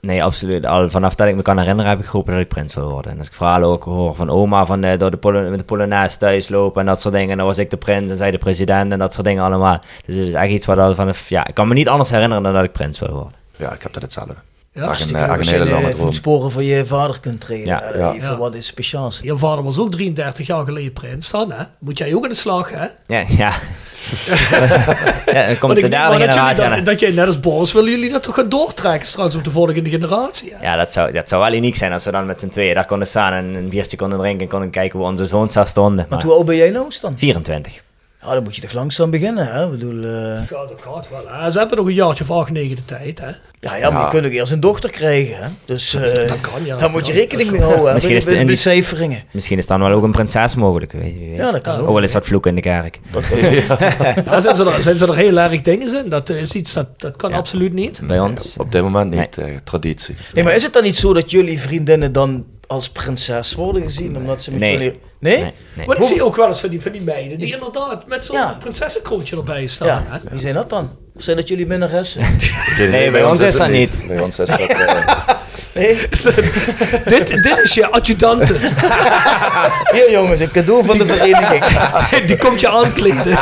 Speaker 7: Nee, absoluut. Al vanaf dat ik me kan herinneren heb ik geroepen dat ik prins wil worden. En als ik verhalen ook hoor van oma van eh, door de, Polo- met de Polonaise thuis lopen en dat soort dingen. En dan was ik de prins en zij de president en dat soort dingen allemaal. Dus het is echt iets wat al vanaf... Ja, ik kan me niet anders herinneren dan dat ik prins wil worden.
Speaker 9: Ja, ik heb dat hetzelfde.
Speaker 8: Ja,
Speaker 9: echt een,
Speaker 5: Als
Speaker 9: eh, echt een hele lange droom.
Speaker 5: sporen van je vader kunt treden.
Speaker 7: Ja,
Speaker 5: Ja,
Speaker 9: ja.
Speaker 5: Even
Speaker 8: Ja.
Speaker 5: wat is speciaals.
Speaker 8: je vader was ook 33 jaar geleden prins dan, hè? Moet jij ook aan de slag, hè?
Speaker 7: Ja, ja.
Speaker 8: *laughs*
Speaker 7: ja dan komt
Speaker 8: Want
Speaker 7: de
Speaker 8: ik denk maar
Speaker 7: derde
Speaker 8: dat, jullie
Speaker 7: generatie
Speaker 8: dat,
Speaker 7: aan.
Speaker 8: dat jij net als Boris, willen jullie dat toch gaan doortrekken straks op de volgende generatie? hè?
Speaker 7: Ja, dat zou, dat zou wel uniek zijn als we dan met z'n tweeën daar konden staan en een biertje konden drinken en konden kijken hoe onze zoons daar stonden.
Speaker 5: Maar
Speaker 7: Maar
Speaker 5: hoe oud ben jij nou, Stan?
Speaker 7: 24.
Speaker 5: Ja, dan moet je toch langzaam beginnen, hè? Ik bedoel, eh,
Speaker 8: Ja, dat gaat wel. Hè. Ze hebben nog een jaartje of acht, negen de tijd. Hè.
Speaker 5: ja, ja, maar je kunt ook eerst een dochter krijgen, hè? Dus eh,
Speaker 8: Dat kan, ja.
Speaker 5: daar moet je
Speaker 8: Ja,
Speaker 5: rekening mee houden, hè?
Speaker 7: Misschien
Speaker 5: bij
Speaker 7: is
Speaker 5: de-
Speaker 7: het
Speaker 5: bij de
Speaker 7: in die-
Speaker 5: becijferingen.
Speaker 7: Misschien is dan wel ook een prinses mogelijk. Weet je, wie weet.
Speaker 5: Ja, dat kan
Speaker 7: ook
Speaker 5: ook.
Speaker 7: wel eens wat vloeken in de kerk.
Speaker 8: Ja, zijn, ze er, zijn ze er heel erg dingen in? Dat is iets dat, dat kan absoluut niet.
Speaker 7: Bij ons.
Speaker 9: Op dit moment niet, eh,
Speaker 7: *laughs*
Speaker 9: traditie.
Speaker 5: Nee, maar is het dan niet zo dat jullie vriendinnen dan als prinses worden gezien? Omdat ze met
Speaker 7: Nee.
Speaker 5: jullie... Nee?
Speaker 7: Nee, nee.
Speaker 8: Maar ik zie ook wel eens van die, van die meiden die inderdaad met zo'n
Speaker 5: Ja.
Speaker 8: prinsessenkroontje erbij staan. Hè.
Speaker 5: Ja, wie zijn dat dan? Of zijn dat jullie minnaressen?
Speaker 9: Nee,
Speaker 7: bij ons is
Speaker 9: het
Speaker 7: dat
Speaker 9: Bij ons is dat... eh,
Speaker 5: Nee?
Speaker 8: Is dat- dit, dit is je
Speaker 5: *laughs*
Speaker 8: adjudante.
Speaker 5: Hier jongens, een cadeau van de vereniging.
Speaker 8: Die komt je
Speaker 5: *laughs*
Speaker 8: aankleden.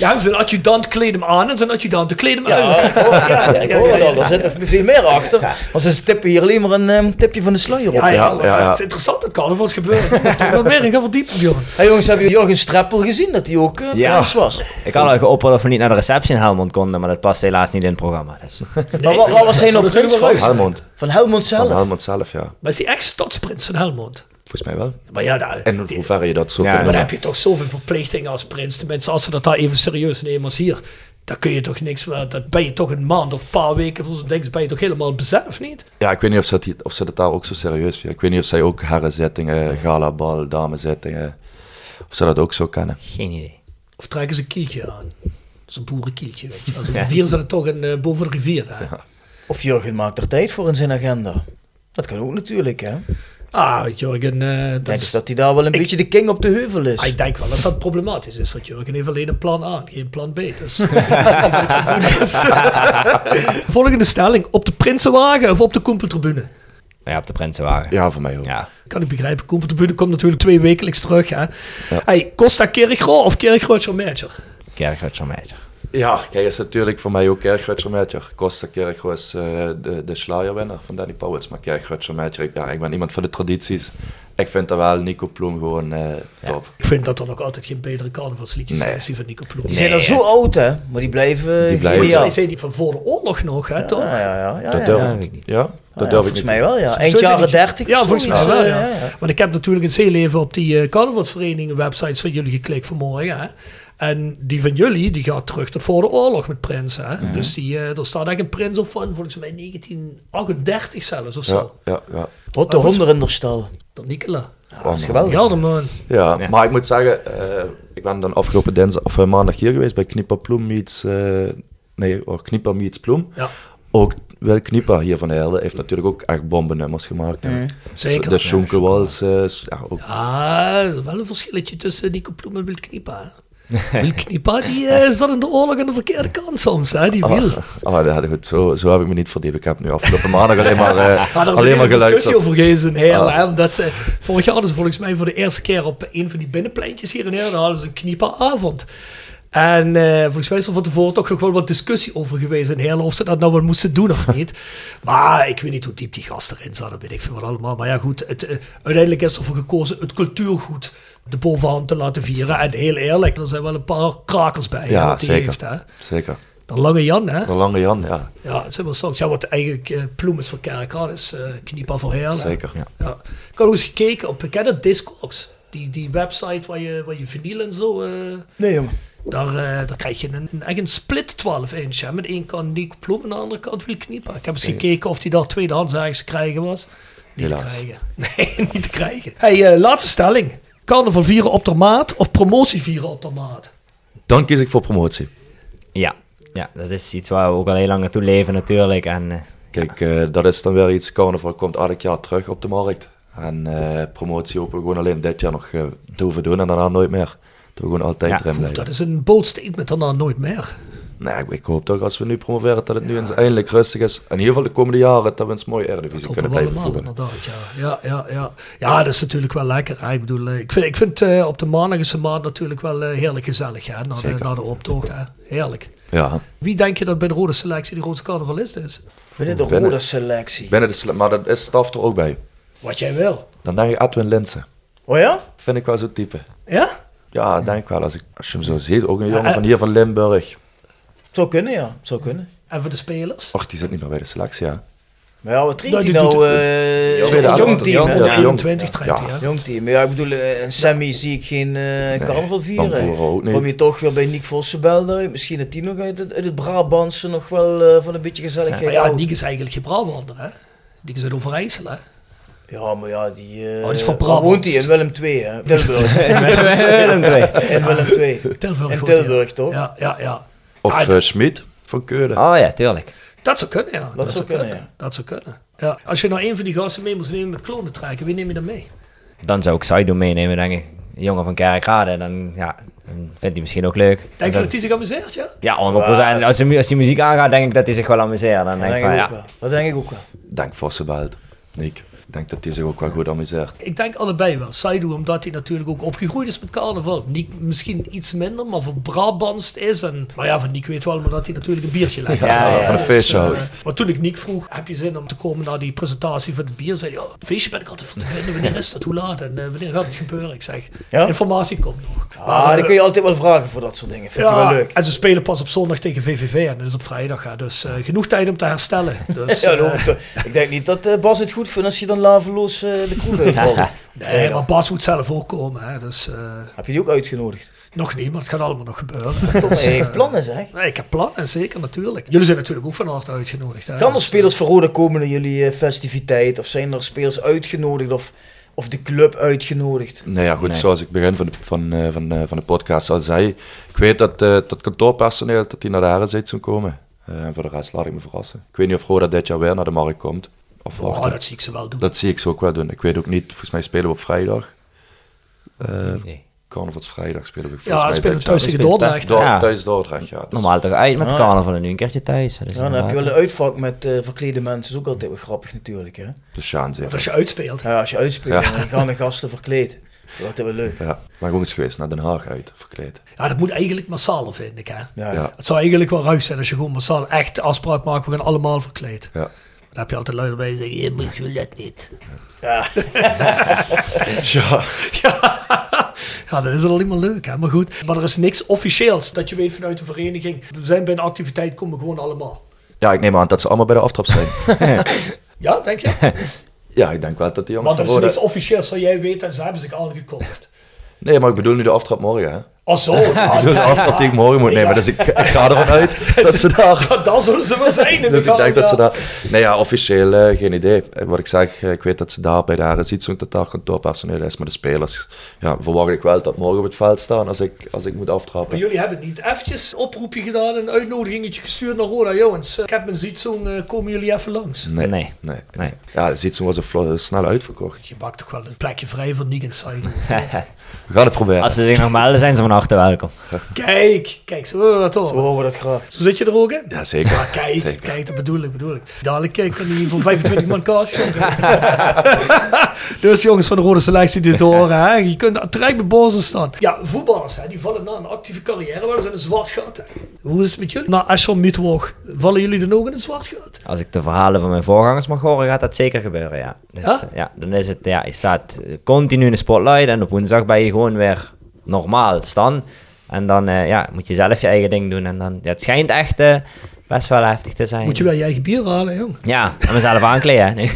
Speaker 8: ja, zijn adjudant kleed hem aan en zijn adjudante kleed hem uit.
Speaker 5: Ja, ik hoor- ja, ik hoor het
Speaker 8: *laughs* ja,
Speaker 5: al. Er zit nog veel meer achter. Maar ze tippen hier alleen maar een ehm, tipje van de sluier op.
Speaker 8: Ja, ja,
Speaker 9: Ja,
Speaker 8: maar
Speaker 9: ja, ja.
Speaker 8: Het is interessant, het carnavals gebeuren.
Speaker 5: *laughs*
Speaker 8: Ik moet er wat meer in gaan verdiepen, Bjorn.
Speaker 5: Hey jongens, hebben jullie Jurgen Streppel gezien dat hij ook eh
Speaker 7: Ja.
Speaker 5: prins was?
Speaker 7: Ik had al geopperd of we niet naar de receptie in Helmond konden, maar dat past helaas niet in het programma. Dus.
Speaker 5: maar wat, was hij
Speaker 8: dat zou
Speaker 5: nou prins
Speaker 8: natuurlijk wel
Speaker 5: van?
Speaker 8: leuk
Speaker 9: Helmond.
Speaker 5: Van Helmond zelf?
Speaker 9: Van Helmond zelf, ja.
Speaker 8: Maar is hij echt stadsprins van Helmond?
Speaker 9: Volgens mij wel.
Speaker 8: Maar ja, daar,
Speaker 9: En
Speaker 8: die-
Speaker 9: hoe ver je dat zo
Speaker 7: Ja,
Speaker 9: kan
Speaker 8: maar
Speaker 9: doen.
Speaker 8: dan heb je toch zoveel verplichtingen als prins. Tenminste, als ze dat daar even serieus nemen als hier. Dan kun je toch niks meer. Dan ben je toch een maand of een paar weken voor zo'n ding. Ben je toch helemaal bezet of niet?
Speaker 9: Ja, ik weet niet of ze, dat, hier- of ze dat daar ook zo serieus vinden. Ik weet niet of zij ook herrenzittingen, galabal, damezittingen, of ze dat ook zo kennen.
Speaker 7: Geen idee.
Speaker 8: Of trekken ze een kieltje aan? Zo'n boerenkieltje, weet je. Als een rivier zit het toch een, eh, boven de rivier. Hè?
Speaker 5: Of Jurgen maakt er tijd voor in zijn agenda. Dat kan ook natuurlijk, hè. Ik
Speaker 8: Ah, Jurgen, eh, dat
Speaker 5: denk
Speaker 8: is-
Speaker 5: dus dat hij daar wel een beetje de king op de heuvel is.
Speaker 8: Ah, ik denk wel dat dat problematisch is, want Jurgen heeft alleen een plan A, geen plan B.
Speaker 5: *laughs*
Speaker 8: Dus. Volgende stelling, op de Prinsenwagen of op de Koempeltribune?
Speaker 7: Maar ja, op de Prinsenwagen.
Speaker 9: Ja, voor mij ook.
Speaker 7: Ja.
Speaker 8: Kan ik begrijpen, Koempeltribune komt natuurlijk twee wekelijks terug. Hè? Hey, Costa Kerigro of Kerigro Matcher?
Speaker 7: Kerkruid zo'n meisje.
Speaker 9: Ja, kijk, het is natuurlijk voor mij ook Kerkruitsermatcher. Costa Kerkro is eh, de, de slagerwinnaar van Danny Powers. Maar Kerkruitsermatcher, ik, ja, ik ben iemand van de tradities. Ik vind dat wel Nico Ploem gewoon eh, top.
Speaker 8: Ik vind dat er nog altijd geen betere carnavalsliedjes
Speaker 9: Nee.
Speaker 8: zijn als die van Nico Ploeg.
Speaker 5: Die zijn al zo oud, hè? Maar die blijven...
Speaker 9: Die blijven-
Speaker 8: Ja.
Speaker 5: Ja,
Speaker 8: Zij zijn die van voor de oorlog nog, hè, toch?
Speaker 5: ja, ja. ja, ja,
Speaker 9: Dat
Speaker 5: ja.
Speaker 9: durf
Speaker 7: ja,
Speaker 9: ik
Speaker 7: weet ik
Speaker 9: niet.
Speaker 7: niet.
Speaker 9: Ja, dat
Speaker 5: Ja,
Speaker 9: durf ik
Speaker 5: volgens
Speaker 9: niet.
Speaker 5: mij wel, ja.
Speaker 8: Zo
Speaker 5: Eind
Speaker 8: zijn
Speaker 5: jaren
Speaker 8: die-
Speaker 5: 30.
Speaker 8: Ja, volgens mij
Speaker 5: zoiets,
Speaker 8: wel,
Speaker 5: eh,
Speaker 8: ja. Want ik heb natuurlijk eens heel even op die eh carnavalsverenigingen websites van jullie geklikt vanmorgen. Hè? En die van jullie, die gaat terug tot voor de oorlog met Prins. Hè? Dus die, eh er staat echt een Prins op van, volgens mij 1938 zelfs of
Speaker 9: Ja,
Speaker 8: zo.
Speaker 9: ja, ja.
Speaker 5: Wat de honden in de stal.
Speaker 8: Dat Nicola.
Speaker 5: Dat is
Speaker 8: Ja,
Speaker 5: geweldig.
Speaker 8: dan, man.
Speaker 9: Ja,
Speaker 7: Ja.
Speaker 9: maar ik moet zeggen, eh, ik ben dan afgelopen dinsdag of eh, maandag hier geweest bij Knieper Ploem meets, eh, nee, oh, Knieper meets Ploem.
Speaker 8: Ja,
Speaker 9: Ook wel Knieper hier van Helden heeft natuurlijk ook echt bombennummers gemaakt. hè.
Speaker 8: Mm, zeker.
Speaker 9: De Schonkelwals, eh, s- ja, ook
Speaker 8: Ah, er is wel een verschilletje tussen Nico Ploem en Wil Kniepa. Wil Kniepa, die eh, zat in de oorlog aan de verkeerde kant soms, hè? die
Speaker 9: Ah,
Speaker 8: Wil.
Speaker 9: ah, ja, goed, zo, zo heb ik me niet verdiept. Ik heb nu afgelopen maandag alleen
Speaker 8: *laughs*
Speaker 9: maar, eh
Speaker 8: Maar er Ah, is
Speaker 9: alleen
Speaker 8: een
Speaker 9: maar
Speaker 8: hele discussie
Speaker 9: geluisterd.
Speaker 8: over geweest in Heerlen.
Speaker 9: Ah.
Speaker 8: hè, omdat ze, vorig jaar hadden ze volgens mij voor de eerste keer op een van die binnenpleintjes hier in Heerlen hadden ze een knieperavond. En eh, volgens mij is er van tevoren toch nog wel wat discussie over geweest in Heerlen. Of ze dat nou wel moesten doen of
Speaker 9: *laughs*
Speaker 8: niet. maar ik weet niet hoe diep die gasten erin zaten, weet ik veel wat allemaal. Maar ja goed, het, eh, uiteindelijk is ervoor gekozen het cultuurgoed de bovenhand te laten vieren. En heel eerlijk, er zijn wel een paar krakers bij. hè,
Speaker 9: Ja,
Speaker 8: wat die
Speaker 9: zeker.
Speaker 8: Heeft, hè.
Speaker 9: Zeker.
Speaker 8: Dan Lange Jan, hè?
Speaker 9: De Lange Jan, ja.
Speaker 8: Ja, het zijn wel straks. Ja, wat eigenlijk eh Ploem is voor Kerkraad is, eh Kniepa voor Heerlen.
Speaker 9: Zeker.
Speaker 8: Ja. Ik had ook eens gekeken op, ken je dat, Discogs? Die, die website waar je, waar je vinyl en zo, eh,
Speaker 5: Nee, jongen.
Speaker 8: daar, eh, daar krijg je een, een, echt een split 12 inch. Hè? Met één kant Nico Ploem en de andere kant Wil Kniepa. Ik heb eens gekeken of die daar tweedehands ergens te krijgen was. Niet
Speaker 9: Helaas.
Speaker 8: te krijgen. *laughs* Nee, niet te krijgen. hey, eh, laatste stelling. Carnaval vieren op de maat of promotie vieren op de maat?
Speaker 9: Dan kies ik voor promotie.
Speaker 7: Ja. ja, dat is iets waar we ook al heel lang naartoe leven natuurlijk. En eh,
Speaker 9: Kijk, eh, dat is dan weer iets. Carnaval komt elk jaar terug op de markt. En eh, promotie hopen we gewoon alleen dit jaar nog eh, te hoeven doen en daarna nooit meer. Dat we gewoon altijd
Speaker 7: Ja,
Speaker 9: erin
Speaker 8: Oeh,
Speaker 9: blijven.
Speaker 8: dat is een bold statement, daarna nooit meer.
Speaker 9: Nee, ik, ik hoop toch als we nu promoveren dat het nu eens eindelijk rustig is. En in ieder geval de komende jaren dat we eens mooi Eredivisie
Speaker 8: Toppen
Speaker 9: kunnen
Speaker 8: we
Speaker 9: blijven
Speaker 8: allemaal
Speaker 9: voeren.
Speaker 8: inderdaad, ja. Ja, ja, ja. ja, dat is natuurlijk wel lekker. hè. Ik bedoel, eh, ik vind, ik vind eh, op de maandag is de maand natuurlijk wel eh, heerlijk gezellig, hè, na, de,
Speaker 9: Zeker.
Speaker 8: na de optocht. Hè. Heerlijk.
Speaker 9: Ja.
Speaker 8: Wie denk je dat bij de rode selectie de grootste carnavalist is?
Speaker 5: Binnen de
Speaker 9: Binnen-
Speaker 5: rode selectie.
Speaker 9: Binnen de sle- maar dat is staf er ook bij.
Speaker 8: Wat jij wil.
Speaker 9: Dan denk ik Edwin Linsen.
Speaker 5: Oh ja?
Speaker 9: Vind ik wel zo'n type.
Speaker 8: Ja?
Speaker 9: Ja, ik denk wel. Als, ik, als je hem zo ziet, ook een jongen
Speaker 8: eh.
Speaker 9: van hier van Limburg.
Speaker 5: Zou kunnen, ja. Zou kunnen.
Speaker 8: En voor de spelers?
Speaker 9: Och, die zit niet meer bij de selectie, ja.
Speaker 5: Maar ja, wat drinkt
Speaker 8: Nou,
Speaker 5: hij
Speaker 8: die doet-
Speaker 5: nou? eh,
Speaker 9: Tweede
Speaker 5: Jong,
Speaker 9: helft,
Speaker 5: team,
Speaker 9: jong,
Speaker 5: hè?
Speaker 9: ja.
Speaker 8: Onder 21
Speaker 9: jong.
Speaker 8: trekt
Speaker 9: Ja.
Speaker 8: hij, hè?
Speaker 5: Jong team. Ja, ik bedoel, eh, een Sammy zie ik geen eh carnaval vieren.
Speaker 9: Tamboeren ook niet.
Speaker 5: Kom je toch weer bij Nick Vossenbel uit. Misschien dat die nog uit het, uit het Brabantse nog wel eh, van een beetje
Speaker 8: Maar
Speaker 5: gezelligheid
Speaker 8: ja,
Speaker 5: houdt.
Speaker 8: Niek is eigenlijk geen Brabander, hè? Niek is uit Overijssel, hè?
Speaker 5: Ja, maar ja, die... eh,
Speaker 8: Oh, die is van
Speaker 5: waar
Speaker 8: Brabant.
Speaker 5: woont hij? In Willem II, *laughs* hè? Tilburg.
Speaker 7: *laughs*
Speaker 5: in Willem II.
Speaker 8: Tilburg.
Speaker 5: In
Speaker 8: wordt hij.
Speaker 5: Tilburg, toch?
Speaker 8: Ja, ja, ja.
Speaker 9: Of
Speaker 8: Ah,
Speaker 9: eh Schmid van Keulen. Ah,
Speaker 7: Oh ja, tuurlijk.
Speaker 8: Dat zou kunnen, ja. Dat,
Speaker 5: zou kunnen,
Speaker 8: Dat zou kunnen. Ja. Als je nou één van die gasten mee moest nemen met klonen trekken, wie neem je dan mee?
Speaker 7: Dan zou ik Saido meenemen, denk ik. Een jongen van Kerkrade, dan, ja, dan vindt hij misschien ook leuk. Dan
Speaker 8: Denk je
Speaker 7: zou-
Speaker 8: dat hij zich amuseert, ja?
Speaker 7: Ja, 100%. Als hij mu- als hij muziek aangaat, denk ik dat hij zich wel amuseert. Dan
Speaker 5: Dat
Speaker 7: denk ik
Speaker 5: denk ik
Speaker 7: van,
Speaker 5: ook
Speaker 7: ja,
Speaker 5: wel. Dat denk ik ook wel.
Speaker 9: Denk Vossenbelt. Nick. Ik denk dat hij zich ook wel goed amuseert.
Speaker 8: Ik denk allebei wel. Saido, omdat hij natuurlijk ook opgegroeid is met carnaval. Niek misschien iets minder, maar voor Brabantst is. En, maar ja, van Niek weet wel, maar dat hij natuurlijk een biertje lijkt.
Speaker 7: Ja, ja, van
Speaker 9: een feestje houdt.
Speaker 8: maar toen ik Niek vroeg, heb je zin om te komen naar die presentatie van het bier? Zei hij, ja, een feestje ben ik altijd voor te vinden. Wanneer is dat? Hoe laat? En eh, wanneer gaat het gebeuren? Ik zeg,
Speaker 5: Ja?
Speaker 8: informatie komt nog. eh,
Speaker 5: Ah, die kun je altijd wel vragen voor dat soort dingen. Vind ik
Speaker 8: ja,
Speaker 5: wel leuk.
Speaker 8: en ze spelen pas op zondag tegen VVV en dat is op vrijdag. hè. Dus eh, genoeg tijd om te herstellen. Dus,
Speaker 5: *laughs* Ja,
Speaker 8: eh,
Speaker 5: dat hoeft, eh, ik denk niet dat eh, Bas het goed vindt als je dan laveloos eh, de kroeg *laughs* uitvalt.
Speaker 8: nee, maar Bas moet zelf ook komen. Hè. Dus eh,
Speaker 5: Heb je die ook uitgenodigd?
Speaker 8: nog niet, maar het gaat allemaal nog
Speaker 5: *laughs*
Speaker 8: gebeuren.
Speaker 5: Hij heeft plannen zeg.
Speaker 8: Nee, ik heb plannen, zeker natuurlijk. Jullie zijn natuurlijk ook van harte uitgenodigd. hè.
Speaker 5: Gaan er
Speaker 8: Dus,
Speaker 5: spelers van Roda komen naar jullie eh, festiviteit? Of zijn er spelers uitgenodigd? Of, of de club uitgenodigd?
Speaker 9: Nou ja, goed,
Speaker 7: Nee.
Speaker 9: zoals ik begin van de, van, eh, van, eh, van de podcast al zei. Ik weet dat eh dat kantoorpersoneel dat die naar de herenzijde zou komen. Eh, en voor de rest laat ik me verrassen. Ik weet niet of Roda dit jaar weer naar de markt komt. Of
Speaker 8: eh, oh,
Speaker 9: wachten.
Speaker 8: dat zie ik ze wel doen.
Speaker 9: Dat zie ik ze ook wel doen. Ik weet ook niet, volgens mij spelen we op vrijdag. Eh
Speaker 7: Nee.
Speaker 9: Carnavalsvrijdag spelen we volgens
Speaker 8: ja,
Speaker 9: mij
Speaker 8: ze spelen
Speaker 9: dit jaar.
Speaker 8: thuis tegen
Speaker 7: Dat speelt
Speaker 8: Dordrecht.
Speaker 9: Dor-
Speaker 7: Ja.
Speaker 9: Thuis Dordrecht, ja. Dus-
Speaker 7: normaal toch uit met
Speaker 5: Ah, ja.
Speaker 7: carnaval en nu een keertje thuis. Dat is
Speaker 5: Ja, dan heb je wel
Speaker 7: inderdaad-
Speaker 5: een uitvak met eh, verklede mensen. is ook altijd wel grappig natuurlijk. Hè?
Speaker 9: De Sjaan zegt-
Speaker 8: Want Als je uitspeelt.
Speaker 5: Ja, als je uitspeelt,
Speaker 9: Ja.
Speaker 5: dan gaan de gasten verkleed. Wat hebben we leuk.
Speaker 9: Ja, maar gewoon eens geweest naar Den Haag uit, verkleed.
Speaker 8: Ja, dat moet eigenlijk massaal, vind ik. Hè?
Speaker 5: Ja.
Speaker 9: Ja,
Speaker 8: Het zou eigenlijk wel ruis zijn als je gewoon massaal echt afspraak maakt. We gaan allemaal verkleed.
Speaker 9: ja.
Speaker 8: Dan heb je altijd lui erbij die zeggen, je moet je let niet.
Speaker 9: *laughs* ja.
Speaker 8: Ja. ja, dat is alleen maar leuk, hè? maar goed. Maar er is niks officieels dat je weet vanuit de vereniging. We zijn bij een activiteit, komen we gewoon allemaal.
Speaker 9: Ja, ik neem aan dat ze allemaal bij de aftrap
Speaker 8: *laughs*
Speaker 9: zijn.
Speaker 8: Ja, denk je?
Speaker 9: ja, ik denk wel dat die jongens
Speaker 8: Maar er is
Speaker 9: van Roda-
Speaker 8: niks officieels dat jij weet en ze hebben zich aangekondigd.
Speaker 9: Nee, maar ik bedoel nu de aftrap morgen, hè.
Speaker 8: Oh
Speaker 9: *laughs*
Speaker 8: zo, ja,
Speaker 9: Ik bedoel de aftrap die ik morgen moet nemen,
Speaker 8: Ja.
Speaker 9: dus ik, ik ga ervan uit dat ze daar...
Speaker 8: dat, dat zullen ze wel zijn. in
Speaker 9: Dus
Speaker 8: de
Speaker 9: ik denk dat ze
Speaker 8: gang,
Speaker 9: daar... Nee ja, officieel eh, geen idee. Eh, Wat ik zeg, eh, ik weet dat ze daar bij de heren ziet, zo'n totaal kantoorpersoneel is, maar de spelers... Ja, verwacht ik wel dat morgen op het veld staan als ik, als ik moet
Speaker 8: Maar
Speaker 9: aftrappen.
Speaker 8: jullie hebben niet eventjes een oproepje gedaan, een uitnodigingetje gestuurd naar Roda. Jongens, eh, ik heb een zietzoen, eh, komen jullie even langs?
Speaker 9: Nee.
Speaker 7: Nee.
Speaker 9: Nee.
Speaker 7: Nee.
Speaker 9: Ja, ziet zo was een vlo- snel uitverkocht.
Speaker 8: Je maakt toch wel een plekje vrij voor Negan Saino.
Speaker 9: *laughs* We gaan het proberen.
Speaker 7: Als ze zich nog melden, zijn ze van harte welkom.
Speaker 8: Kijk, kijk, zo willen we dat
Speaker 5: We
Speaker 8: horen.
Speaker 5: horen dat graag.
Speaker 8: Zo zit je er ook in?
Speaker 9: Ja, zeker.
Speaker 8: *laughs* Ah, kijk,
Speaker 9: Zeker.
Speaker 8: kijk, dat bedoel ik, bedoel ik. Dadelijk kijk, kan hij voor 25 man kaas
Speaker 9: *laughs*
Speaker 8: schenken. *laughs* Dus jongens van de Rode Selectie dit horen, hè. Je kunt terecht bij Bozen staan. Ja, voetballers, hè, die vallen na een actieve carrière wel eens in een zwart gat, hè. Hoe is het met jullie? Na Asher Mittwoch, vallen jullie dan ook in een zwart gat?
Speaker 7: Als ik de verhalen van mijn voorgangers mag horen, gaat dat zeker gebeuren, ja. Dus,
Speaker 8: Ja?
Speaker 7: eh, ja, dan is het, ja, je staat eh, continu in de spotlight en op woensdag ben je gewoon weer normaal staan. En dan eh, ja, moet je zelf je eigen ding doen en dan, ja, het schijnt echt eh, best wel heftig te zijn.
Speaker 8: Moet je wel je eigen bier halen, jong.
Speaker 7: Ja, en mezelf aankleden.
Speaker 8: *laughs*
Speaker 7: hè. Nee.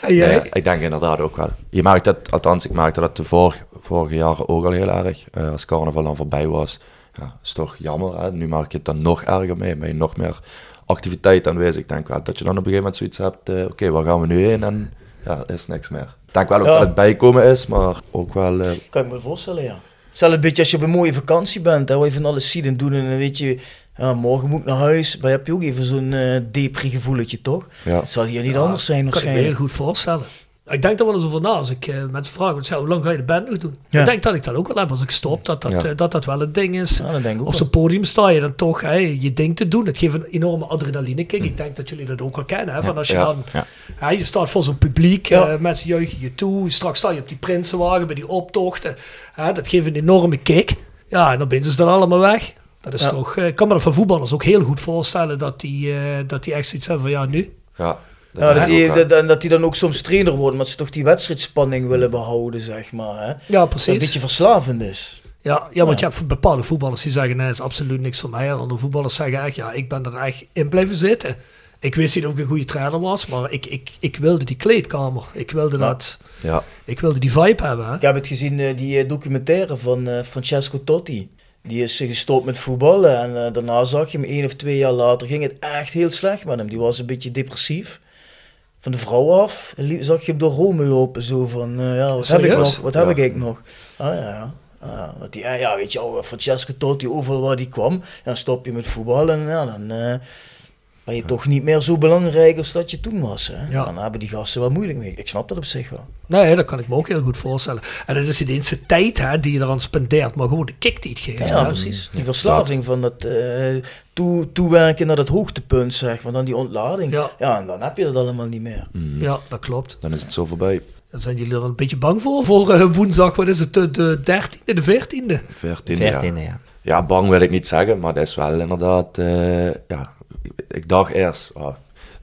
Speaker 8: En
Speaker 9: Ja,
Speaker 8: jij?
Speaker 9: ja, ik denk inderdaad ook wel. Je merkt dat, althans, ik merkte dat de vor- vorige jaren ook al heel erg. Eh, als carnaval dan voorbij was, ja, is toch jammer. Hè? Nu maak je het dan nog erger mee, ben je nog meer activiteit aanwezig. Ik denk wel dat je dan op een gegeven moment zoiets hebt, eh, oké, waar gaan we nu heen? En ja, is niks meer. Ik denk wel ook
Speaker 5: Ja.
Speaker 9: dat het bijkomen is, maar ook wel... eh,
Speaker 5: Kan ik me voorstellen, ja. Zelfs een beetje als je op een mooie vakantie bent, hè, waar je van alles ziet en doen en dan weet je, ja, morgen moet ik naar huis. Maar heb je ook even zo'n eh depri gevoeletje, toch?
Speaker 9: Ja.
Speaker 5: Dat zal hier niet
Speaker 8: Ja,
Speaker 5: anders
Speaker 8: Kan
Speaker 5: zijn
Speaker 8: ik me heel
Speaker 5: waarschijnlijk.
Speaker 8: goed voorstellen. Ik denk er wel eens over na als ik eh, mensen vraag, want ze zeggen, hoe lang ga je de band nog doen?
Speaker 5: Ja.
Speaker 8: Ik denk dat ik dat ook wel heb als ik stop, dat dat,
Speaker 9: Ja.
Speaker 8: eh, dat, dat wel een ding is.
Speaker 5: Ja, dat denk ik ook
Speaker 8: Op
Speaker 5: wel.
Speaker 8: zo'n podium sta je dan toch hè, je ding te doen. Het geeft een enorme adrenaline kick. Ik denk dat jullie dat ook wel kennen. Hè? Van als je
Speaker 9: Mm. Ja.
Speaker 8: dan,
Speaker 7: Ja.
Speaker 8: hè, je staat voor zo'n publiek,
Speaker 5: Ja.
Speaker 8: eh, mensen juichen je toe. Straks sta je op die prinsenwagen bij die optochten. Hè? Dat geeft een enorme kick. Ja, en dan ben ze dan allemaal weg. Dat is
Speaker 5: Ja.
Speaker 8: toch, eh, ik kan me dat van voetballers ook heel goed voorstellen dat die, eh, dat die echt zoiets hebben van ja, nu.
Speaker 9: ja,
Speaker 5: Ja, dat,
Speaker 9: denk ik
Speaker 5: die,
Speaker 9: ook wel.
Speaker 5: dat, en dat die dan ook soms trainer worden, omdat ze toch die wedstrijdspanning willen behouden, zeg maar. Hè?
Speaker 8: Ja,
Speaker 5: Dat het een
Speaker 8: precies.
Speaker 5: beetje verslavend is.
Speaker 8: Ja, ja, want je hebt bepaalde voetballers die zeggen, nee, is absoluut niks voor mij. En andere voetballers zeggen echt, ja, ik ben er echt in blijven zitten. Ik wist niet of ik een goede trainer was, maar ik, ik, ik wilde die kleedkamer. Ik wilde, dat,
Speaker 9: Ja,
Speaker 8: ik wilde die vibe hebben. Hè?
Speaker 5: Ik heb het gezien, eh, die eh, documentaire van eh, Francesco Totti. Die is eh, gestopt met voetballen en eh, daarna zag je hem één of twee jaar later ging het echt heel slecht met hem. Die was een beetje depressief. Van de vrouw af en liep- zag je hem door Rome lopen. Zo van, eh, ja, wat heb ik
Speaker 8: Serieus?
Speaker 5: nog? Wat heb
Speaker 9: Ja.
Speaker 5: ik eigenlijk nog? Ah ja, ja. Ah, ja. want die, eh, ja, weet je wel, eh, Francesco Totti, overal waar die kwam. Dan stop je met voetballen en ja, dan eh, ben je toch niet meer zo belangrijk als dat je toen was. Hè?
Speaker 8: Ja.
Speaker 5: Dan hebben die gasten wel moeilijk mee. Ik snap dat op zich wel.
Speaker 8: Nee, dat kan ik me ook heel goed voorstellen. En het is niet eens de tijd hè, die je eraan spendeert, maar gewoon de kick die het geeft.
Speaker 5: Ja,
Speaker 8: hè.
Speaker 5: precies. Die verslaving van dat eh, toe, toewerken naar dat hoogtepunt, zeg maar. Dan die ontlading.
Speaker 8: Ja.
Speaker 5: Ja. en dan heb je dat allemaal niet meer.
Speaker 8: ja, dat klopt.
Speaker 9: dan is het zo voorbij.
Speaker 8: Daar zijn jullie er een beetje bang voor. Voor eh, woensdag, wat is het, de, de 13e, de 14e?
Speaker 9: 14, ja.
Speaker 7: 14e, ja.
Speaker 9: Ja, bang wil ik niet zeggen, maar dat is wel inderdaad. eh, ja, ik dacht eerst. ah,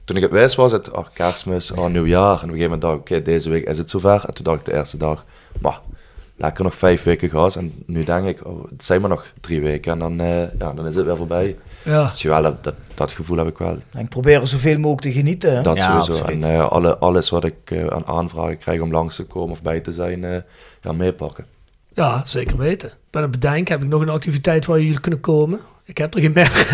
Speaker 9: toen ik het wist was het ah, kerstmis, ah, nieuwjaar. En op een gegeven moment dacht ik, oké, deze week is het zover. En toen dacht ik de eerste dag, maar lekker nog vijf weken gas. En nu denk ik, oh, het zijn maar nog drie weken en dan, eh, ja, dan is het weer voorbij.
Speaker 8: Ja.
Speaker 9: Dus wel, dat, dat, dat gevoel heb ik wel.
Speaker 5: En ik probeer er zoveel mogelijk te genieten. Hè?
Speaker 9: Dat
Speaker 7: Ja,
Speaker 9: sowieso.
Speaker 7: absoluut.
Speaker 9: En eh, alle, alles wat ik eh, aan aanvragen krijg om langs te komen of bij te zijn, eh ja, meepakken.
Speaker 8: Ja, zeker weten. Ik ben aan het bedenken, heb ik nog een activiteit waar jullie kunnen komen? Ik heb er geen merk.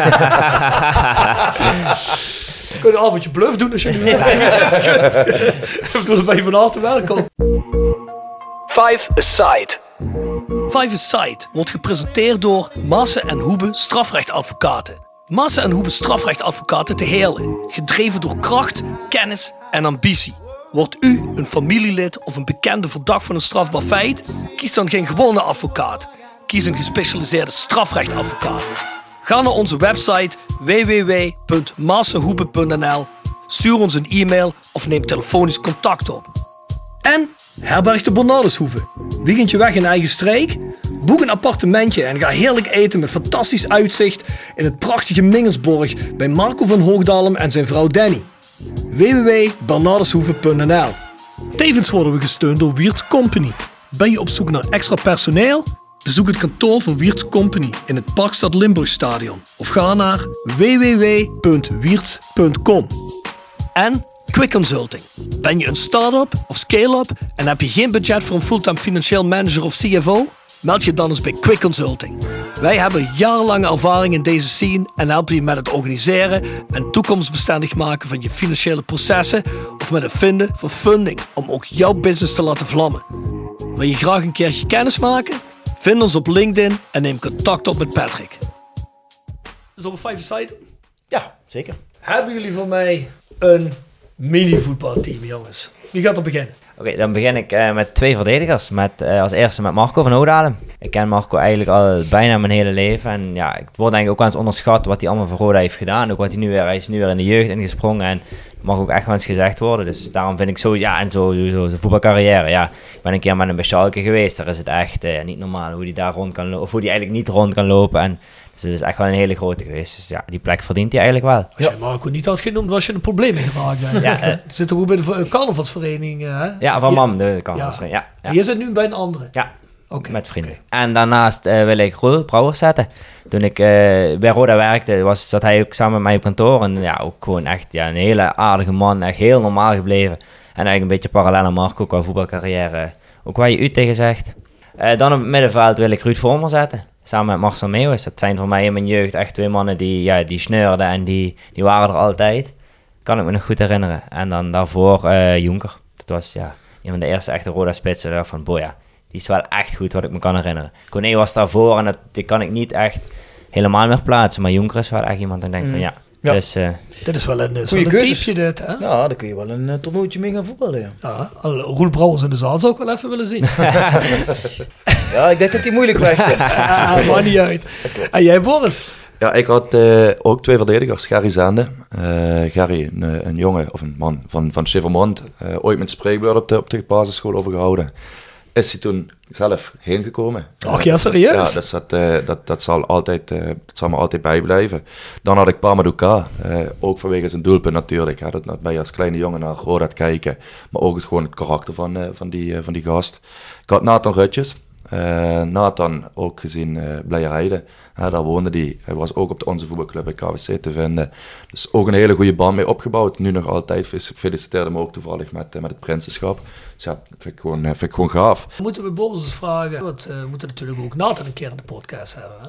Speaker 8: We kunnen een avondje bluff doen als jullie willen. *laughs* Ik bedoel, dan ben je van harte welkom. Five Aside. Five Aside wordt gepresenteerd door Maassen en Hoebe strafrechtadvocaten. Maassen en Hoebe strafrechtadvocaten te Heerlen. Gedreven door kracht, kennis en ambitie. Wordt u een familielid of een bekende verdacht van een strafbaar feit? Kies dan geen gewone advocaat. Kies een gespecialiseerde strafrechtadvocaat. Ga naar onze website www.massenhoebe.nl. Stuur ons een e-mail of neem telefonisch contact op. En Herberg de Bernardeshoeve. Weekendje weg in eigen streek? Boek een appartementje en ga heerlijk eten met fantastisch uitzicht in het prachtige Mingelsborg bij Marco van Hoogdalem en zijn vrouw Danny. www.bernardeshoeve.nl Tevens worden we gesteund door Wiert's Company. Ben je op zoek naar extra personeel? Bezoek het kantoor van Wiert's Company in het Parkstad Limburgstadion of ga naar www.wiert.com. En Quick Consulting. Ben je een start-up of scale-up en heb je geen budget voor een fulltime financieel manager of CFO? Meld je dan eens bij Quick Consulting. Wij hebben jarenlange ervaring in deze scene en helpen je met het organiseren en toekomstbestendig maken van je financiële processen of met het vinden van funding om ook jouw business te laten vlammen. Wil je graag een keertje kennis maken? Vind ons op LinkedIn en neem contact op met Patrick. Zullen we Five Side doen?
Speaker 5: Ja, zeker.
Speaker 8: Hebben jullie voor mij een mini-voetbalteam, jongens? Wie gaat er beginnen?
Speaker 7: Oké, dan begin ik eh, met twee verdedigers. Met, eh, als eerste met Marco van Oudalem. Ik ken Marco eigenlijk al bijna mijn hele leven. En ja, ik word denk ik ook wel eens onderschat wat hij allemaal voor Roda heeft gedaan. Ook wat hij nu weer, hij is nu weer in de jeugd ingesprongen. En dat mag ook echt wel eens gezegd worden. Dus daarom vind ik zo, ja, en zo, zo, zo zijn voetbalcarrière. Ja, ik ben een keer met een Schalke geweest. Daar is het echt eh, niet normaal hoe hij daar rond kan lopen. Of hoe hij eigenlijk niet rond kan lopen. En dus het is echt wel een hele grote geweest. Dus ja, die plek verdient hij eigenlijk wel.
Speaker 8: Als je Marco niet had genoemd, was je een probleem in geraakt. *laughs*
Speaker 7: Ja, eh.
Speaker 8: Zit toch ook bij de eh, carnavalsvereniging, eh, hè?
Speaker 7: Ja, van Mam, de kan
Speaker 8: Ja.
Speaker 7: ja. ja, ja.
Speaker 8: Je zit nu bij een andere.
Speaker 7: ja.
Speaker 8: Oké.
Speaker 7: met vrienden.
Speaker 8: oké.
Speaker 7: En daarnaast eh, wil ik Roel Brouwer zetten. Toen ik eh, bij Roda werkte, was, zat hij ook samen met mij op kantoor. En ja, ook gewoon echt ja, een hele aardige man. Echt heel normaal gebleven. En eigenlijk een beetje parallel aan Marco qua voetbalcarrière. Ook waar je u tegen zegt. Eh, dan op het middenveld wil ik Ruud Vormer zetten. Samen met Marcel Meeuwis. Dat zijn voor mij in mijn jeugd echt twee mannen die, ja, die sneurden en die, die waren er altijd. Kan ik me nog goed herinneren. En dan daarvoor eh, Jonker. Dat was ja, een van de eerste echte Roda spitsen. Daar dacht ik van, boy ja, die is wel echt goed wat ik me kan herinneren. Kone was daarvoor en dat, die kan ik niet echt helemaal meer plaatsen. Maar Jonker is wel echt iemand dan denk ik van ja.
Speaker 5: Ja.
Speaker 7: Dus eh,
Speaker 8: Dit is wel een, is wel
Speaker 5: Goeie
Speaker 8: Dus een
Speaker 5: keuzes.
Speaker 8: typeje dit, hè?
Speaker 5: Ja, dan kun je wel een eh, toernooitje mee gaan voetballen, ja.
Speaker 8: Ja, al- eh, Roel Brouwers in de zaal zou ik wel even
Speaker 7: *laughs*
Speaker 8: willen zien. *laughs*
Speaker 5: Ja, ik denk dat die moeilijk weg *laughs* bent.
Speaker 8: Ah, Maakt niet
Speaker 7: *laughs*
Speaker 8: uit. En jij, Boris?
Speaker 9: Ja, ik had eh, ook twee verdedigers, Gary Zaande. Eh, Gary, een, eh, een jongen of een man van, van Chevermond, eh, ooit met spreekbeurt op de, op de basisschool overgehouden. Is hij toen zelf heen gekomen.
Speaker 8: Ach ja, serieus?
Speaker 9: Ja, dus dat, eh, dat, dat, zal altijd, eh, dat zal me altijd bijblijven. Dan had ik Pamaduka, eh ook vanwege zijn doelpunt natuurlijk. Hè, dat, dat ben je als kleine jongen naar hoor dat kijken. Maar ook het, gewoon het karakter van, eh, van, die, eh, van die gast. Ik had Nathan Rutjes. Eh, Nathan, ook gezien eh Blijerheide, hè, daar woonde hij. Hij was ook op de onze voetbalclub bij KWC te vinden. Dus ook een hele goede band mee opgebouwd. Nu nog altijd. Fe- Feliciteerde me ook toevallig met, eh, met het prinsenschap. Dus ja, vind ik gewoon, eh, vind ik gewoon gaaf.
Speaker 8: Moeten we Boris eens vragen? Want eh, we moeten natuurlijk ook Nathan een keer in de podcast hebben. Hè?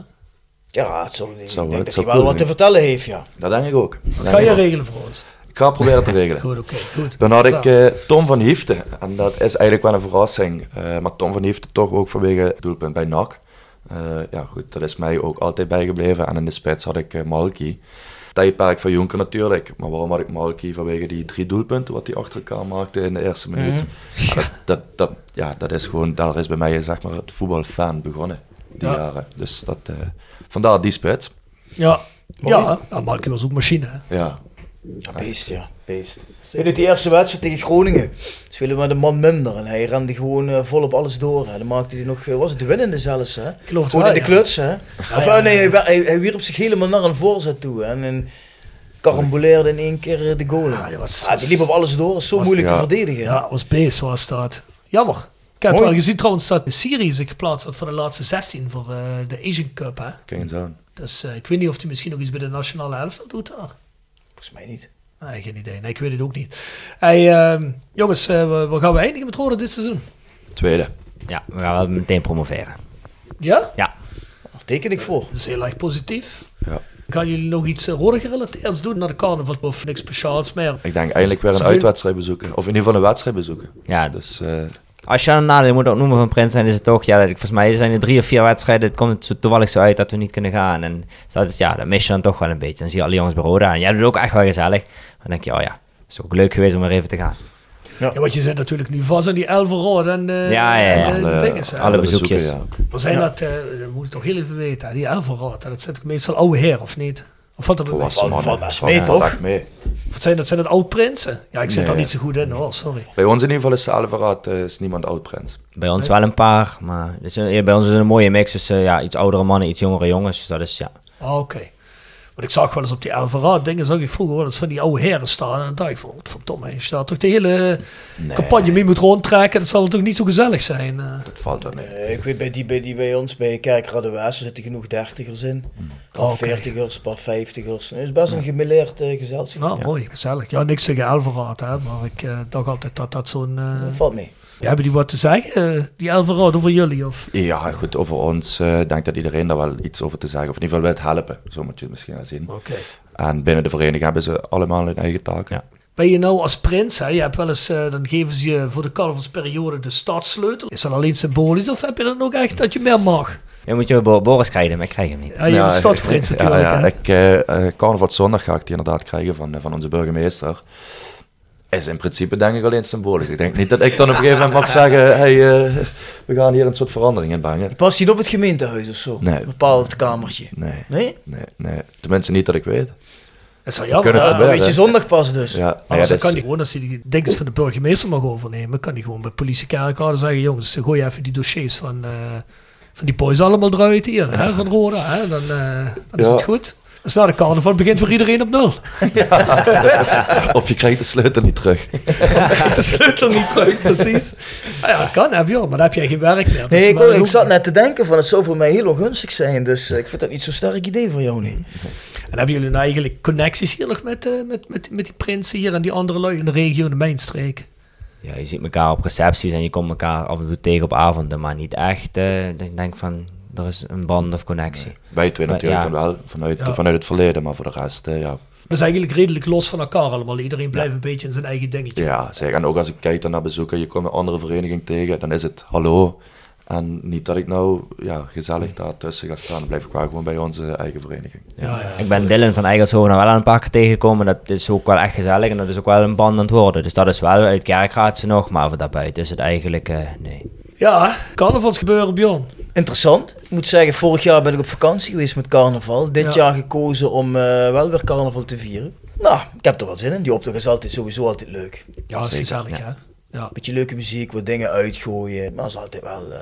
Speaker 5: Ja, het zal, ik
Speaker 9: Zou-
Speaker 5: denk
Speaker 9: het
Speaker 5: dat
Speaker 9: zou
Speaker 5: hij
Speaker 9: cool
Speaker 5: wel wat te
Speaker 9: zijn.
Speaker 5: vertellen heeft, ja.
Speaker 9: Dat denk ik ook. Dat denk
Speaker 8: Dat ga
Speaker 9: ik
Speaker 8: jij
Speaker 9: ook.
Speaker 8: regelen voor ons.
Speaker 9: Ik ga proberen te
Speaker 8: *laughs*
Speaker 9: regelen.
Speaker 8: Goed, oké. goed.
Speaker 9: Dan had ik
Speaker 8: Klaar.
Speaker 9: eh, Tom van Hiefte. En dat is eigenlijk wel een verrassing. Eh, maar Tom van Hiefte toch ook vanwege het doelpunt bij NAC. Eh, ja, goed, dat is mij ook altijd bijgebleven. En in de spits had ik eh, Malki. Tijdperk van Jonker natuurlijk. Maar waarom had ik Malki? Vanwege die drie doelpunten wat hij achter elkaar maakte in de eerste minuut. Ja, dat, dat, dat, ja, dat is gewoon, daar is bij mij zeg maar, het voetbalfan begonnen. Die
Speaker 8: Ja.
Speaker 9: jaren. Dus dat, eh, vandaar die spits.
Speaker 8: Ja, ja, ja Markie was ook machine. Hè?
Speaker 9: Ja,
Speaker 5: Ja, beest, ja. Beest. In die eerste wedstrijd tegen Groningen spelen we met een man minder. En hij rende gewoon eh, volop alles door. Hè. Dan maakte hij nog, eh, was het de winnende zelfs, hè?
Speaker 8: geloof het
Speaker 5: gewoon
Speaker 8: wel,
Speaker 5: in de
Speaker 8: ja.
Speaker 5: kluts, hè? of eh, nee, hij, hij, hij wierp zich helemaal naar een voorzet toe. Hè. En, en karamboleerde in één keer eh, de goal.
Speaker 8: Ja, die was-
Speaker 5: Ah, die liep op alles door, is zo moeilijk
Speaker 9: ja.
Speaker 5: te verdedigen. hè.
Speaker 8: Ja, was beest was dat. Jammer. Ik heb het
Speaker 5: Mooi.
Speaker 8: wel gezien trouwens dat Syrië zich geplaatst had voor de laatste 16 voor eh, de Asian Cup. Hè?
Speaker 9: kijk eens aan.
Speaker 8: Dus eh, ik weet niet of hij misschien nog iets bij de nationale helft doet daar.
Speaker 5: Volgens mij niet.
Speaker 8: Nee, geen idee. Nee, ik weet het ook niet. Hey, ehm, jongens, eh, we- waar gaan we eindigen met Roda dit seizoen?
Speaker 9: Tweede.
Speaker 7: ja, we gaan wel meteen promoveren.
Speaker 8: Ja?
Speaker 7: Ja,
Speaker 5: Daar teken ik voor.
Speaker 8: Dat is heel erg positief.
Speaker 9: Ja.
Speaker 8: Gaan jullie nog iets eh, Roda gerelateerds doen naar de carnaval of niks speciaals meer?
Speaker 9: Ik denk eigenlijk weer een
Speaker 8: Zoveel-
Speaker 9: uitwedstrijd bezoeken. Of in ieder geval een wedstrijd bezoeken.
Speaker 7: ja
Speaker 9: Dus eh,
Speaker 7: Als je een nadeel moet opnoemen van Prins, dan is het toch, ja, dat ik, volgens mij zijn er drie of vier wedstrijden. Het komt zo toevallig zo uit dat we niet kunnen gaan. En dat is, ja, dat mis je dan toch wel een beetje. Dan zie je alle jongens bij Roda. En jij doet het ook echt wel gezellig. Dan denk je, oh ja, is ook leuk geweest om er even te gaan.
Speaker 8: Ja, want je zit natuurlijk nu vast aan die Elver Roda en eh,
Speaker 7: Ja, ja, ja.
Speaker 8: en, eh, de
Speaker 9: alle-
Speaker 8: dinges, hè.
Speaker 7: alle bezoekjes.
Speaker 9: bezoeken,
Speaker 8: Maar zijn dat, eh, dat moet ik toch heel even weten, hè, die Elverrad, dat zit meestal oude heer, of niet? Of valt dat wel mee?
Speaker 9: Volwassen
Speaker 5: Valt-
Speaker 9: mannen.
Speaker 5: valt best mee,
Speaker 9: Ja,
Speaker 5: toch?
Speaker 9: echt mee.
Speaker 8: Wat zijn dat? Zijn dat oud-prinsen? Ja, ik zit
Speaker 9: Nee,
Speaker 8: daar
Speaker 9: ja.
Speaker 8: niet zo goed in hoor, sorry.
Speaker 9: Bij ons in ieder geval is de Alverraad eh, is niemand oud-prins.
Speaker 7: Bij ons wel een paar, maar het is een- ja, bij ons is het een mooie mix tussen ja, iets oudere mannen, iets jongere jongens. Dus dat is ja.
Speaker 8: Ah, Oké. Want ik zag wel eens op die Alvarado dingen, zag ik vroeger wel eens van die oude heren staan. En dan dacht ik van, wat verdomme, als je daar toch de hele campagne mee moet rondtrekken, dat zal wel toch niet zo gezellig zijn. eh.
Speaker 9: Dat valt wel mee.
Speaker 5: Ik weet bij die bij, die bij ons, bij Kerk Raddewaas, er zitten genoeg dertigers in. Paar
Speaker 8: Hmm. Oh, Oké.
Speaker 5: veertigers, paar vijftigers. Het is best een gemêleerd eh, gezelschap.
Speaker 8: nou, mooi, gezellig. Ja, niks tegen Alvarado, hè, maar ik eh, dacht altijd dat dat zo'n... eh,
Speaker 5: Dat valt mee.
Speaker 8: hebben die wat te zeggen, eh, die Alvarado, voor jullie? Of?
Speaker 9: Ja, goed, over ons eh, ik denk dat iedereen daar wel iets over te zeggen, of in ieder geval wil helpen. Zo moet je het misschien wel zien.
Speaker 8: Oké.
Speaker 9: En binnen de vereniging hebben ze allemaal hun eigen taken.
Speaker 7: Ja.
Speaker 8: Ben je nou als prins, hè, je hebt wel eens, eh, dan geven ze je voor de carnavalsperiode de stadssleutel. Is dat alleen symbolisch of heb je dan ook echt dat je meer mag?
Speaker 7: Je moet je wel Bo- Boris krijgen, maar ik krijg hem niet.
Speaker 8: Ja, je bent stadsprins
Speaker 9: eh, *laughs* ja,
Speaker 8: natuurlijk.
Speaker 9: Ja,
Speaker 8: hè.
Speaker 9: ik, eh, eh, carnaval zondag ga ik die inderdaad krijgen van, eh, van onze burgemeester. Is in principe denk ik alleen symbolisch. Ik denk niet dat ik dan op een gegeven moment mag zeggen, hey, eh, we gaan hier een soort verandering in brengen.
Speaker 5: Past hij op het gemeentehuis of zo?
Speaker 9: Nee.
Speaker 5: Een bepaald kamertje.
Speaker 9: Nee,
Speaker 5: Nee?
Speaker 9: nee, nee. Tenminste niet dat ik weet.
Speaker 8: Dat zou jammer
Speaker 9: kunnen
Speaker 8: hè.
Speaker 9: het
Speaker 5: Ah,
Speaker 9: wel,
Speaker 5: weet je,
Speaker 9: hè.
Speaker 5: zondag pas dus.
Speaker 9: Ja, nou ja,
Speaker 8: Anders dan
Speaker 9: dat
Speaker 8: kan
Speaker 9: is-
Speaker 8: hij gewoon, als hij die dinges van de burgemeester mag overnemen, kan hij gewoon bij politiekerkraden zeggen, jongens, gooi even die dossiers van, eh, van die boys allemaal eruit hier, hè, van Roda. Hè, dan eh, dan is
Speaker 9: Ja.
Speaker 8: het goed. Dus na de carnaval begint weer iedereen op nul. *laughs*
Speaker 9: *laughs* Of je krijgt de sleutel niet terug.
Speaker 8: de sleutel niet terug, precies. Nou ja, dat kan, heb je, hoor, maar dan heb jij geen werk meer.
Speaker 5: Nee,
Speaker 8: Dus,
Speaker 5: ik,
Speaker 8: maar
Speaker 5: wou- ik
Speaker 8: goed.
Speaker 5: zat net te denken van het zou voor mij heel ongunstig zijn, dus eh, ik vind dat niet zo'n sterk idee voor jou, nee.
Speaker 8: En hebben jullie nou eigenlijk connecties hier nog met, eh, met, met, met die prinsen hier en die andere lui in de regio, in de mijnstreek?
Speaker 7: Ja, je ziet elkaar op recepties en je komt elkaar af en toe tegen op avonden, maar niet echt. eh, dat ik denk van, er is een band of connectie.
Speaker 9: Wij twee
Speaker 7: Maar
Speaker 9: natuurlijk
Speaker 7: ja.
Speaker 9: dan wel, vanuit,
Speaker 8: Ja.
Speaker 9: vanuit het verleden, maar voor de rest, eh, ja.
Speaker 8: Dat is eigenlijk redelijk los van elkaar allemaal. Iedereen blijft een beetje in zijn eigen dingetje.
Speaker 9: Ja, zeg. En ook als ik kijk dan naar bezoeken, je komt een andere vereniging tegen, dan is het hallo. En niet dat ik nou ja, gezellig daar tussen ga staan, dan blijf ik wel gewoon bij onze eigen vereniging.
Speaker 8: Ja, ja.
Speaker 7: Ik ben Dylan van Eigelshoven nou wel aan een paar keer tegengekomen. Dat is ook wel echt gezellig en dat is ook wel een band aan het worden. Dus dat is wel uit kerkraad ze nog, maar voor daarbuiten is het eigenlijk, eh, nee.
Speaker 8: Ja, carnavals gebeuren, Bjorn.
Speaker 5: Interessant. Ik moet zeggen, vorig jaar ben ik op vakantie geweest met carnaval. Dit
Speaker 8: Ja.
Speaker 5: jaar gekozen om eh, wel weer carnaval te vieren. Nou, ik heb er wel zin in. Die optocht is altijd, sowieso altijd leuk.
Speaker 8: Ja, dat is
Speaker 9: Zeker,
Speaker 8: gezellig, hè? Ja.
Speaker 5: Beetje leuke muziek, wat dingen uitgooien. Maar dat is altijd wel... eh,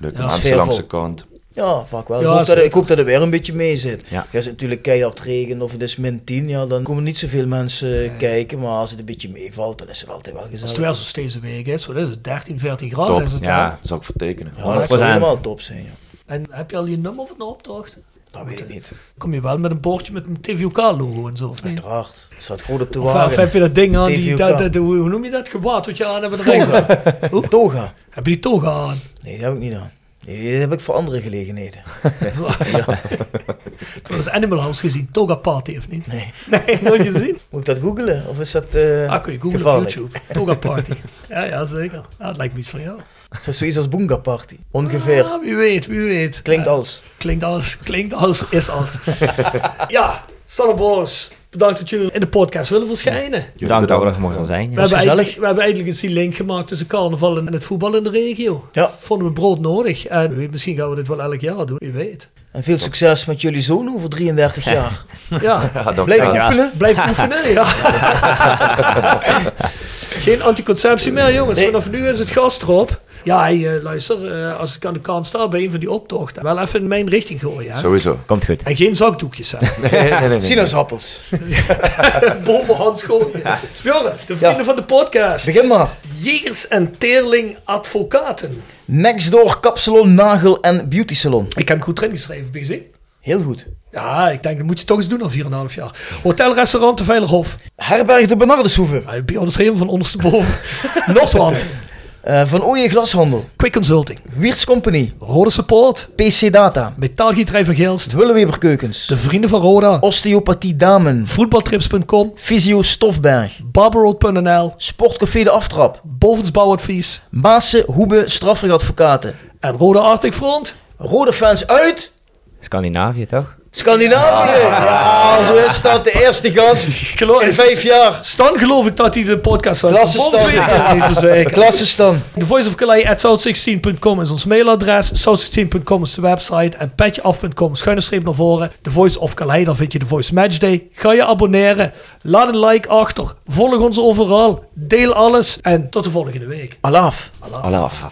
Speaker 9: Leuke
Speaker 8: Ja,
Speaker 9: mensen
Speaker 5: sfeervol.
Speaker 9: langs de kant.
Speaker 8: Oh,
Speaker 5: ja, vaak wel.
Speaker 8: Ja,
Speaker 5: ik, hoop dat,
Speaker 8: zeker.
Speaker 5: ik hoop dat er weer een beetje mee zit.
Speaker 7: Ja.
Speaker 5: Als het natuurlijk keihard regen of het is min 10, ja, dan komen niet zoveel mensen kijken. Maar als het een beetje meevalt, dan is het altijd wel
Speaker 8: Als
Speaker 5: gezellig.
Speaker 8: het weer zo steeds een week is, wat is het, 13, 14 graden
Speaker 9: Top.
Speaker 8: is het
Speaker 7: Ja.
Speaker 8: hè?
Speaker 9: Zou ik vertekenen.
Speaker 5: Ja, dat zou
Speaker 7: 100%.
Speaker 5: helemaal top zijn. Ja.
Speaker 8: En heb je al je nummer van de optocht?
Speaker 5: Dat weet ik niet.
Speaker 8: Kom je wel met een bordje met een TVOK-logo en zo, of niet?
Speaker 5: Uiteraard. Het staat groot op de
Speaker 8: Of, of
Speaker 5: wagen.
Speaker 8: heb je dat ding aan, die,
Speaker 5: TVOK.
Speaker 8: dat, dat- hoe hoe noem je dat gewaad wat je aan hebt met de regel?
Speaker 5: Toga.
Speaker 8: Heb je die toga aan?
Speaker 5: Nee, dat heb ik niet aan. Nee, die heb ik voor
Speaker 8: *laughs*
Speaker 5: andere gelegenheden.
Speaker 8: Dat is Animal House gezien, toga party of niet?
Speaker 5: Nee.
Speaker 8: Nee, nooit gezien?
Speaker 5: Moet ik dat googelen? Of is dat eh
Speaker 8: Ah, kun je googlen op
Speaker 5: gevaarlijk?
Speaker 8: YouTube. Toga party. Ja, ja, zeker. Ja, het lijkt me iets van jou.
Speaker 5: Is dat zoiets als Boonga Party? Ongeveer.
Speaker 8: Ah, wie weet, wie weet.
Speaker 5: Klinkt
Speaker 8: Ja.
Speaker 5: als.
Speaker 8: Klinkt alles, klinkt alles, is
Speaker 5: *laughs*
Speaker 8: alles. ja, Sanne Boris, bedankt dat jullie in de podcast willen verschijnen.
Speaker 7: Bedankt dat we er mochten zijn.
Speaker 8: We
Speaker 7: ja.
Speaker 8: hebben,
Speaker 5: gezellig.
Speaker 8: eigenlijk, we hebben eigenlijk eens die link gemaakt tussen carnaval en het voetbal in de regio.
Speaker 5: Ja.
Speaker 8: Vonden we brood nodig. En wie weet, misschien gaan we dit wel elk jaar doen, wie weet.
Speaker 5: En veel succes met jullie zoon over 33
Speaker 9: *laughs*
Speaker 5: jaar. *laughs*
Speaker 8: Ja,
Speaker 9: Ja, dank
Speaker 5: Blijf
Speaker 9: je wel.
Speaker 5: oefenen.
Speaker 8: blijf *laughs* oefenen, ja. Geen anticonceptie meer, jongens. Vanaf nu is het gas erop. Ja, hey, eh, luister, eh, als ik aan de kant sta bij een van die optochten, wel even in mijn richting gooien. Hè?
Speaker 9: Sowieso.
Speaker 7: Komt goed.
Speaker 8: En geen zakdoekjes, hè. *laughs*
Speaker 9: Nee, nee, nee, nee, nee.
Speaker 5: Sinaasappels.
Speaker 8: bovenhand gooien. Bjorn, de vrienden
Speaker 5: Ja.
Speaker 8: van de podcast.
Speaker 5: Begin maar.
Speaker 8: Jegers en Teerling Advocaten.
Speaker 5: Nextdoor Kapsalon, Nagel en Beauty Salon.
Speaker 8: Ik heb hem goed erin geschreven, heb je gezien?
Speaker 5: Heel goed.
Speaker 8: Ja, ik denk dat moet je toch eens doen na 4,5 jaar. Hotelrestaurant de Veilerhof.
Speaker 5: Herberg de Bernardeshoeve.
Speaker 8: *laughs* Ja, Bjorn is helemaal van ondersteboven. Noordwand.
Speaker 5: Eh, van Ooyen Glashandel.
Speaker 8: Quick Consulting.
Speaker 5: Wiertz Company.
Speaker 8: Rode Support.
Speaker 5: PC Data.
Speaker 8: Metaalgieterij van Geelst.
Speaker 5: Dwulleweber Keukens.
Speaker 8: De Vrienden van Roda.
Speaker 5: Osteopathie Damen.
Speaker 8: Voetbaltrips.com.
Speaker 5: Fysio Stofberg.
Speaker 8: Barbaroad.nl.
Speaker 5: Sportcafé De Aftrap.
Speaker 8: Bovensbouwadvies.
Speaker 5: Maassen, Hoebe, strafrechtadvocaten.
Speaker 8: En Roda Arctic Front.
Speaker 5: Rode fans uit.
Speaker 7: Scandinavië toch?
Speaker 10: Scandinavië! Ja, zo is dat. De eerste gast
Speaker 8: Geloof-
Speaker 10: in vijf jaar.
Speaker 8: Stan geloof ik dat hij de podcast had.
Speaker 10: Klasse
Speaker 8: verbonden
Speaker 10: Stan. *laughs*
Speaker 8: weer in deze week.
Speaker 10: Klassenstan.
Speaker 8: The Voice of Calais at south16.com is ons mailadres. South16.com is de website. En petjeaf.com, schuine streep naar voren. The Voice of Calais, daar vind je de Voice Matchday. Ga je abonneren. Laat een like achter. Volg ons overal. Deel alles. En tot de volgende week.
Speaker 5: Alaf.
Speaker 9: Alaaf.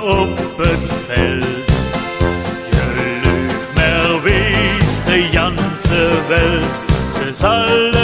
Speaker 11: Welt, ze zal